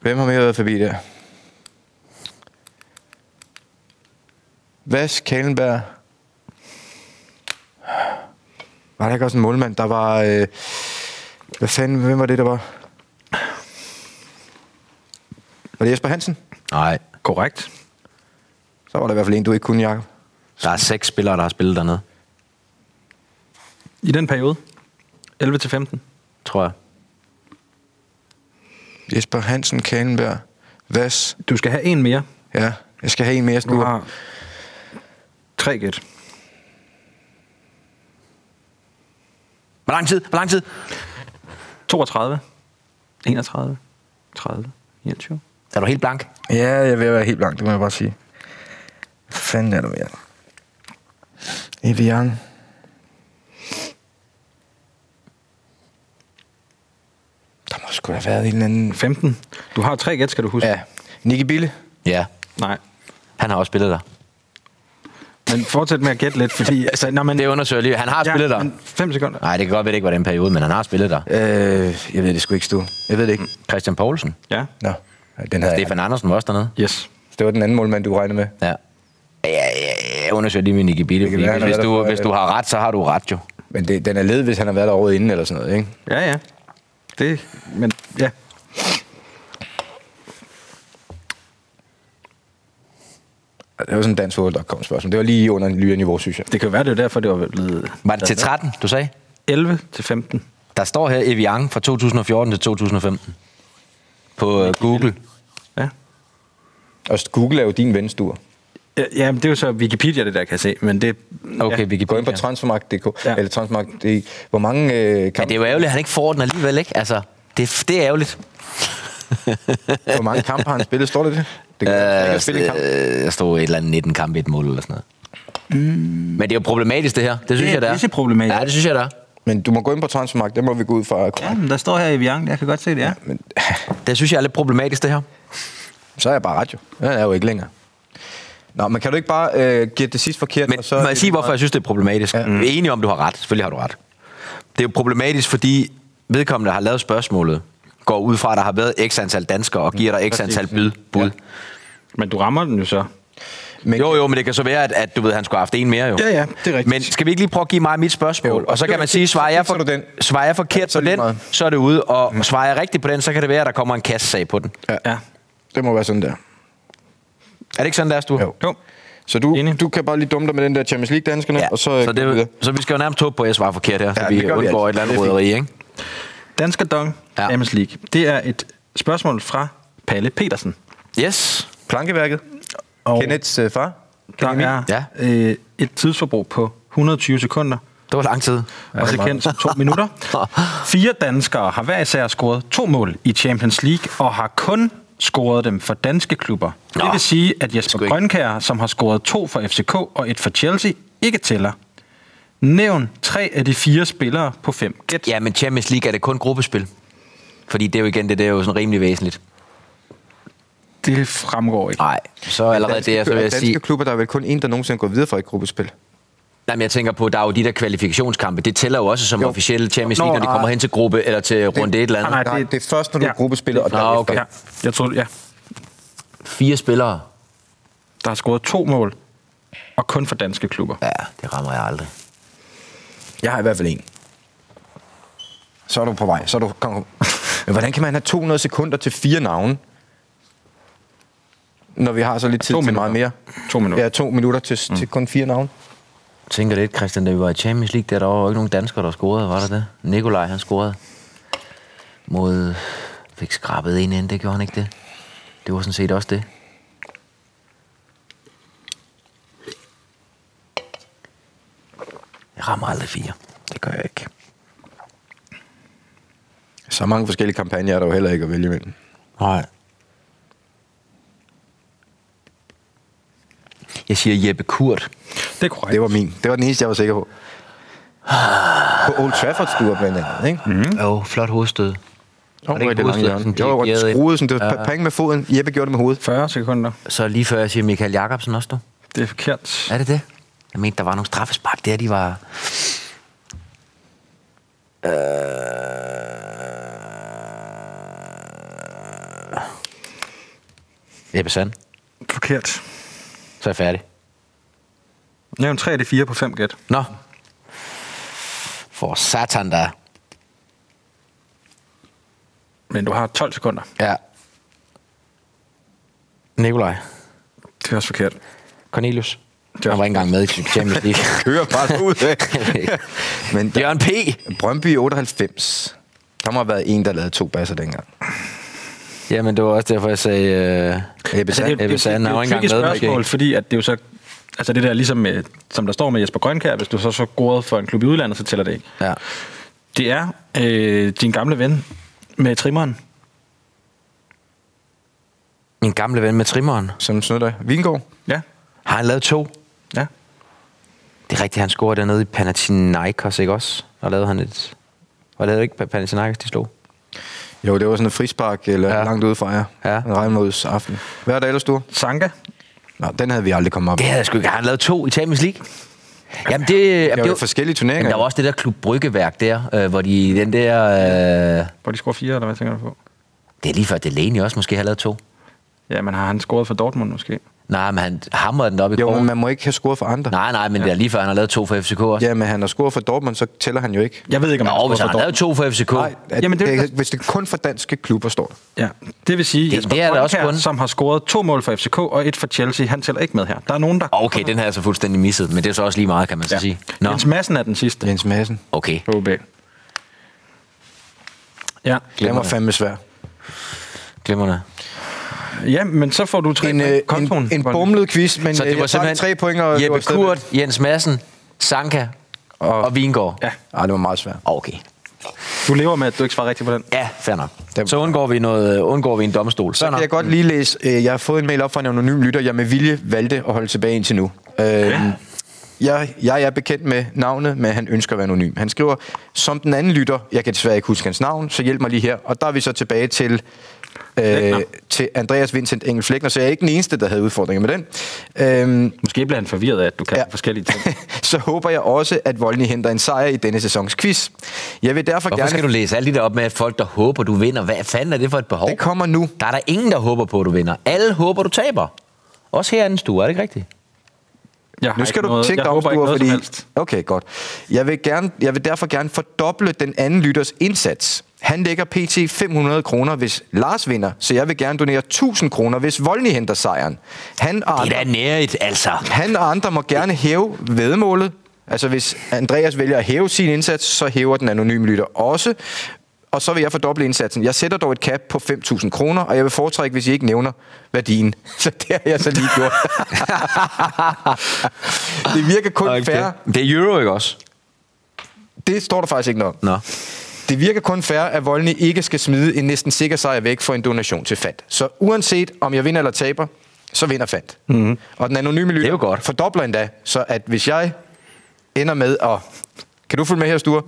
B: Hvem har mere været forbi der? Vas, Kalenberg. Var der ikke også en målmand, der var... Øh, hvad fanden, hvem var det, der var? Var det Jesper Hansen?
D: Nej,
C: Korrekt.
B: Så var der i hvert fald en, du ikke kunne, Jacob.
D: der er seks spillere, der har spillet dernede,
C: I den periode, 11 til 15.
D: tror jeg.
B: Jesper Hansen, Kalenberg, Vas.
C: Du skal have en mere.
B: Ja, jeg skal have en mere,
C: Du
B: Sture.
C: har tre gæt.
D: Hvor lang tid? Hvor lang tid?
C: 32, 31, 30, 29.
D: Er du helt blank?
B: Ja, jeg vil være helt blank, det må jeg bare sige. Hvad fanden er der mere? Evian. Der må sgu da have været en eller anden...
C: 15. Du har tre gæt, skal du huske.
B: Ja. Nicky Bille.
D: Ja.
C: Nej.
D: Han har også spillet der.
C: Men fortsæt med at gætte lidt, fordi... Altså, når man,
D: Det undersøger jeg lige. Han har spillet der.
C: men fem sekunder.
D: Nej, det kan godt være, det ikke var den periode, men han har spillet der.
B: Øh, jeg ved det sgu ikke, Stu. Jeg ved det ikke.
D: Christian Poulsen.
C: Ja.
B: Nå, den havde jeg.
D: Stefan Andersen var også dernede.
C: Yes.
B: Det var den anden målmand, du regnede med.
D: Ja. Ja, ja, ja, Jeg undersøger lige min Nicky Bille,
B: kan
D: fordi
B: være, han
D: hvis,
B: har
D: hvis,
B: været
D: du,
B: der for-
D: hvis du har ret, så har du ret jo.
B: Men det, den er led, hvis han har været der året inden eller sådan noget, ikke?
C: Ja, ja. Det... Men ja.
B: Det var sådan en dansk fodbold.com spørgsmål. Det var lige under en lyre niveau, synes jeg.
C: Det kan jo være, det er derfor, det var blevet...
D: Var det til 13, du sagde?
C: 11 til 15.
D: Der står her Evian fra 2014 til 2015. På øh, Google.
C: Ja.
B: Og Google er jo din ven, Sture.
C: Ja, Ja, men det er jo så Wikipedia, det der kan jeg se, men det...
D: Okay, vi kan
B: Gå ind på
D: Ja.
B: transfermarkt.dk,
C: Ja.
B: ja. eller transfermarkt.dk. Hvor mange øh,
D: Men
B: kampe
D: det er jo ærgerligt, at han ikke får den alligevel, ikke? Altså, det, er- det er ærgerligt.
B: Hvor mange kampe har han spillet? Står det det? Det kan øh, ikke at spille i kamp. Mm.
D: Øh, der stod et eller andet 19 kampe, et mål eller sådan noget. Men det er jo problematisk, det her. Det synes
C: er
D: jeg, det er.
C: pisseproblematisk.
D: Ja, det synes jeg, det er.
B: Men du må gå ind på transfermarkt, det må vi gå ud fra.
C: Ja,
B: korrekt.
C: men der står her i Viang, jeg kan godt se det, ja.
B: Men
D: Det synes jeg er lidt problematisk, det her.
B: så er jeg bare ret jo. Jeg er jo ikke længere. Nå, men kan du ikke bare øh, give det sidst forkert?
D: Men så må jeg sige, hvorfor jeg synes, det er problematisk? Ja. Vi er enige om, du har ret. Selvfølgelig har du ret. Det er jo problematisk, fordi vedkommende, der har
B: Mm.
D: lavet spørgsmålet, går ud fra, at der har været x antal danskere og giver dig x antal bud. bud.
C: Men du rammer den jo så.
B: Men,
D: Jo, jo, men det kan så være, at, at du ved, han skulle have haft en mere jo.
C: Ja, ja, det er rigtigt.
D: Men skal vi ikke lige prøve at give mig mit spørgsmål?
B: Jo,
D: Jo, og så
B: det
D: kan
B: er
D: man
B: rigtigt.
D: sige, svarer
B: Så
D: jeg, for,
B: fikser du den.
D: svarer jeg forkert
B: så
D: på
B: lige
D: den,
B: meget. Mm.
D: så er det ude. Og svarer jeg rigtigt på den, så kan det være, at der kommer en kassesag på den.
B: ja,
C: Ja.
B: Det må være sådan der.
D: Er det ikke sådan, der er, du?
B: Jo.
C: Jo.
B: Så du,
C: Enig.
B: du kan bare lige dumme dig med den der Champions League-danskerne,
D: Ja,
B: og så, øh,
D: så, det, så vi skal jo nærmest håbe på, at jeg svarer forkert her, så
B: Ja,
D: ja,
B: det
D: vi
B: gør vi
D: undgår et
B: altid.
D: eller andet
B: Det er fint.
D: røderi, ikke?
C: Dansker Dong,
D: Ja.
C: ja. Champions League. Det er et spørgsmål fra Palle Petersen.
D: Yes.
B: Plankeværket.
C: Og
B: Kenneths øh, far.
C: der er
D: Ja.
C: ja. øh, et tidsforbrug på 120 sekunder,
D: Det var lang tid.
C: ja, også kendt som to minutter. Fire danskere har hver især scoret to mål i Champions League, og har kun scoret dem for danske klubber. Nå,
D: Nå,
C: det vil sige, at Jesper
D: ikke.
C: Grønkær, som har scoret to for FCK og et for Chelsea, ikke tæller. Nævn tre af de fire spillere på fem gæt.
D: Ja, men Champions League er det kun gruppespil. Fordi det er jo igen, det der er jo sådan rimelig væsentligt.
C: Det fremgår ikke.
D: Nej, så allerede det, så vil jeg
B: danske
D: sige...
B: klubber, der er vel kun en, der nogensinde går videre fra et gruppespil.
D: Nej, men jeg tænker på, der er jo de der kvalifikationskampe. Det tæller jo også som
B: Jo.
D: jo. officielle Champions
B: Nå,
D: League, når de
B: nej.
D: kommer hen til gruppe eller til runde et eller andet.
B: Nej, det, det er først, når du ja. er gruppespiller, og
D: Nå,
B: derefter.
D: okay.
C: Ja, jeg tror, ja.
D: Fire spillere.
C: der har scoret to mål, og kun for danske klubber.
D: Ja, det rammer jeg aldrig.
B: Jeg har i hvert fald en. Så er du på vej. Så er du... Kom. Men hvordan kan man have 200 sekunder til fire navne? Når vi har så lidt tid
C: To
B: til
C: minutter.
B: meget mere.
C: To minutter.
B: Ja, to minutter til, mm. til kun fire navne.
D: Jeg tænker lidt, Christian, da vi var i Champions League, der, der var jo ikke nogen danskere, der scorede, var der det? Nikolaj, han scorede mod... Fik skrabet en ind, det gjorde han ikke det. Det var sådan set også det. Jeg rammer aldrig fire. Det gør jeg ikke.
B: Så mange forskellige kampagner er der jo heller ikke at vælge imellem.
D: Nej. Jeg siger Jeppe Kurt.
C: Det er korrekt.
B: Det var min. Det var den eneste, jeg var sikker på. På Old Trafford stuer blandt andet, ikke? Mm.
D: Mm. Jo, flot hovedstød.
B: Jo,
D: Var det ikke
B: det lange
D: hovedstød,
B: hjørne.
D: sådan
B: Jo, og
D: dirigeret ind?
B: skruede sådan, det var
D: Ja,
B: ja.
D: ja.
B: penge med foden. Jeppe gjorde det med hovedet.
C: 40 sekunder.
D: Så lige før jeg siger Michael Jacobsen også, du.
C: Det er forkert.
D: Er det det? Jeg mente, der var nogle straffespark der, de var... Øh... Jeppe Sand.
C: Forkert.
D: Så er jeg færdig.
C: Nævn 3 af de 4 på 5 gæt.
D: Nå. For satan da.
C: Men du har 12 sekunder.
D: Ja. Nikolaj.
C: Det er også forkert.
D: Cornelius.
C: var-
D: Han var ikke engang med i Champions League.
B: Kører bare ud af. Men der,
D: Jørgen P.
B: Brøndby i 98. Der må have været en, der lavede to basser dengang.
D: Jamen, det var også derfor, jeg sagde... Øh, Ebbe
C: det,
D: Sand. Ebbe Sand
C: det,
D: er jo
C: det,
D: ikke
C: det, det,
D: engang med,
C: spørgsmål,
D: måske.
C: fordi at det er jo så... Altså det der ligesom, med, som der står med Jesper Grønkær, hvis du så så scorede for en klub i udlandet, så tæller det ikke.
D: Ja.
C: Det er øh, din gamle ven med trimmeren.
D: Min gamle ven med trimmeren.
B: Som snytter. Vingård.
C: Ja,
D: Har han lavet to?
C: ja.
D: Det er rigtigt, han scorede dernede i Panathinaikos, ikke også? Og lavede han et... Og lavede ikke Panathinaikos, de slog.
B: Jo, det var sådan et frispark, eller ja.
D: Ja.
B: langt ude fra jer.
D: Ja.
B: En regnmods aften. Hvad er der ellers, du?
C: Sanka.
B: Nå, den havde vi aldrig kommet op.
D: Det
B: Det
D: havde jeg sgu ikke. Har han lavet to i Champions League? Jamen, det...
B: er
D: Jamen,
B: jo forskellige
D: Jamen,
B: turneringer.
D: der var også det der klub Bryggeværk der, øh, hvor de i den der... Øh,
C: Hvor de scorer 4, eller hvad tænker du på?
D: det er lige før, Delaney også måske har lavet to.
C: Ja, men har han scoret for Dortmund måske?
D: Nej, men han hamrede den op i
B: jo, men
D: krogen.
B: man må ikke have scoret for andre.
D: Nej, nej, men det er lige før, han har lavet to for FCK også.
B: Ja, men han har scoret for Dortmund, så tæller han jo ikke.
C: Jeg ved ikke, om
D: Nå,
C: scoret
D: hvis han har
C: for
D: lavet to for FCK. Nej,
B: At
C: Jamen,
B: Jamen,
C: det-
B: det, det, hvis det kun for danske klubber står.
C: Ja, det vil sige,
D: Det-
C: at Jesper
D: det er der
C: Grønkjær,
D: også kun.
C: som har scoret to mål for FCK og et for Chelsea, han tæller ikke med her. Der er nogen, der...
D: Okay, den har jeg så fuldstændig misset, men det er så også lige meget, kan man så ja. sige. Nå,
C: Jens Madsen er den sidste.
B: Jens Madsen.
D: okay.
C: OB. Ja.
B: Den var fandme svær.
D: Glimrende.
C: ja, men så får du tre
B: En, øh,
C: point. Kontoen.
B: en, en bumlet quiz, men øh,
D: Så det var simpelthen
B: tre point, og
D: Jeppe Kurt, Jens Madsen, Sanka og, og Vingård.
C: Ja,
B: Nej, det var meget svært.
D: Okay.
C: du lever med, at du ikke svarer rigtigt på den.
D: Ja, fair nok.
B: Dem-
D: Så undgår vi, noget, øh, undgår vi en domstol.
B: Så
D: Fair
B: kan
D: nok.
B: jeg godt lige læse, øh, jeg har fået en mail op fra en anonym lytter, jeg med vilje valgte at holde tilbage indtil nu. Øh, jeg, jeg er bekendt med navnet, men han ønsker at være anonym. Han skriver, som den anden lytter, jeg kan desværre ikke huske hans navn, så hjælp mig lige her. Og der er vi så tilbage til øh, til Andreas Vincent Engel Flækner, så jeg er ikke den eneste, der havde udfordringer med den. Øhm,
C: Måske bliver han forvirret af, at du kan
B: Ja.
C: ja. forskellige ting.
B: så håber jeg også, at Voldny henter en sejr i denne sæsons quiz. Jeg vil derfor
D: Hvorfor skal
B: gerne...
D: du læse alt det der op med at folk, der håber, du vinder? Hvad fanden er det for et behov?
B: Det kommer nu.
D: Der er der ingen, der håber på, at du vinder. Alle håber, du taber. Også herinde, du. Er det ikke rigtigt?
C: Jeg har
B: Nu skal
C: ikke
B: du
C: noget,
B: tænke
C: jeg
B: dig om,
C: håber ikke
B: Sture,
C: noget
B: fordi...
C: som helst.
B: Okay, godt. Jeg vil, gerne, jeg vil derfor gerne fordoble den anden lytters indsats. Han lægger pt. 500 kroner, hvis Lars vinder, så jeg vil gerne donere 1000 kroner, hvis Voldny henter sejren. Han og,
D: Det
B: andre,
D: er da nærigt, altså.
B: han og andre må gerne hæve vedmålet. Altså hvis Andreas vælger at hæve sin indsats, så hæver den anonyme lytter også. Og så vil jeg fordoble indsatsen. Jeg sætter dog et cap på 5.000 kroner, og jeg vil foretrække, hvis I ikke nævner værdien. Så det har jeg så lige gjort. det virker kun okay. fair,
D: Det er euro, ikke også?
B: det står der faktisk ikke noget om.
D: Nå.
B: Det virker kun fair, at Voldny ikke skal smide en næsten sikker sejr væk for en donation til Fant. Så uanset om jeg vinder eller taber, så vinder Fant. Mm-hmm. Og den anonyme lytter
D: Mhm. jo godt.
B: fordobler endda, så at hvis jeg ender med at... Kan du følge med her, Sture?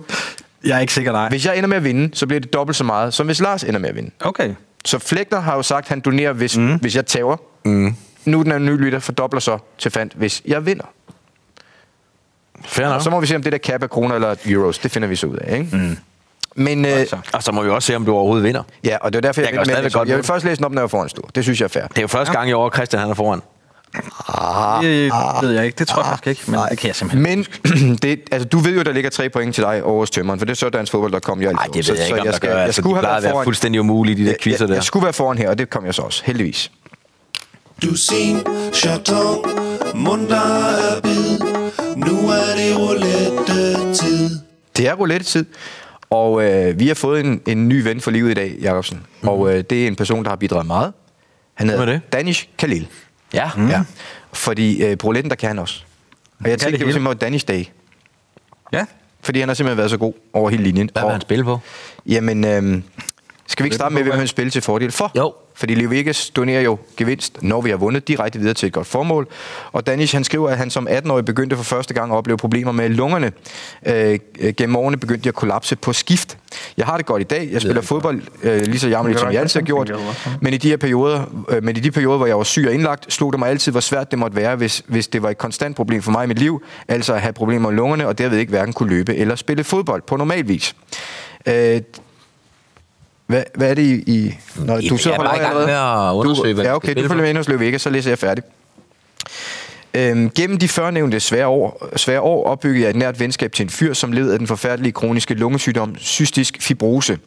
C: Jeg er ikke sikker, nej.
B: Hvis jeg ender med at vinde, så bliver det dobbelt så meget, som hvis Lars ender med at vinde.
C: Okay.
B: Så Flægter har jo sagt, at han donerer, hvis,
D: Mhm.
B: mm. hvis jeg taber. Mm. Nu er den anonyme lytter fordobler så til Fant, hvis jeg vinder.
D: Fair
B: Og så må vi se, om det der cap er kroner eller euros. Det finder vi så ud af, ikke? Mm. Men, øh,
C: Altså.
D: Mhm. Og så må vi også se, om du overhovedet vinder.
B: Ja, og det var derfor, jeg,
D: Jeg kan jo
B: jeg,
D: stadigvæk
B: jeg,
D: godt
B: jeg vil
D: nå den.
B: først læse den op, når jeg er foran stor. Det synes jeg er fair.
D: Det er jo første gang i år, at Christian han er foran.
B: Ah,
C: Det ved jeg ikke. Det tror jeg faktisk ikke, men
B: Nej.
C: det kan jeg simpelthen
B: Men det, altså, du ved jo, der ligger tre point til dig over tømmeren, for det er så danskfodbold.com. Nej,
D: Nej, det ved jeg ikke, om
B: jeg
D: der
B: skal,
D: gør.
B: Jeg
D: Altså, de
B: skulle have
D: plejer
B: været
D: at være
B: foran.
D: fuldstændig umulige, de der quizzer
B: jeg, jeg,
D: der.
B: jeg skulle være foran her, og det kom jeg så også, heldigvis.
G: Dusin, chaton, munter er bid. Nu er det roulette-tid.
B: Det er roulette-tid, og øh, vi har fået en, en ny ven for livet i dag, Jacobsen. Mm. Og øh, det er en person, der har bidraget meget. Han
D: Hvem er
B: hedder
D: det?
B: Danish Khalil.
D: Ja. Mm.
B: Ja. Fordi øh, på rouletten, der kan han også. Og jeg
C: kan
B: tænkte,
C: det
B: det var
C: hele.
B: simpelthen Danish Day.
C: Ja.
B: Fordi han har simpelthen været så god over hele linjen.
D: Hvad vil
B: Og-
D: han spille på?
B: Jamen, øhm, skal vi ikke starte med, hvad
C: Håber jeg.
B: han spiller til fordel for?
D: Jo.
B: Fordi Leo Vegas donerer jo gevinst, når vi har vundet, direkte videre til et godt formål. Og Danish, han skriver, at han som 18-årig begyndte for første gang at opleve problemer med lungerne. Øh, øh, gennem årene begyndte jeg at kollapse på skift. Jeg har det godt i dag. Jeg spiller fodbold øh, lige så jammerligt, som jeg altid har gjort. Men i de her perioder, øh, men i de perioder, hvor jeg var syg og indlagt, slog det mig altid, hvor svært det måtte være, hvis, hvis det var et konstant problem for mig i mit liv. Altså at have problemer med lungerne, og derved ikke hverken kunne løbe eller spille fodbold på normal vis. Øh, hvad, hvad er det, I... I... Nå,
D: Jeg er bare i gang
B: allerede.
D: med at undersøge,
B: du, Ja,
D: hvad vi skal
B: okay, du
D: spille
B: følger
D: på.
B: med ind hos Løve Vegas, så læser jeg færdig. Øhm, gennem de førnævnte svære år, svære år opbyggede jeg et nært venskab til en fyr, som led af den forfærdelige kroniske lungesygdom cystisk fibrose.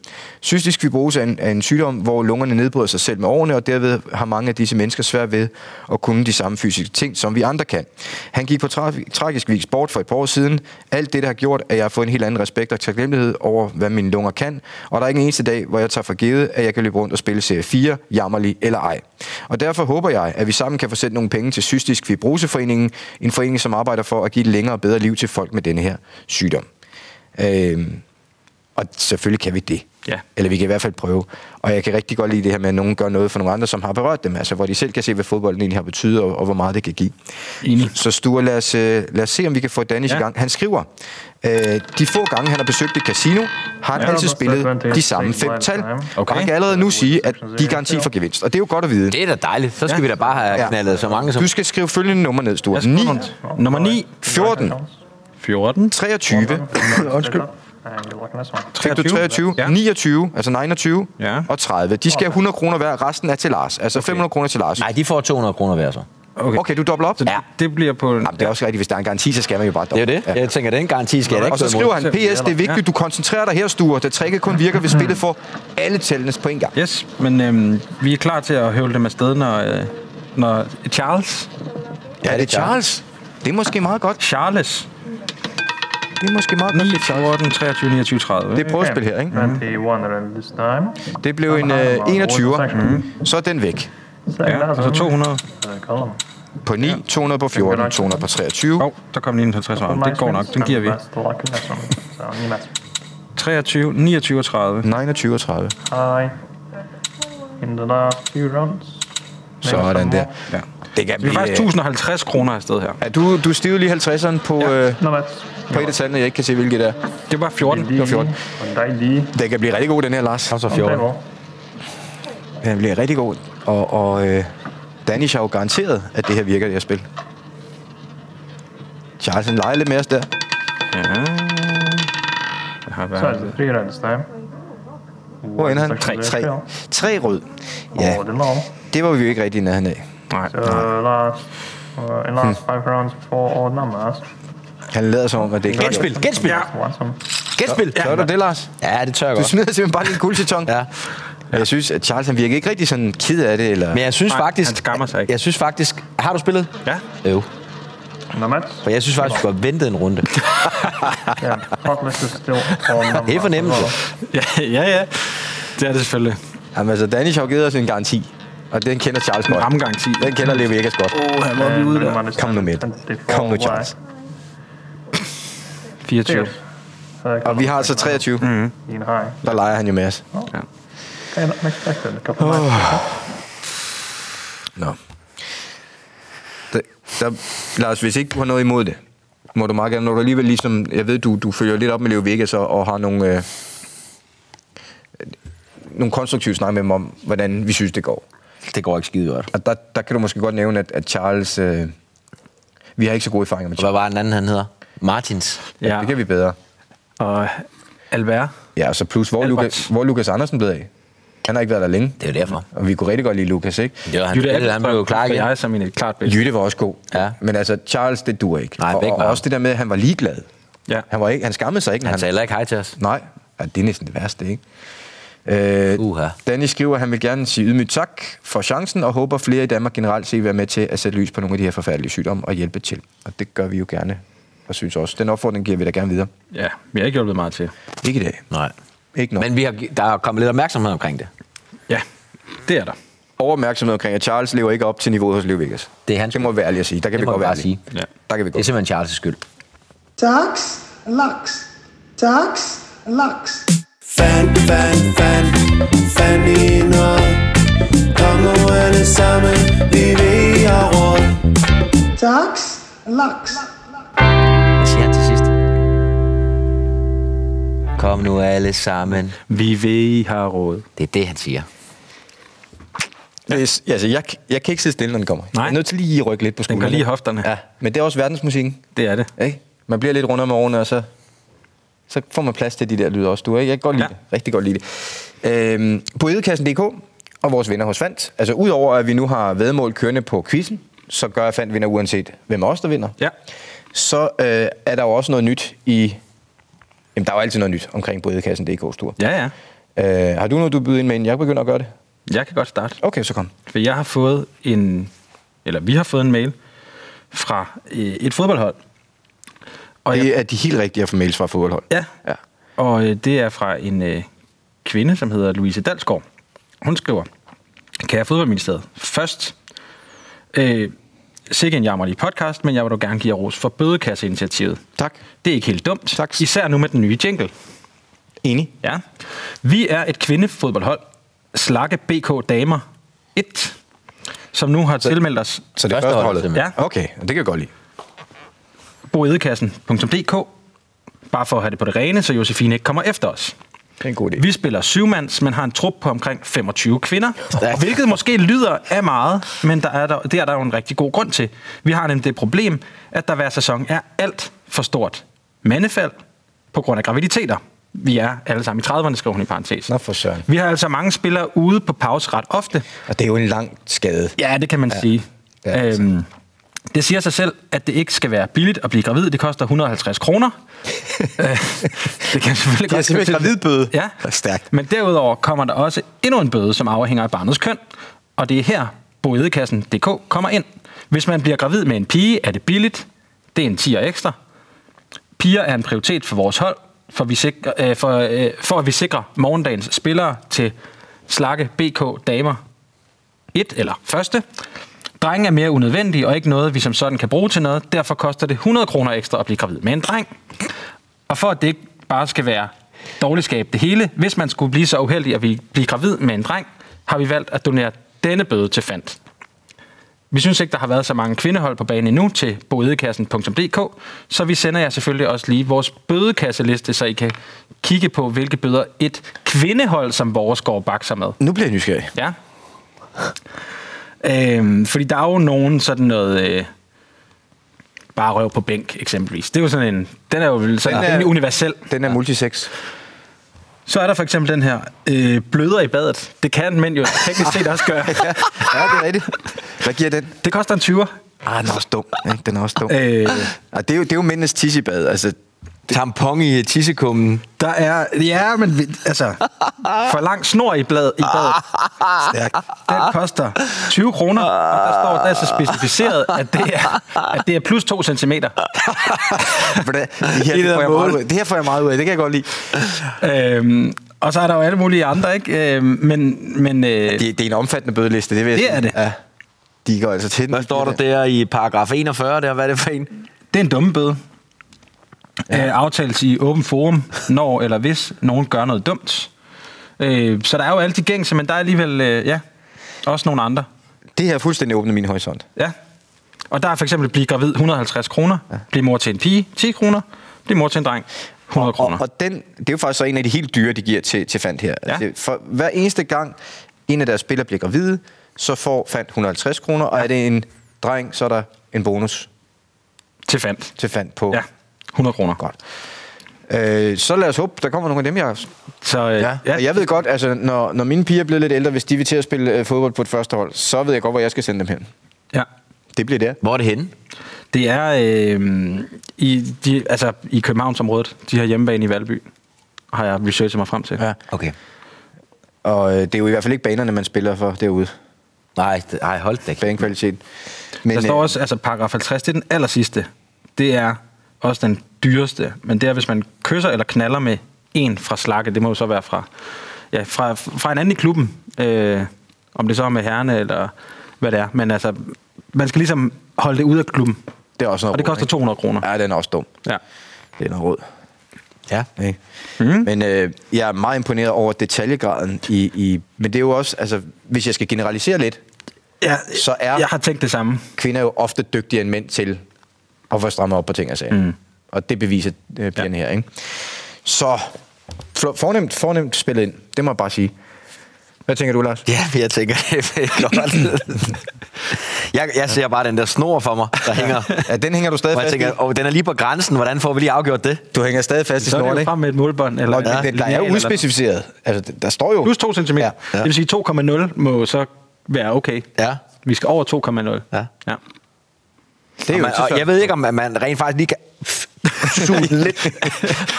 B: Cystisk fibrose er en, er en sygdom, hvor lungerne nedbryder sig selv med årene, og derved har mange af disse mennesker svært ved at kunne de samme fysiske ting, som vi andre kan. Han gik på tra- tragisk vis bort for et par år siden. Alt det, der har gjort, at jeg har fået en helt anden respekt og taknemmelighed over, hvad mine lunger kan, og der er ikke en eneste dag, hvor jeg tager for givet, at jeg kan løbe rundt og spille Serie 4, jammerlig eller ej. Og derfor håber jeg, at vi sammen kan få sendt nogle penge til Cystisk Fibroseforeningen, en forening, som arbejder for at give et længere og bedre liv til folk med denne her sygdom. Øhm, og selvfølgelig kan vi det.
C: Ja.
B: Eller vi kan i hvert fald prøve. Og jeg kan rigtig godt lide det her med, at nogen gør noget for nogle andre, som har berørt dem. Altså, hvor de selv kan se, hvad fodbolden egentlig har betydet, og, og hvor meget det kan give.
C: Enig.
B: Så Sture, lad os, øh, lad os se, om vi kan få Danish ja.
C: Ja.
B: i gang. Han skriver, øh, de få gange, han har besøgt et casino, har han altid spillet de samme fem tal. Okay.
C: Okay.
B: Og han kan allerede nu sige, at de er garanti for gevinst. Og det er jo godt at vide.
D: Det er da dejligt. Så skal
C: Ja.
D: vi da bare have
B: Ja.
D: knaldet så mange som...
B: Du skal skrive følgende nummer ned, Sture.
C: Jeg skal
B: 9,
C: rundt. Nummer 9.
B: 14,
C: 14.
B: 23,
C: Undskyld.
B: Fik du 23, ja.
C: Ja.
B: 29, altså 29 ja.
C: Ja.
B: og 30. De skal have 100 kroner hver, resten er til Lars. Altså okay. 500 kroner til Lars.
D: Nej, de får 200 kroner hver så.
B: Okay. okay, du dobbler op. Ja.
C: Det bliver på...
B: Jamen, det er også rigtigt, hvis der er en garanti, så skal man jo bare
D: Det er
B: doble.
D: jo det.
B: Ja.
D: Jeg tænker, den garanti skal jeg da ikke
B: Og så
D: gå imod.
B: skriver han, PS, det er vigtigt, du koncentrerer dig her, Sture, da tricket kun virker, hvis spillet får alle tællene på en gang.
C: Yes, men øhm, vi er klar til at høvle dem afsted, når, øh, når Charles...
B: Ja, det er Charles. Det er måske meget godt.
C: Charles.
B: Det er måske meget
C: 9,
B: godt.
C: 14, 23, 29, 30.
B: Det er prøvespil her, ikke? Det blev en øh, 21'er. Så er den væk.
C: ja, altså 200.
B: På 9, 200 på 14, 200 på 23.
C: Åh, oh, der kom lige en 50 varme. Det går nok, den giver vi. 23, 29 og 30.
B: 29 og 30.
H: Hi. In the last few rounds.
B: Sådan der.
C: Ja.
B: Det kan
C: Det er
B: blive...
C: faktisk
B: øh,
C: 1050 kroner afsted her.
B: Ja, du, du stivede lige 50'eren på, ja. øh,
H: No, that's
B: på et af tallene, jeg ikke kan se, hvilket det er.
C: Det var 14.
H: D.
B: fjorten.
H: Og dig D.
B: Den kan blive rigtig god, den her, Lars.
D: så 14.
H: Derovre.
B: Den bliver rigtig god. Og, og øh, Danish har jo garanteret, at det her virker, det her spil. Charles, han leger lidt med os der.
C: Ja. Jeg har
H: Så er det
C: været...
H: fyra this time.
B: Hvor ender han?
H: Tak,
B: 3.
H: det er
B: 3.
H: fair.
B: 3 rød. Ja,
H: Og det er lov.
B: det var vi jo ikke rigtig i nærheden af.
C: Nej.
H: So last, uh, in
A: Hmm.
H: last five rounds, four odd numbers.
B: Han lader som om, at det ikke
D: Genspil, genspil,
C: Ja.
H: Awesome.
D: genspil.
B: Tør du det, Lars?
D: Ja, det tør jeg
B: Du
D: godt.
B: smider simpelthen bare din guldseton.
D: Ja.
B: Og Jeg synes, at Charles han virker ikke rigtig sådan ked af det. Eller...
D: Men jeg synes
C: Nej,
D: faktisk...
C: han skammer sig ikke.
D: Jeg synes faktisk... Har du spillet?
C: Ja.
D: Jo.
H: No match.
D: For jeg synes faktisk, du skulle have ventet en runde.
H: Yeah, Populus is still odd numbers.
D: Det er fornemmelse.
C: ja, ja, ja. Det er det selvfølgelig.
B: Jamen, altså, Danish har jo givet os en garanti. Og den kender Charles
C: En
B: godt.
C: rammegaranti.
B: Den kender Leo Vegas godt.
C: Åh, han var
H: And
C: ude
H: minimum
C: der.
H: understand
B: Kom nu med.
H: 24
B: Kom nu,
H: wide.
B: Charles.
C: 24.
H: Cheers. Uh,
B: Og vi har altså 23. Mm.
H: Ian High.
B: Der leger han jo med os.
H: And unexpected. A couple of nights.
B: Nå. Der, der, Lars, hvis ikke du har noget imod det, må du meget gerne, når du alligevel ligesom, jeg ved, du, du følger lidt op med Leo Vegas og, og har nogle, øh, nogle konstruktive snak med dem om, hvordan vi synes, det går.
D: Det går ikke skide godt.
B: Og der, der kan du måske godt nævne, at, at Charles... Øh, vi har ikke så gode erfaringer med
D: Hvad
B: Charles.
D: var den anden, han hedder? Martins.
B: Ja.
C: Ja.
B: Det kan vi bedre.
C: Og Albert.
B: Ja, og så plus, hvor,
C: Albert.
B: Lukas, hvor er Lukas Andersen blevet af? Han har ikke været der længe.
D: Det er jo derfor.
B: Og vi kunne rigtig godt lide Lukas, ikke?
D: Det var han, Jytte, han blev jo klar
C: for
D: igen.
C: jeg som en klart bedste.
B: Jytte var også god.
D: Ja.
B: Men altså, Charles, det dur ikke.
D: Nej,
B: og,
D: begge
B: og
D: var
B: også det der med, at han var ligeglad.
C: Ja.
B: Han, var ikke, han skammede sig ikke. når
D: Han sagde heller ikke hej til os.
B: Nej, ja, det er næsten det værste, ikke? Øh,
D: Uha.
B: Danny skriver, at han vil gerne sige ydmygt tak for chancen, og håber flere i Danmark generelt set vil være med til at sætte lys på nogle af de her forfærdelige sygdomme og hjælpe til. Og det gør vi jo gerne, og synes også. Den opfordring giver vi da gerne videre.
C: Ja, vi har ikke hjulpet meget til.
B: Ikke i dag.
D: Nej.
B: Ikke nok.
D: Men vi har, der er kommet lidt opmærksomhed omkring det.
C: Ja, det er der.
B: overopmærksomhed omkring, at Charles lever ikke op til niveauet hos Leo Vegas.
D: Det er hans
B: Det må vi være ærlige at sige. Der kan
D: Det
B: vi
D: må
B: godt
D: vi
B: være
D: bare
B: ærlige.
C: sige. Ja.
B: Der kan vi
D: Det er
B: godt.
D: simpelthen Charles' skyld.
I: Tax, lux, tax, lux.
G: Fan, fan, fan, fan i noget Kongerne sammen, vi ved jeg råd
I: Tax, lux.
D: Hvad siger han til sidst? Kom nu alle sammen.
C: Vi ved, I har råd.
D: Det er det, han siger.
B: Hvis, altså, jeg, jeg kan ikke sidde stille, når den kommer.
C: Nej.
B: Jeg er nødt til lige at rykke lidt på skuldrene.
C: går lige i hofterne.
B: Ja, men det er også verdensmusikken.
C: Det er det.
B: Ikke? Man bliver lidt rundere med årene, og så, så får man plads til de der lyde også. Du, ikke? Jeg kan godt lide
C: Ja.
B: ja. det. Rigtig godt lide det. Øhm, på edekassen.dk og vores venner hos Fandt. Altså, udover at vi nu har vedmål kørende på quizzen, så gør jeg Fandt vinder uanset hvem af os, der vinder.
C: Ja.
B: så øh, er der jo også noget nyt i... Jamen, der er jo altid noget nyt omkring brødekassen.dk's tur.
C: Ja, ja.
B: Øh, har du noget, du byder ind med, inden jeg begynder at gøre det?
C: Jeg kan godt starte.
B: Okay, så kom.
C: For jeg har fået en, eller vi har fået en mail fra øh, et fodboldhold. Og jeg,
B: Det er de helt rigtige at få mails fra fodboldhold.
C: ja,
B: ja.
C: og øh, det er fra en øh, kvinde, som hedder Louise Dalsgaard. Hun skriver, kære fodboldministeriet, først, øh, sikke en jammerlig podcast, men jeg vil dog gerne give jer ros for bødekasseinitiativet.
B: Tak.
C: Det er ikke helt dumt,
B: Tak.
C: især nu med den nye jingle.
B: Enig.
C: Ja. Vi er et kvindefodboldhold, Slakke BK Damer 1, som nu har tilmeldt os
B: Så det er
D: Første
B: første
D: hold,
B: holdet?
D: simpelthen.
C: Ja.
B: Okay, og det kan jeg godt lide.
C: boedekassen.dk, bare for at have det på det rene, så Josefine ikke kommer efter os.
B: Det er en god idé.
C: Vi spiller syvmands, men har en trup på omkring 25 kvinder.
D: Stærkt.
C: Hvilket måske lyder af meget, men der er der, det er der jo en rigtig god grund til. Vi har nemlig det problem, at der hver sæson er alt for stort mandefald på grund af graviditeter. Vi er alle sammen i 30'erne, skriver hun i parentes.
B: Nå, for søren.
C: Vi har altså mange spillere ude på pause ret ofte,
B: Og det er jo en lang skade.
C: Ja, det kan man ja. sige.
B: Ja, altså.
C: øhm, det siger sig selv, at det ikke skal være billigt at blive gravid. Det koster 150 kroner. Øh, det kan selvfølgelig godt
B: simpelthen
C: gå til-
B: gravidbøde.
C: Ja.
B: Det er stærkt.
C: Men derudover kommer der også endnu en bøde, som afhænger af barnets køn. Og det er her, boedekassen.dk kommer ind. Hvis man bliver gravid med en pige, er det billigt. Det er en 10 ekstra. Piger er en prioritet for vores hold, for, vi sikrer, øh, for, øh, for at vi sikrer morgendagens spillere til Slakke BK Damer et eller første. Drenge er mere unødvendige og ikke noget, vi som sådan kan bruge til noget. Derfor koster det 100 kroner ekstra at blive gravid med en dreng. Og for at det ikke bare skal være dårligskab det hele, hvis man skulle blive så uheldig at vi- blive gravid med en dreng, har vi valgt at donere denne bøde til Fandt. Vi synes ikke, der har været så mange kvindehold på banen endnu til boedekassen.dk, så vi sender jer selvfølgelig også lige vores bødekasseliste, så I kan kigge på, hvilke bøder et kvindehold som vores går bakser med.
B: Nu bliver jeg nysgerrig.
C: Ja, Øhm, fordi der er jo nogen sådan noget... Øh, bare røv på bænk, eksempelvis. Det er jo sådan en... Den er jo vel sådan
B: Den er-
C: den er, universel.
B: Den er multisex.
C: Så er der for eksempel den her. Øh, bløder i badet. Det kan mænd jo teknisk set også gøre.
B: Ja, ja, det er rigtigt. Hvad giver den?
C: Det koster en 20'er.
B: Ah, den er også dum. Ikke? Den er også dum.
C: Øh,
B: Ah, det, er jo, det er jo mændenes tissebad. Altså,
D: Tampon i tissekummen.
C: der er... Ja, men vi- altså... For lang snor i, blad, i badet.
B: stærkt.
C: Den koster 20 kroner, og der står der er så specificeret, at det er, at det er plus 2 centimeter.
B: Hvordan- Det her, det
D: Det der
B: får jeg meget
D: mål.
B: ud af. Det her får jeg meget ud af. Det kan jeg godt lide.
C: Øhm, og så er der jo alle mulige andre, ikke? Øhm, men men øh,
B: Det, det er en omfattende bødeliste, det vil jeg
C: Det
B: sige.
C: er det.
B: Ja. De går altså til den.
D: Hvad står der der i paragraf 41 der? Hvad er det for en?
C: det er en dumme bøde. Ja. Øh, aftales i åben forum, når eller hvis nogen gør noget dumt. Øh, så der er jo alle de gængse, men der er alligevel, øh, ja, også nogle andre.
B: Det her fuldstændig åbner min horisont.
C: Ja. Og der er for eksempel blive gravid 150 kroner, ja. blive mor til en pige 10 kroner, blive mor til en dreng 100
B: Og,
C: kroner.
B: og den, det er jo faktisk så en af de helt dyre, de giver til, til Fandt her.
C: Ja.
B: Altså, for hver eneste gang, en af deres spillere bliver gravide, så får Fandt 150 kroner, og er det en dreng, så er der en bonus
C: Til fandt.
B: til Fandt på.
C: Ja, 100 kroner.
B: Godt. Øh, så lad os håbe, der kommer nogle af dem, jeg
C: Så, øh,
B: Ja. Og jeg ved godt, altså, når, når mine piger bliver lidt ældre, hvis de vil til at spille øh, fodbold på et første hold, så ved jeg godt, hvor jeg skal sende dem hen.
C: ja.
B: Det bliver der.
D: Hvor er det henne?
C: Det er øh, i, de, altså, i Københavnsområdet, de her hjemmebane i Valby, har jeg researchet mig frem til.
B: Ja.
D: Okay.
B: Og øh, det er jo i hvert fald ikke banerne, man spiller for derude.
D: Nej, det, nej hold da ikke.
B: Banekvalitet. Men,
C: Der står
B: øh,
C: også, altså paragraf 50, det er den aller sidste. Det er også den dyreste, men det er, hvis man kysser eller knaller med en fra slakke, det må jo så være fra, ja, fra, fra en anden i klubben, øh, om det så er med herrene eller hvad det er. Men altså, man skal ligesom holde det ud af klubben.
B: det er også noget
C: og det
B: råd,
C: koster
B: ikke?
C: 200 kroner.
B: Ja, den er også dum.
C: Ja.
B: Det er noget råd.
D: Ja.
B: Ikke?
C: Mhm.
B: Mm. Men øh, jeg er meget imponeret over detaljegraden. I, i, men det er jo også, altså, hvis jeg skal generalisere lidt,
C: ja.
B: Så er-
C: Jeg har tænkt det samme.
B: kvinder er jo ofte dygtigere end mænd til at få strammet op på ting og sager.
C: Mhm.
B: Mm. Og det beviser øh, pigerne ja. her, ikke? Så fl- fornemt, fornemt spillet ind. Det må jeg bare sige. Hvad tænker du, Lars?
D: Ja, men jeg tænker, det er godt. jeg, jeg ser bare den der snor for mig, der hænger.
B: Ja, den hænger du stadig
D: Og jeg
B: fast
D: tænker,
B: i.
D: oh, den er lige på grænsen. Hvordan får vi lige afgjort det?
B: Du hænger stadig fast i
C: Så er
B: snoren,
C: det jo
B: ikke?
C: frem med et målbånd. Eller,
B: Og ja, den, der er
C: lineal
B: jo
C: eller noget.
B: udspecificeret. Altså, der står jo...
C: Plus 2 cm. Ja,
B: Ja,
C: ja.
B: ja.
C: Det vil sige, 2,0 må så være okay.
D: Ja.
C: Vi skal over 2,0.
D: Ja.
C: ja.
B: Det er jo
D: Man, og jeg ved ikke, om man- man rent faktisk lige kan suge den lidt.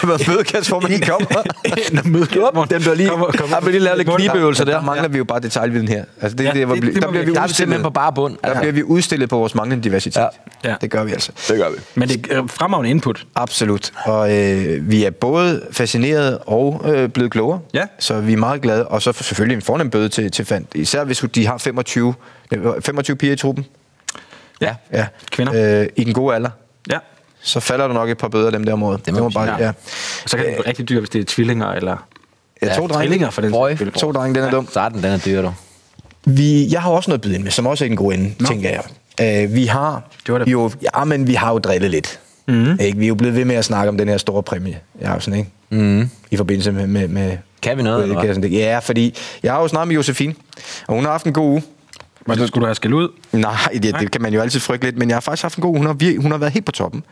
D: Hvad bødekastformen lige kommer.
C: Når mødet
D: Den bliver lige...
C: Kommer, kommer,
D: Der bliver lige lavet lidt knibeøvelser
B: der,
D: der.
B: der mangler vi jo bare detaljviden her. Altså, det, er
C: Ja,
B: det, hvor
C: det-
B: bli-
C: det
B: der
C: må
B: bliver
C: vi-
B: vi
D: Der er vi simpelthen på
B: udstillet.
D: bare bund.
B: Der bliver vi udstillet på vores manglende diversitet.
C: Ja. Ja.
B: Det gør vi altså.
F: Det gør vi.
C: Men det er øh, fremragende input.
B: Absolut. Og øh, vi er både fascineret og øh, blevet klogere.
C: Ja.
B: Så vi er meget glade. Og så selvfølgelig en fornem bøde til, til Fandt. Især hvis de har 25, øh, 25 piger i truppen.
C: Ja.
B: Ja.
C: Kvinder.
B: Øh, I den gode alder.
C: Ja.
B: Så falder der nok et par bøder dem der område. Det må,
D: må
B: det må
D: vi
B: bare,
C: sige.
B: ja.
C: Og så kan det blive rigtig dyrt, hvis det er tvillinger eller...
B: ja. To
C: trillinger for den
B: Røg.
C: sags skyld.
B: To drenge, den er dum.
D: Starten, den er dyr, du.
B: Vi, jeg har også noget at byde ind med, som også er en god ende, Nå. tænker jeg. Øh, vi har
C: Det var da-
B: jo, ja, men vi har jo drillet lidt. Mm. Ikke? Vi er jo blevet ved med at snakke om den her store præmie, jeg har sådan, ikke? Mm. I forbindelse med, med, med
D: Kan vi noget, eller hvad?
B: Kassen. Ja, fordi jeg har jo snakket med Josefine, og hun har haft en god uge.
C: Men det skulle du have skæld ud.
B: Nej, det, det kan man jo altid frygte lidt, men jeg har faktisk haft en god uge. Hun har, vir- hun har været helt på toppen.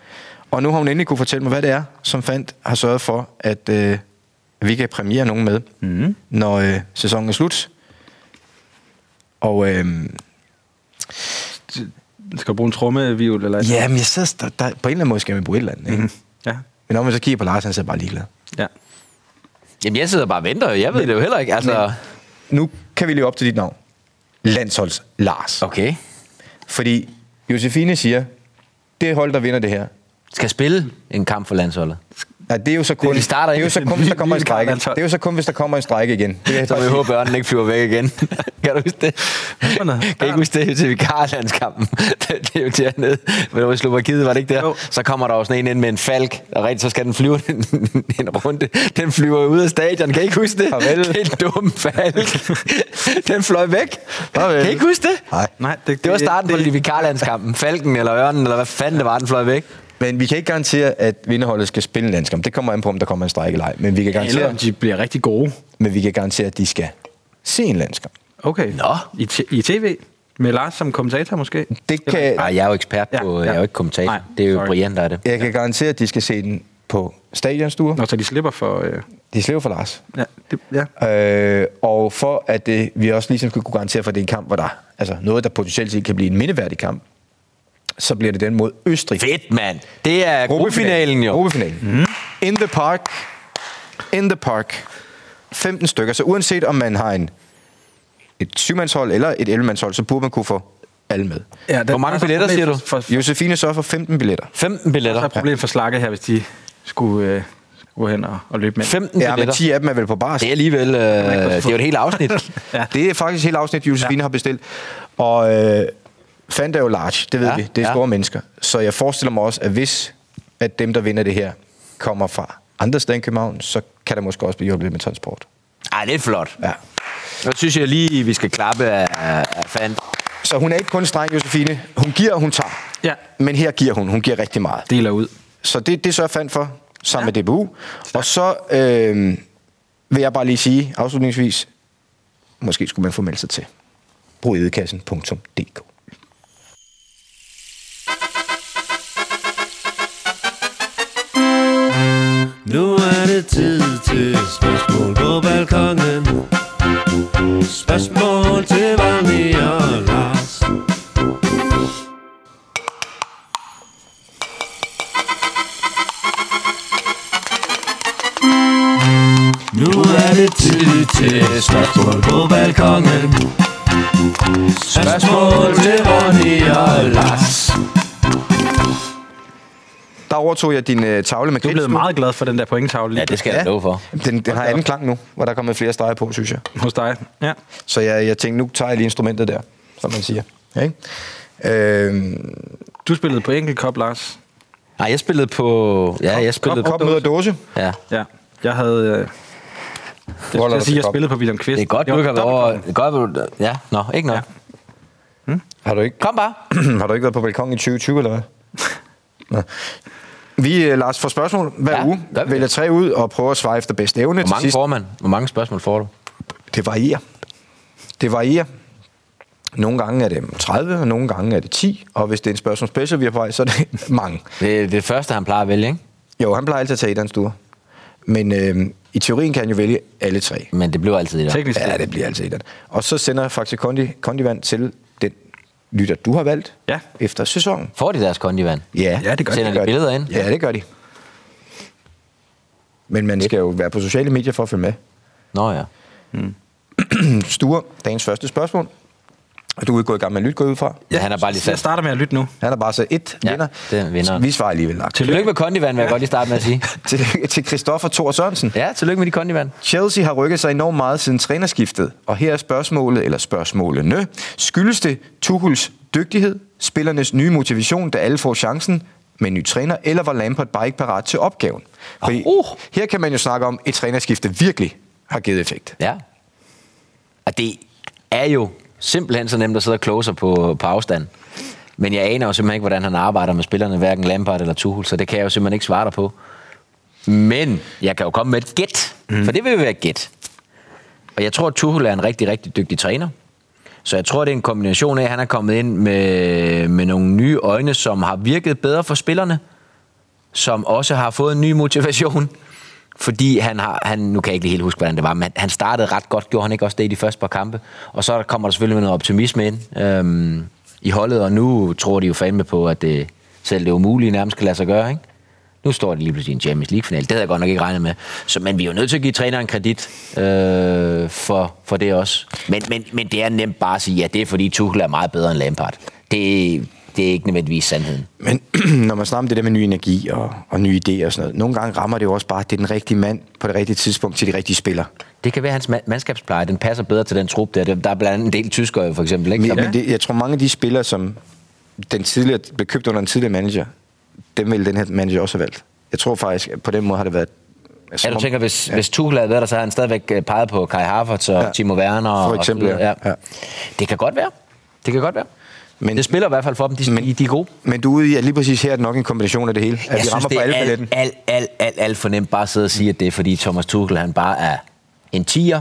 B: Og nu har hun endelig kunne fortælle mig, hvad det er, som fandt har sørget for, at øh, vi kan premiere nogen med, mm. når øh, sæsonen er slut. Og øh,
C: Skal du bruge en trommevivl eller... et-
B: Ja, men jeg sidder, der, der, på en eller anden måde skal man bruge et eller andet. Ikke? Mm.
C: Ja.
B: Men når man så kigger på Lars, han ser bare ligeglad.
C: Ja.
D: Jamen, jeg sidder bare og venter. Jeg ved det jo heller ikke. Altså,
B: Nu kan vi leve op til dit navn. Landsholds Lars. Okay.
D: okay.
B: Fordi Josefine siger, det hold, der vinder det her,
D: Skal spille en kamp for landsholdet.
B: Nej, det er jo så kun,
D: de starter
B: det er jo
D: ikke.
B: så kun hvis der kommer en
C: Lille
B: strejke.
C: landshold.
B: Det er jo så kun, hvis der kommer en strejke igen. Det vil jeg
D: Så
B: bare
D: altså.
B: sige.
D: vi håber, at den ikke flyver væk igen. kan du huske det?
C: Sådan noget.
D: Kan I ikke huske det til vikarlandskampen? det, det er jo dernede. Men det var i Slovakiet, var det ikke der?
C: Jo.
D: Jo. Så kommer der jo sådan en ind med en falk, og rent så skal den flyve en, en runde. Den flyver jo ud af stadion. Kan I ikke huske det?
B: Farvel.
D: Den dumme falk. den fløj væk.
B: Farvel.
D: Kan I ikke huske det?
B: Nej.
C: Nej, det,
D: Det var starten på vikarlandskampen. Falken eller ørnen, eller hvad fanden det var, den fløj væk.
B: Men vi kan ikke garantere, at vinderholdet skal spille en landskamp. Det kommer an på, om der kommer en strejke eller ej. Men vi kan
C: Eller om
B: garantere,
C: de bliver rigtig gode.
B: men vi kan garantere at de skal se en landskamp.
C: Okay.
D: Nå.
C: I, t- I tv? Med Lars som kommentator måske?
B: Det kan,
D: Nej, jeg er jo ekspert
C: Ja,
D: på...
C: ja.
D: Jeg er jo ikke kommentator.
C: Nej,
D: det er jo
C: sorry.
D: Brian, der er det.
B: jeg kan garantere, at de skal se den på stadionstuer.
C: Nå, så de slipper for... Øh,
B: De slever for Lars.
C: ja, det, ja.
B: Øh, og for at det, vi også ligesom skal kunne garantere for, at det er en kamp, hvor der altså noget, der potentielt set kan blive en mindeværdig kamp, så bliver det den mod Østrig.
D: Fedt, mand! Det er gruppefinalen, jo. Mhm.
B: Gruppefinalen. Mm. In the park. In the park. 15 stykker. Så uanset om man har en, et syvmandshold eller et 11-mandshold, så burde man kunne få alle med.
C: ja
D: Hvor mange billetter, siger du?
C: For, for,
B: Josefine sørger for 15 billetter.
D: 15
C: der er
D: billetter.
C: et problem for slakke her, hvis de skulle, øh, skulle hen og, og løbe med.
D: 15
B: Ja, men
D: billetter.
B: 10 af dem er vel på bars.
D: Det er alligevel... Øh,
C: godt
D: det er jo
C: forstå.
D: et helt afsnit.
B: Ja. Det er faktisk et helt afsnit, Josefine ja. har bestilt. Og øh, Fanta er jo large, det ved
D: Ja,
B: ja. vi. Det er
D: ja.
B: ja. store mennesker. Så jeg forestiller mig også, at hvis at dem, der vinder det her, kommer fra andre steder end København, så kan der måske også blive hjulpet lidt med transport.
D: Ej, det er flot.
B: Ja.
D: Jeg synes jeg lige, vi skal klappe af, af fan.
B: Så hun er ikke kun streng, Josefine. Hun giver, og hun tager.
C: Ja.
B: Men her giver hun. Hun giver rigtig meget.
C: Deler ud.
B: Så det, det sørger Fand for, sammen ja. med DBU. Og så øh, vil jeg bare lige sige afslutningsvis, måske skulle man få meldt sig til. Brug edekassen.dk.
G: Nu er det tid til spørgsmål på balkongen Spørgsmål til Valmi og Lars Nu er det tid til spørgsmål på balkongen Spørgsmål til Valmi og Lars
B: Der overtog jeg din øh, tavle med
C: Du er blevet meget glad for den der pointtavle lige
D: Ja, det skal jeg love for.
B: Den, den har anden klang nu, hvor der er kommet flere streger på, synes jeg.
C: hos dig. Ja.
B: Så jeg, jeg tænkte, nu tager jeg lige instrumentet der, som man siger. Ja, ikke? Øhm,
C: Du spillede på enkelt kop, Lars.
D: Nej, jeg spillede på... Ja, jeg spillede
B: kop
D: på...
B: møder dåse.
D: Ja.
C: Ja. Jeg havde... Øh, jeg,
B: holder
C: jeg,
B: dig
C: sige,
B: til
C: jeg
B: kop.
C: spillede på William Kvist.
D: Det er godt, du
C: var
D: ikke har været
C: dobbelt-
D: over... Det er godt, du... Ja, nå, ikke noget.
B: Har du, ikke,
D: Kom bare.
B: har du ikke været på balkon i 2020, eller hvad? Nå. Vi, øh, Lars, får spørgsmål hver
D: Ja,
B: ja, uge.
D: gør vi det.
B: Vælger tre ud og prøver at svare efter bedste evne
D: Hvor
B: til
D: mange
B: sidst.
D: får man? Hvor mange spørgsmål får du?
B: Det varierer. Det varierer. Nogle gange er det 30, og nogle gange er det 10. Og hvis det er en spørgsmål special, vi har på vej, så er det mange.
D: Det er det første, han plejer at vælge, ikke?
B: Jo, han plejer altid at tage et stuer. Men øh, i teorien kan han jo vælge alle tre.
D: Men det blev altid det.
C: Teknisk
B: Ja, det bliver altid et Og så sender Faxe Kondi, Kondivand til den lytter, du har valgt
C: Ja.
B: efter sæsonen.
D: Får de deres kondivand?
B: Ja,
C: Ja, det gør de.
D: Sender de
B: gør
D: billeder ind?
B: Ja, det gør de. Men man skal jo være på sociale medier for at følge med. Mm,
D: Nå ja.
B: Sture, dagens første spørgsmål. Og du er gået i gang med at lytte, går jeg ud fra.
D: ja han har bare lige
C: Jeg
D: sat.
C: starter med at lytte nu.
B: Han har bare så et
D: Ja,
B: vinder.
D: det er vinderen.
B: Vi svarer alligevel nok.
D: Tillykke med kondivand, vil jeg godt lige starte med at sige.
B: Til, til Christoffer Thor Sørensen.
D: Ja, tillykke med de kondivand.
B: Chelsea har rykket sig enormt meget siden trænerskiftet, og her er spørgsmålet, eller spørgsmålene, skyldes det Tuchels dygtighed, spillernes nye motivation, da alle får chancen med en ny træner, eller var Lampard bare ikke parat til opgaven? Fordi
D: Oh.
B: oh. her kan man jo snakke om, at et trænerskifte virkelig har givet effekt.
D: Ja. Og det er jo simpelthen så nemt at sidde og kloge sig på, på afstand. Men jeg aner jo simpelthen ikke, hvordan han arbejder med spillerne, hverken Lampard eller Tuchel, så det kan jeg jo simpelthen ikke svare dig på. Men jeg kan jo komme med et gæt, mm. for det vil jo være et gæt. Og jeg tror, at Tuchel er en rigtig, rigtig dygtig træner. Så jeg tror, det er en kombination af, at han er kommet ind med, med nogle nye øjne, som har virket bedre for spillerne, som også har fået en ny motivation. Fordi han har, han, nu kan jeg ikke lige helt huske, hvordan det var, men han- han startede ret godt, gjorde han ikke også det i de første par kampe. Og så kommer der selvfølgelig med noget optimisme ind øhm, i holdet, og nu tror de jo fandme på, at det, selv det umulige nærmest kan lade sig gøre, ikke? Nu står de lige pludselig i en Champions League-finale. Det havde jeg godt nok ikke regnet med. Så, men vi er jo nødt til at give træneren kredit øh, for, for det også. Men, men, men det er nemt bare at sige, at det er fordi Tuchel er meget bedre end Lampard. Det, det er ikke nødvendigvis sandheden.
B: Men når man snakker om det der med ny energi og, og nye idéer og sådan noget, nogle gange rammer det jo også bare, at det er den rigtige mand på det rigtige tidspunkt til de rigtige spillere.
D: Det kan være, at hans ma- mandskabspleje den passer bedre til den trup der. Der der er blandt andet en del tyskere jo, for eksempel. Ikke?
B: Men,
D: Ja.
B: ja. men det, jeg tror, mange af de spillere, som den tidligere, blev købt under en tidligere manager, dem ville den her manager også have valgt. Jeg tror faktisk, at på den måde har det været... Altså,
D: Ja, du
B: om-
D: tænker, hvis, ja. hvis Tuchel havde været der, så havde han stadigvæk øh, peget på Kai Havertz og ja.
B: Ja.
D: Timo Werner. og-
B: For eksempel,
D: og så videre.
B: ja. Ja.
D: Det kan godt være. Det kan godt være. Men,
B: Men-
D: det spiller i hvert fald for dem. De, men, de er gode.
B: Men du er ude i, at lige præcis her er det nok en kombination af det hele. At
D: jeg
B: vi
D: synes,
B: rammer
D: det
B: på
D: er
B: alle
D: alt,
B: paletten.
D: alt, alt, alt, alt for nemt bare at sidde og sige, at det er fordi Thomas Tuchel han bare er en tiger,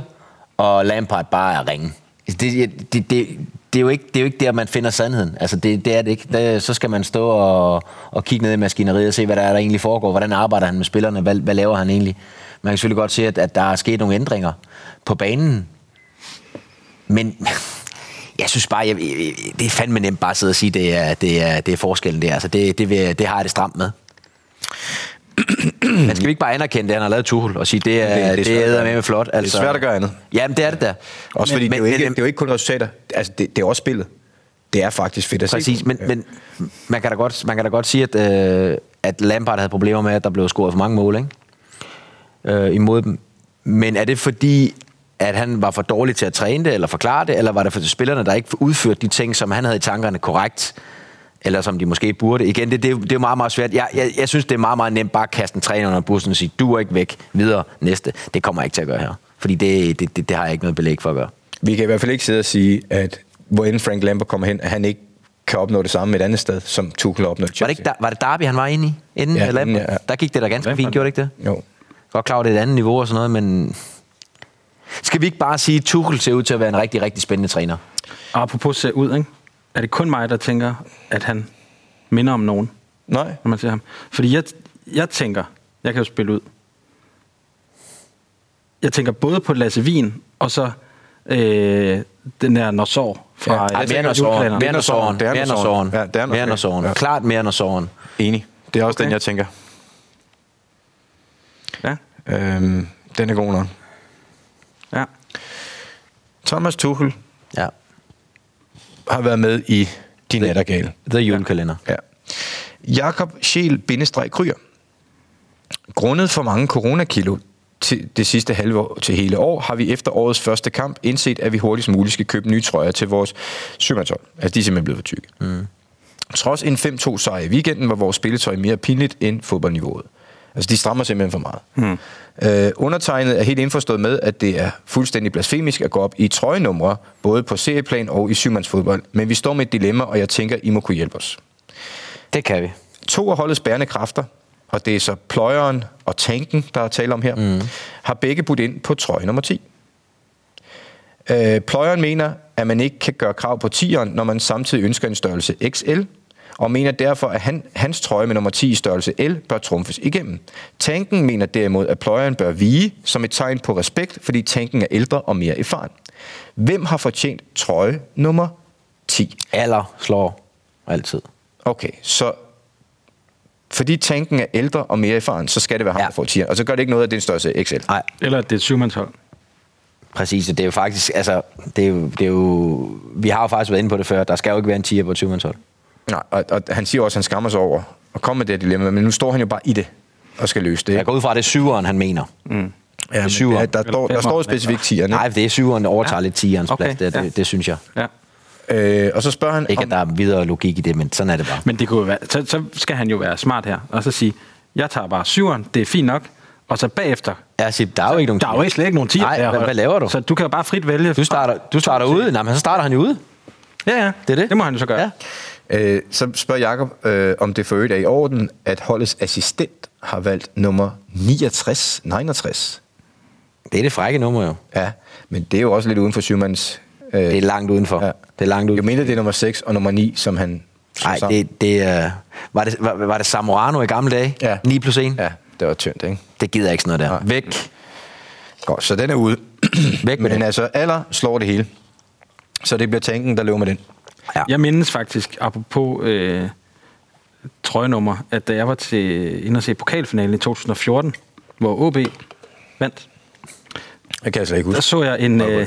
D: og Lampard bare er ringen. Det, det, det, det, er jo ikke, det er jo ikke der, man finder sandheden. Altså, det, det er det ikke. Der, så skal man stå og, og kigge ned i maskineriet og se, hvad der, er, der egentlig foregår. Hvordan arbejder han med spillerne? Hvad, hvad laver han egentlig? Man kan selvfølgelig godt se, at, at der er sket nogle ændringer på banen. Men jeg synes bare, jeg, jeg- jeg- det er fandme nemt bare at sidde og sige, det er, det er, det er forskellen der. Altså, det, det, vil, jeg- det har jeg det stramt med. Men skal vi ikke bare anerkende det, han har lavet Tuchel, og sige, det
B: Det- det er
D: er, det,
B: svært at
D: det er
B: gøre
D: med
B: andet.
D: flot. altså.
B: Det er svært at gøre andet.
D: Jamen, det er det da.
B: Også
D: Men-
B: fordi det, er
D: men-
B: jo ikke,
D: men-
B: det er jo ikke kun resultater. Altså, det, det er også spillet. Det er faktisk fedt at se.
D: Præcis,
B: på.
D: men, men man, kan da godt, man kan da godt sige, at, øh, at Lampard havde problemer med, at der blev scoret for mange mål ikke? Øh, imod dem. Men er det fordi, at han var for dårlig til at træne det, eller forklare det, eller var det for spillerne, der ikke udførte de ting, som han havde i tankerne korrekt, eller som de måske burde? Igen, det, det, er jo- det er jo meget, meget svært. Jeg, jeg, jeg synes, det er meget, meget nemt bare at kaste en træner under bussen og sige, du er ikke væk, videre, næste. Det kommer jeg ikke til at gøre her. Fordi det, det, det, det har jeg ikke noget belæg for at gøre.
B: Vi kan i hvert fald ikke sidde og sige, at hvor end Frank Lampard kommer hen, at han ikke kan opnå det samme et andet sted, som Tuchel har opnået i
D: Var
B: Chelsea.
D: det, ikke, der, var det Derby, han var inde i? Inden
B: Ja,
D: ja, Lampard?
B: inden, ja.
D: Der gik det da ganske fint, gjorde det ikke det?
B: Jo.
D: Godt klar, over, det er et andet niveau og sådan noget, men... Skal vi ikke bare sige, at Tuchel ser ud til at være en rigtig, rigtig spændende træner?
C: Og apropos ser ud, ikke? er det kun mig, der tænker, at han minder om nogen,
B: Nej.
C: når man ser ham? Fordi jeg, jeg tænker, jeg kan jo spille ud. Jeg tænker både på Lasse Wien, og så øh, den der Norsår fra
B: Ja, ej,
C: ja,
D: Ej, mere end Soren. Mere end Soren.
B: Det er
D: Mere end
B: Norsåren.
D: Soren.
B: Ja, det er
D: Mere end
B: Norsåren.
D: Soren.
B: Ja.
D: Klart mere end Soren.
B: Enig. Det er også okay.
C: Okay.
B: den, jeg tænker.
C: Ja,
B: Øhm, den er god nok.
C: ja.
B: Thomas Tuchel
D: Ja.
B: har været med i Din Nattergale.
D: The julekalender.
B: Ja. Jakob Scheel bindestreg kryer. Grundet for mange coronakilo til det sidste halve år, til hele år, har vi efter årets første kamp indset, at vi hurtigst muligt skal købe nye trøjer til vores 7 Altså, de er simpelthen blevet for tykke. Mm. Trods en 5-2 sejr i weekenden, var vores spilletøj mere pinligt end fodboldniveauet. Altså, de strammer simpelthen for meget. Mm. Øh, undertegnet er helt indforstået med, at det er fuldstændig blasfemisk at gå op i trøjenumre, både på serieplan og i syvmandsfodbold. Men vi står med et dilemma, og jeg tænker, I må kunne hjælpe os.
D: Det kan vi.
B: To af holdets bærende kræfter, og det er så pløjeren og tanken, der er tale om her, mm. har begge budt ind på trøje nummer 10. Øh, pløjeren mener, at man ikke kan gøre krav på 10'eren, når man samtidig ønsker en størrelse XL, og mener derfor, at han, hans trøje med nummer 10 i størrelse L bør trumfes igennem. Tanken mener derimod, at pløjeren bør vige som et tegn på respekt, fordi tanken er ældre og mere erfaren. Hvem har fortjent trøje nummer 10?
D: Alder slår altid.
B: Okay, så fordi tanken er ældre og mere erfaren, så skal det være ham,
D: Ja.
B: ja. der får 10'eren. Og så gør det ikke noget, at det er en størrelse XL.
D: Nej,
C: Eller at det er et syvmandshold.
D: præcis. Det er jo faktisk... Altså, det er jo, det er jo, vi har jo faktisk været inde på det før. Der skal jo ikke være en 10'er på et 20-mandshold.
B: Nej, og, og han siger også, at han skammer sig over at komme med det her dilemma, men nu står han jo bare i det og skal løse det.
D: Jeg går ud fra, at det er 7'eren, han mener. Mm.
B: ja, men
D: syver.
B: der, der, står, der står jo specifikt 10'erne.
D: Nej, det er 7'eren, der overtager ja. lidt 10'erens okay.
C: Okay,
D: plads. Det,
C: ja.
D: det, det, synes jeg.
C: Ja.
B: Øh, og så spørger han,
D: Ikke,
B: om,
D: at der er videre logik i det, men sådan er det bare.
C: Men det kunne jo være, så, så skal han jo være smart her, og så sige, jeg tager bare syveren, det er fint nok, og så bagefter,
D: Ja, Sip, der er jo ikke nogen
C: der er jo
D: tier.
C: ikke slet ikke nogen tier.
D: Nej,
C: der,
D: hvad,
C: hold.
D: hvad laver du?
C: Så du kan jo bare frit vælge.
D: Du starter, du starter ude. Nej, men så starter han jo ude.
C: Ja, ja.
D: Det er det.
C: Det må han jo så gøre.
D: Ja.
C: Ja.
B: øh, så spørger Jacob, øh, om det for øvrigt er i orden, at holdets assistent har valgt nummer 69, 69.
D: Det er det frække nummer jo.
B: Ja, men det er jo også lidt uden for Schumanns... Øh,
D: Det er langt udenfor. Ja. Det er langt
B: Jo
D: udenfor.
B: mindre det er nummer 6 og nummer 9, som han... slår
D: Nej,
B: sammen.
D: det, det, øh, var, det, var, var det Samorano i gamle dage?
B: Ja.
D: 9 plus 1?
B: Ja, det var tyndt, ikke?
D: Det gider jeg ikke sådan noget der.
B: Nej.
D: Mm. Væk.
B: Godt, så den er ude.
D: Væk med
B: Men
D: den.
B: altså, alder slår det hele. Så det bliver tanken, der løber med den.
D: Ja.
C: Jeg mindes faktisk, apropos øh, trøjenummer, at da jeg var til inde og se pokalfinalen i 2014, hvor OB vandt,
B: Det kan jeg slet ikke
C: der
B: huske.
C: så jeg en, øh,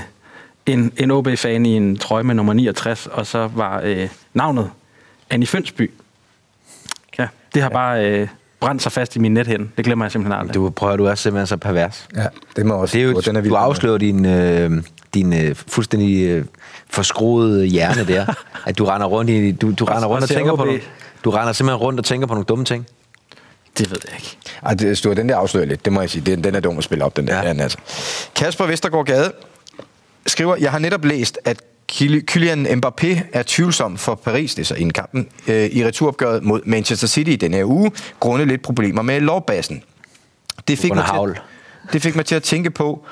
C: en, en OB-fan i en trøje med nummer 69, og så var øh, navnet Annie Fønsby. Ja, det har bare øh, brændt sig fast i min nethænde. Det glemmer jeg simpelthen aldrig.
D: Du prøver, du er simpelthen så pervers.
B: Ja, det må jeg også.
D: Det er jo,
B: Åh,
D: den er
B: vild.
D: du afslører din, øh, din øh, fuldstændig øh, forskroede hjerne der. at du render rundt, i, du, du render
C: Og-
D: rundt
C: og
D: og
C: ser
D: tænker på
C: OB.
D: nogle, Du render simpelthen rundt og tænker på nogle dumme ting.
C: Det ved jeg ikke.
B: Ej, det, Stuart, den der afslører lidt, det må jeg sige. Den, den er dum at spille op, den der.
D: Ja.
B: Ja. Den, altså. Kasper Vestergaard Gade skriver, jeg har netop læst, at Kyli- Kylian Mbappé er tvivlsom for Paris, det er så inden kampen, øh, i returopgøret mod Manchester City i denne her uge, grundet lidt problemer med lovbassen. Det fik,
D: grund
B: mig
D: af
B: til,
D: hagl.
B: at- det fik mig til at tænke på,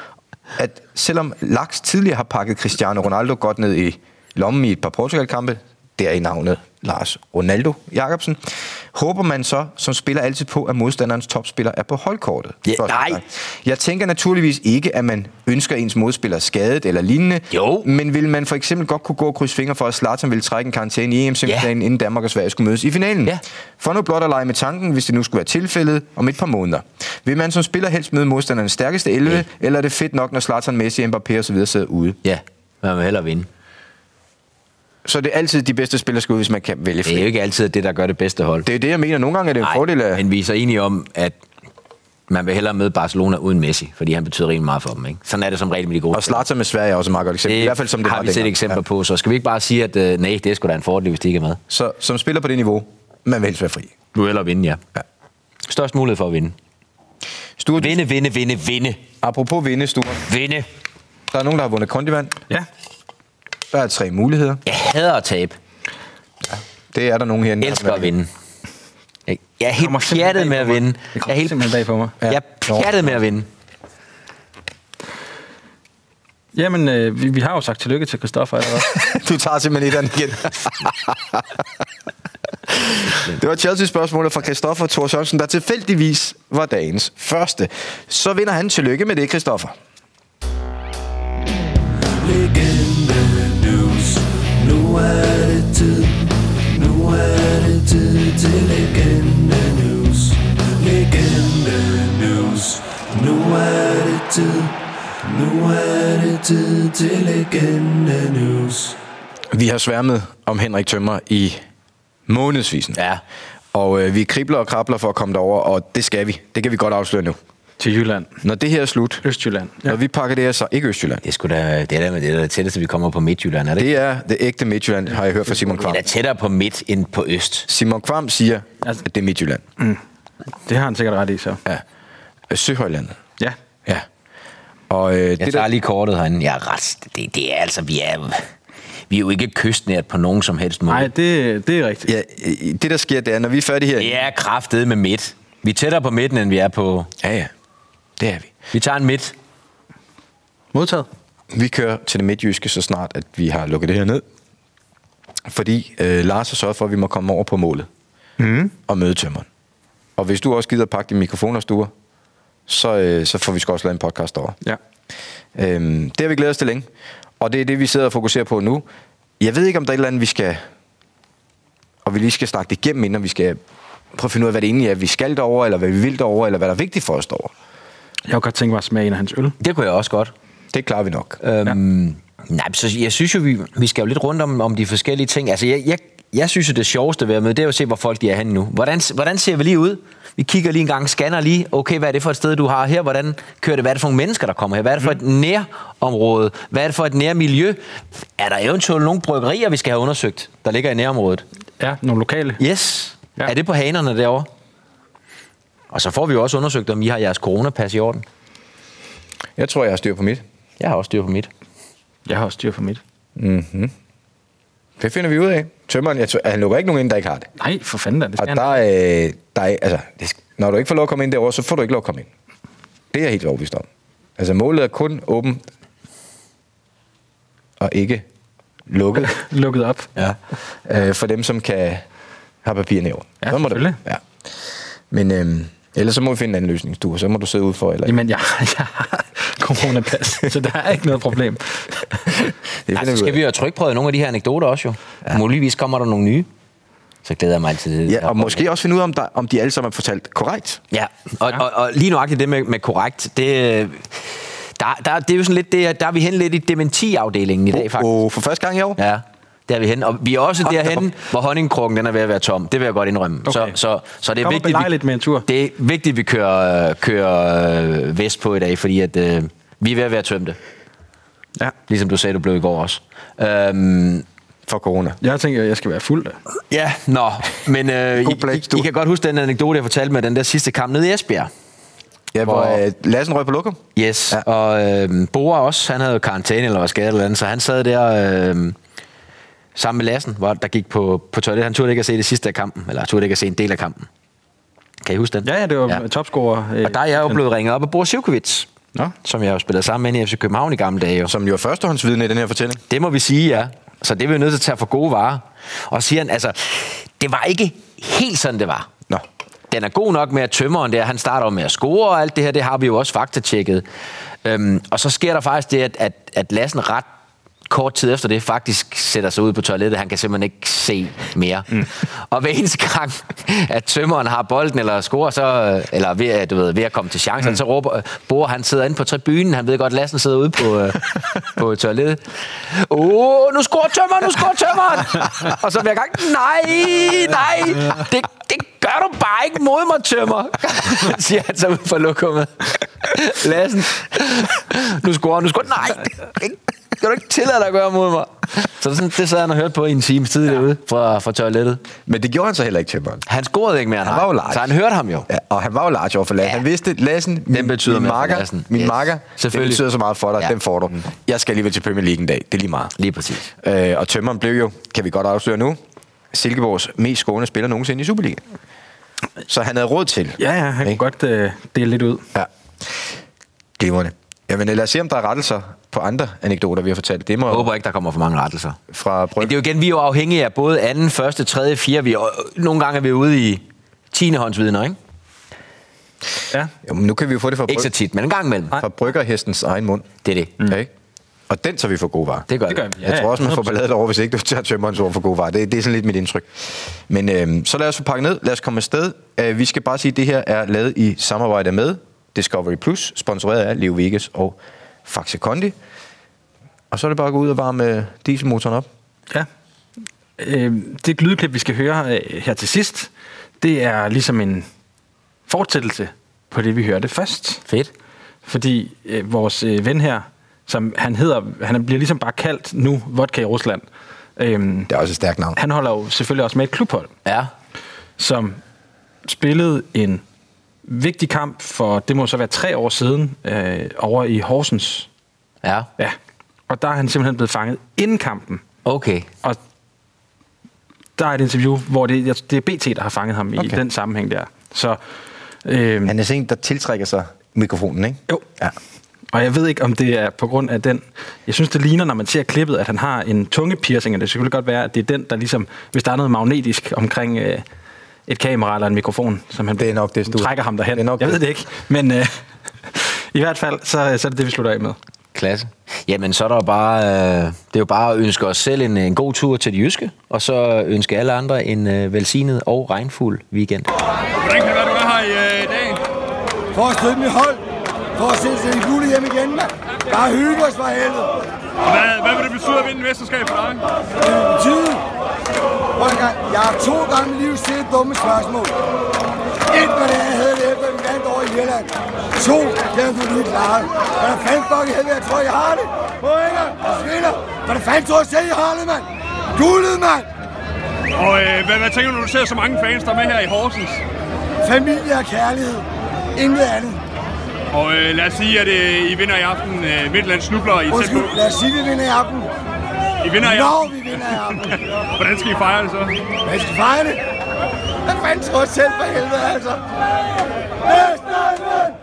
B: at selvom Laks tidligere har pakket Cristiano Ronaldo godt ned i lommen i et par Portugal-kampe, der i navnet Lars Ronaldo Jacobsen, håber man så som spiller altid på, at modstanderens topspiller er på holdkortet.
D: Ja,
B: Spørgsmålstegn.
D: nej.
B: Jeg tænker naturligvis ikke, at man ønsker ens modspiller skadet eller lignende.
D: Jo.
B: Men vil man for eksempel godt kunne gå og krydse fingre for, at Zlatan ville trække en karantæne i EM-semifinalen, ja. inden Danmark og Sverige skulle mødes i finalen?
D: Ja.
B: For nu blot at lege med tanken, hvis det nu skulle være tilfældet om et par måneder. Vil man som spiller helst møde modstanderens stærkeste 11, ja. eller er det fedt nok, når Zlatan, Messi, Mbappé osv. sidder ude?
D: Ja, man vil hellere vinde.
B: Så det er altid de bedste spillere skal ud, hvis man kan vælge
D: Det er
B: flere.
D: jo ikke altid det, der gør det bedste hold.
B: Det er jo det, jeg mener. Nogle gange er det en fordel af...
D: men vi er så enige om, at man vil hellere møde Barcelona uden Messi, fordi han betyder rigtig meget for dem. Ikke? Sådan er det som regel med de gode.
B: Og Zlatan med Sverige er også et meget godt eksempel. I hvert fald som det
D: har
B: var
D: vi set
B: dengang.
D: eksempler på, så skal vi ikke bare sige, at øh, nej, det er sgu da en fordel, hvis de ikke er med.
B: Ja. Så som spiller på det niveau, man vil helst være fri.
D: Du vil hellere vinde, ja.
B: Ja.
D: Størst mulighed for at vinde.
B: Sture, du-
D: Vinde, vinde, vinde, vinde,
B: apropos vinde, Sture.
D: vinde.
B: Der er nogen, der har vundet kondivand.
C: Ja.
B: Der er tre muligheder.
D: Jeg hader at tabe.
B: Det er der nogen herinde.
D: Jeg
B: der
D: elsker
B: har
D: at
B: været-
D: vinde. Jeg jeg er
C: kommer
D: helt
C: simpelthen
D: pjattet
C: bag
D: med at
C: på mig. Det
D: vinde. Jeg er
C: kommer
D: helt
C: simpelthen bag på mig.
D: jeg er pjattet med at vinde.
C: Jamen, øh, vi, vi har jo sagt tillykke til Christoffer allerede.
B: Du tager simpelthen etteren igen. det var Chelsea-spørgsmålet fra Christoffer Thor Sørensen, der tilfældigvis var dagens første. Så vinder han. Tillykke med det, Christoffer.
G: Legende news Nu er det tid Nu er det tid til legende news Legende news Nu er det tid Nu er det tid til legende news
B: Vi har sværmet om Henrik Tømmer i månedsvisen.
D: Ja.
B: Og øh, vi kribler og krabler for at komme derover, og det skal vi. Det kan vi godt afsløre nu.
C: til Jylland.
B: Når det her er slut,
C: Østjylland.
B: ja. når vi pakker det her så ikke Østjylland.
D: Det er sgu da det er da, det er da det tætteste, vi kommer på Midtjylland, er det ikke?
B: Det er det ægte Midtjylland, har jeg hørt fra Simon Kvam.
D: Det er da tættere på midt end på øst.
B: Simon Kvam siger,
C: Altså-
B: at det er Midtjylland.
C: Det har han sikkert ret i, så.
B: Ja. Øh, Søhøjlandet.
C: Ja.
B: Ja. Og øh,
D: Jeg
B: det
D: tager
B: der,
D: lige kortet herinde. Jeg er ret. Det, det er altså, vi er, vi er jo ikke kystnært på nogen som helst måde.
C: Nej, det, det er rigtigt.
B: ja, øh, det der sker, det er, når vi er færdige her...
D: Vi er kraftet med midt. Vi er tættere på midten, end vi er på...
B: Ja, ja. Det er vi.
D: Vi tager en midt.
C: Modtaget.
B: Vi kører til det midtjyske så snart, at vi har lukket det her ned. Fordi øh, Lars har sørget for, at vi må komme over på målet. Mm. Og møde tømmeren. Og hvis du også gider pakke din mikrofon og stuer, så, øh, så får vi sgu også lavet en podcast derovre.
C: Ja.
B: Øhm, det har vi glædet os til længe. Og det er det, vi sidder og fokuserer på nu. Jeg ved ikke, om der er et eller andet, vi skal... Og vi lige skal snakke det igennem, inden vi skal prøve at finde ud af, hvad det egentlig er, vi skal derover, eller hvad vi vil derover, eller hvad der er vigtigt for os derover.
C: Jeg kunne godt tænke mig at smage en af hans øl.
D: Det kunne jeg også godt.
B: Det klarer vi nok.
D: Øhm, ja. Nej, men så jeg synes jo, vi, vi skal jo lidt rundt om, om de forskellige ting. Altså, jeg, jeg, jeg synes jo, det sjoveste ved at møde, det er jo at se, hvor folk de er henne nu. Hvordan, hvordan ser vi lige ud? Vi kigger lige en gang, scanner lige, okay, hvad er det for et sted, du har her? Hvordan kører det? Hvad er det for nogle mennesker, der kommer her? Hvad er det for et nærområde? Hvad er det for et nærmiljø? Er der eventuelt nogle bryggerier, vi skal have undersøgt, der ligger i nærområdet?
C: Ja, nogle lokale.
D: Yes.
C: Ja.
D: Ja. Er det på hanerne derovre? Og så får vi jo også undersøgt, om I har jeres coronapas i orden.
B: Jeg tror, jeg har styr på mit.
D: Jeg har også styr på mit.
C: Jeg har også styr for mit.
B: Det finder vi ud af. Tømmeren, jeg tror, han lukker ikke nogen ind, der ikke har det.
C: Nej, for fanden da. Det
B: Og
C: skal
B: der,
C: han.
B: øh, der er, altså, det sk- når du ikke får lov at komme ind derovre, så får du ikke lov at komme ind. Det er jeg helt overbevist om. Altså, målet er kun åben og ikke lukket.
C: Lukket op.
B: ja. øh, for dem, som kan have papirerne i orden.
C: Ja,
B: Sådan må det. være.
C: selvfølgelig.
B: Ja. Men øh, ellers så må vi finde en anden løsning, du. Så må du sidde ude for. Eller...
C: Jamen, jeg, jeg har coronapas, så der er ikke noget problem.
B: det
D: Ja,
B: finder
D: så
B: ud af.
D: altså, skal vi jo have trykprøvet nogle af de her anekdoter også jo. Ja. Muligvis kommer der nogle nye. Så glæder jeg mig altid til det.
B: Ja, og måske også finde ud af, om, der, om de alle sammen er fortalt korrekt.
D: Ja, og, og, og lige nuagtigt det med, med korrekt, det, øh, der, der, det er jo sådan lidt, det, er- der er vi hen lidt i dementiafdelingen i dag faktisk.
B: Og for første gang i år.
D: Ja, der er vi hen. Og vi er også
B: Hold da
D: derhen, hvor honningkrukken den er ved at være tom. Det vil jeg godt indrømme. Okay. Så,
C: Okay.
D: så, så det er
C: Kom og
D: vigtigt,
C: belej lidt med en tur.
D: Det er vigtigt, at vi kører, øh, kører øh, vest på i dag, fordi at, øh, vi er ved at være tømte.
C: Ja.
D: Ligesom du sagde, du blev i går også. Øhm,
B: For corona.
C: Jeg har tænkt, at jeg skal være fuld. da.
D: Ja, nå, men øh,
B: God
D: I,
B: blæk,
D: I,
B: du.
D: I kan godt huske den anekdote, jeg fortalte med den der sidste kamp nede i Esbjerg.
B: Ja, hvor,
D: Hvor-
B: øh, Lassen røg på lokum.
D: Yes,
B: Ja.
D: ja. og øh, Bora også, han havde jo karantæne eller var skadet eller andet, så han sad der øh, sammen med Lassen, hvor der gik på, på toilet. Han turde ikke at se det sidste af kampen, eller turde ikke at se en del af kampen. Kan I huske den?
C: Ja, ja, det var ja. topscorer. øh,
D: Og der er jeg jo blevet ringet op af Bora Sivkovic.
C: Nå.
D: som jeg jo spillede sammen med i FC København i gamle dage. Jo.
B: Som jo er førstehåndsvidne i den her fortælling.
D: Det må vi sige, ja. Så det er vi jo nødt til at tage for gode varer. Og siger han, altså, det var ikke helt sådan, det var.
B: Nå.
D: Den er god nok med at tømmeren der, han starter jo med at score og alt det her, det har vi jo også faktatjekket. Øhm, og så sker der faktisk det, at, at, at Lassen ret kort tid efter det faktisk sætter sig ud på toilettet. Han kan simpelthen ikke se mere. Mm. Og hver eneste gang, at tømmeren har bolden eller scorer, så, øh, eller ved, at- du ved, ved at komme til chancen, mm. så råber øh, Bor, han sidder inde på tribunen. Han ved godt, Lassen sidder ude på, øh, på toilettet. Åh, oh, nu scorer tømmeren, nu scorer tømmeren! Og så hver gang, nej, nej, det, det gør du bare ikke mod mig, tømmer, siger han så ud fra lokummet. Lassen, nu scorer han, nu scorer han. Nej, det kan du ikke tillade dig at gøre mod mig. Så sådan, det sad han og hørte på i en time tid derude fra, fra toilettet.
B: Men det gjorde han så heller ikke til mig.
D: Han scorede ikke mere, end
B: Han
D: ham.
B: var jo large.
D: Så han hørte ham jo.
B: Ja, og han var jo large over for Lassen. Ja. Han vidste, Lassen, min,
D: betyder
B: min
D: mere for
B: marker,
D: Lassen.
B: min
D: Yes.
B: marker den
D: Selvfølgelig.
B: betyder så meget for dig, ja.
D: Ja. Mm.
B: den får du. Jeg skal alligevel til Premier League en dag, det er lige meget.
D: Lige præcis.
B: Øh, og tømmeren blev jo, kan vi godt afsløre nu, Silkeborgs mest skående spiller nogensinde i Superligaen. Så han havde råd til.
C: Ja, ja, han kan
B: Ikke?
C: godt øh, dele lidt ud.
B: Ja. Glimrende. Jamen øh, lad os se, om der er rettelser på andre anekdoter, vi har fortalt. Det må
D: Jeg håber ikke, der kommer for mange rettelser.
B: fra
D: Men
B: Brøndby.
D: det er jo igen, vi er jo afhængige af både anden, første, tredje, fjerde. Vi er, nogle gange er vi ude i 10. håndsvidner, ikke?
C: Ja.
B: Jo, men nu kan vi jo få det fra,
D: Ikke så
B: bryg-
D: tit, men en gang imellem.
B: fra bryggerhestens egen mund.
D: Det er det.
B: Mm. Ikke? Og den tager vi for gode varer.
D: Det gør,
C: Det gør
D: vi.
C: vi.
B: Jeg
C: Ja,
B: tror også, man får
C: 100%.
B: balladet over, hvis ikke du tager tømmerens ord for gode varer. Det, det er sådan lidt mit indtryk. Men øhm, så lad os få pakket ned. Lad os komme afsted. Øh, vi skal bare sige, at det her er lavet i samarbejde med Discovery Plus, sponsoreret af Leo Vegas og Faxe Kondi. Og så er det bare at gå ud og varme øh, dieselmotoren op.
C: Ja. Øh, det lydklip, vi skal høre øh, her til sidst, det er ligesom en fortsættelse på det, vi hørte først.
D: Fedt.
C: Fordi øh, vores øh, ven her, som han hedder, han bliver ligesom bare kaldt nu Vodka i Rusland. Øhm,
B: Det er også et stærkt navn.
C: han holder jo selvfølgelig også med et klubhold,
D: Ja.
C: som spillede en vigtig kamp for, det må så være tre år siden, øh, over i Horsens.
D: Ja.
C: Ja. Og der er han simpelthen blevet fanget inden kampen.
D: Okay.
C: Og der er et interview, hvor det, jeg- det er BT, der har fanget ham okay. i
B: Okay.
C: den sammenhæng der. Så, øh,
B: Han er sådan en, der tiltrækker sig mikrofonen, ikke?
C: jo.
B: Ja.
C: Og jeg ved ikke, om det er på grund af den... Jeg synes, det ligner, når man ser klippet, at han har en tungepiercing, og det skulle godt være, at det er den, der ligesom... Hvis der er noget magnetisk omkring øh, et kamera eller en mikrofon, som han
B: Det er nok det,
C: som
B: du-
C: trækker ham derhen.
B: det er nok
C: jeg
B: det.
C: ved det ikke, men øh, i hvert fald, så, så er det det, vi slutter af med.
D: Klasse. Jamen, så er der jo bare, øh, det er jo bare at ønske os selv en, en god tur til det jyske, og så ønske alle andre en øh, velsignet og regnfuld weekend.
G: Hvordan kan det være, du er her i øh, i dag?
A: For at støtte mit hold. For at sætte sig en gutte hjem igen, mand. Bare hygge os for helvede.
G: Og Hvad, hvad vil det betyde at vinde et mesterskab for dig?
A: Det vil betyde. Prøv en gang. Jeg har to gange i livet set dumme spørgsmål. Et var det, jeg havde det efter, vi vandt over i Irland. To, det har du lige klaret. Hvordan fanden fuck i helvede, jeg tror, jeg har det. Prøv en gang. Jeg spiller. Hvordan fanden tror jeg selv, jeg har det, mand? Guldet, mand.
G: Og øh, hvad, hvad tænker du, når du ser så mange fans, der er med her i Horsens?
A: Familie og kærlighed. Intet andet.
G: Og øh, lad os sige, at øh, I vinder i aften. Øh, Midtland snubler i tæt på.
A: Undskyld, lad os sige, vi vinder i aften.
G: I vinder i
A: Når
G: aften.
A: vi vinder i aften.
G: Hvordan skal I fejre det så?
A: Hvad skal fejre det? Hvad fanden tror jeg selv for helvede, altså? Næste mand!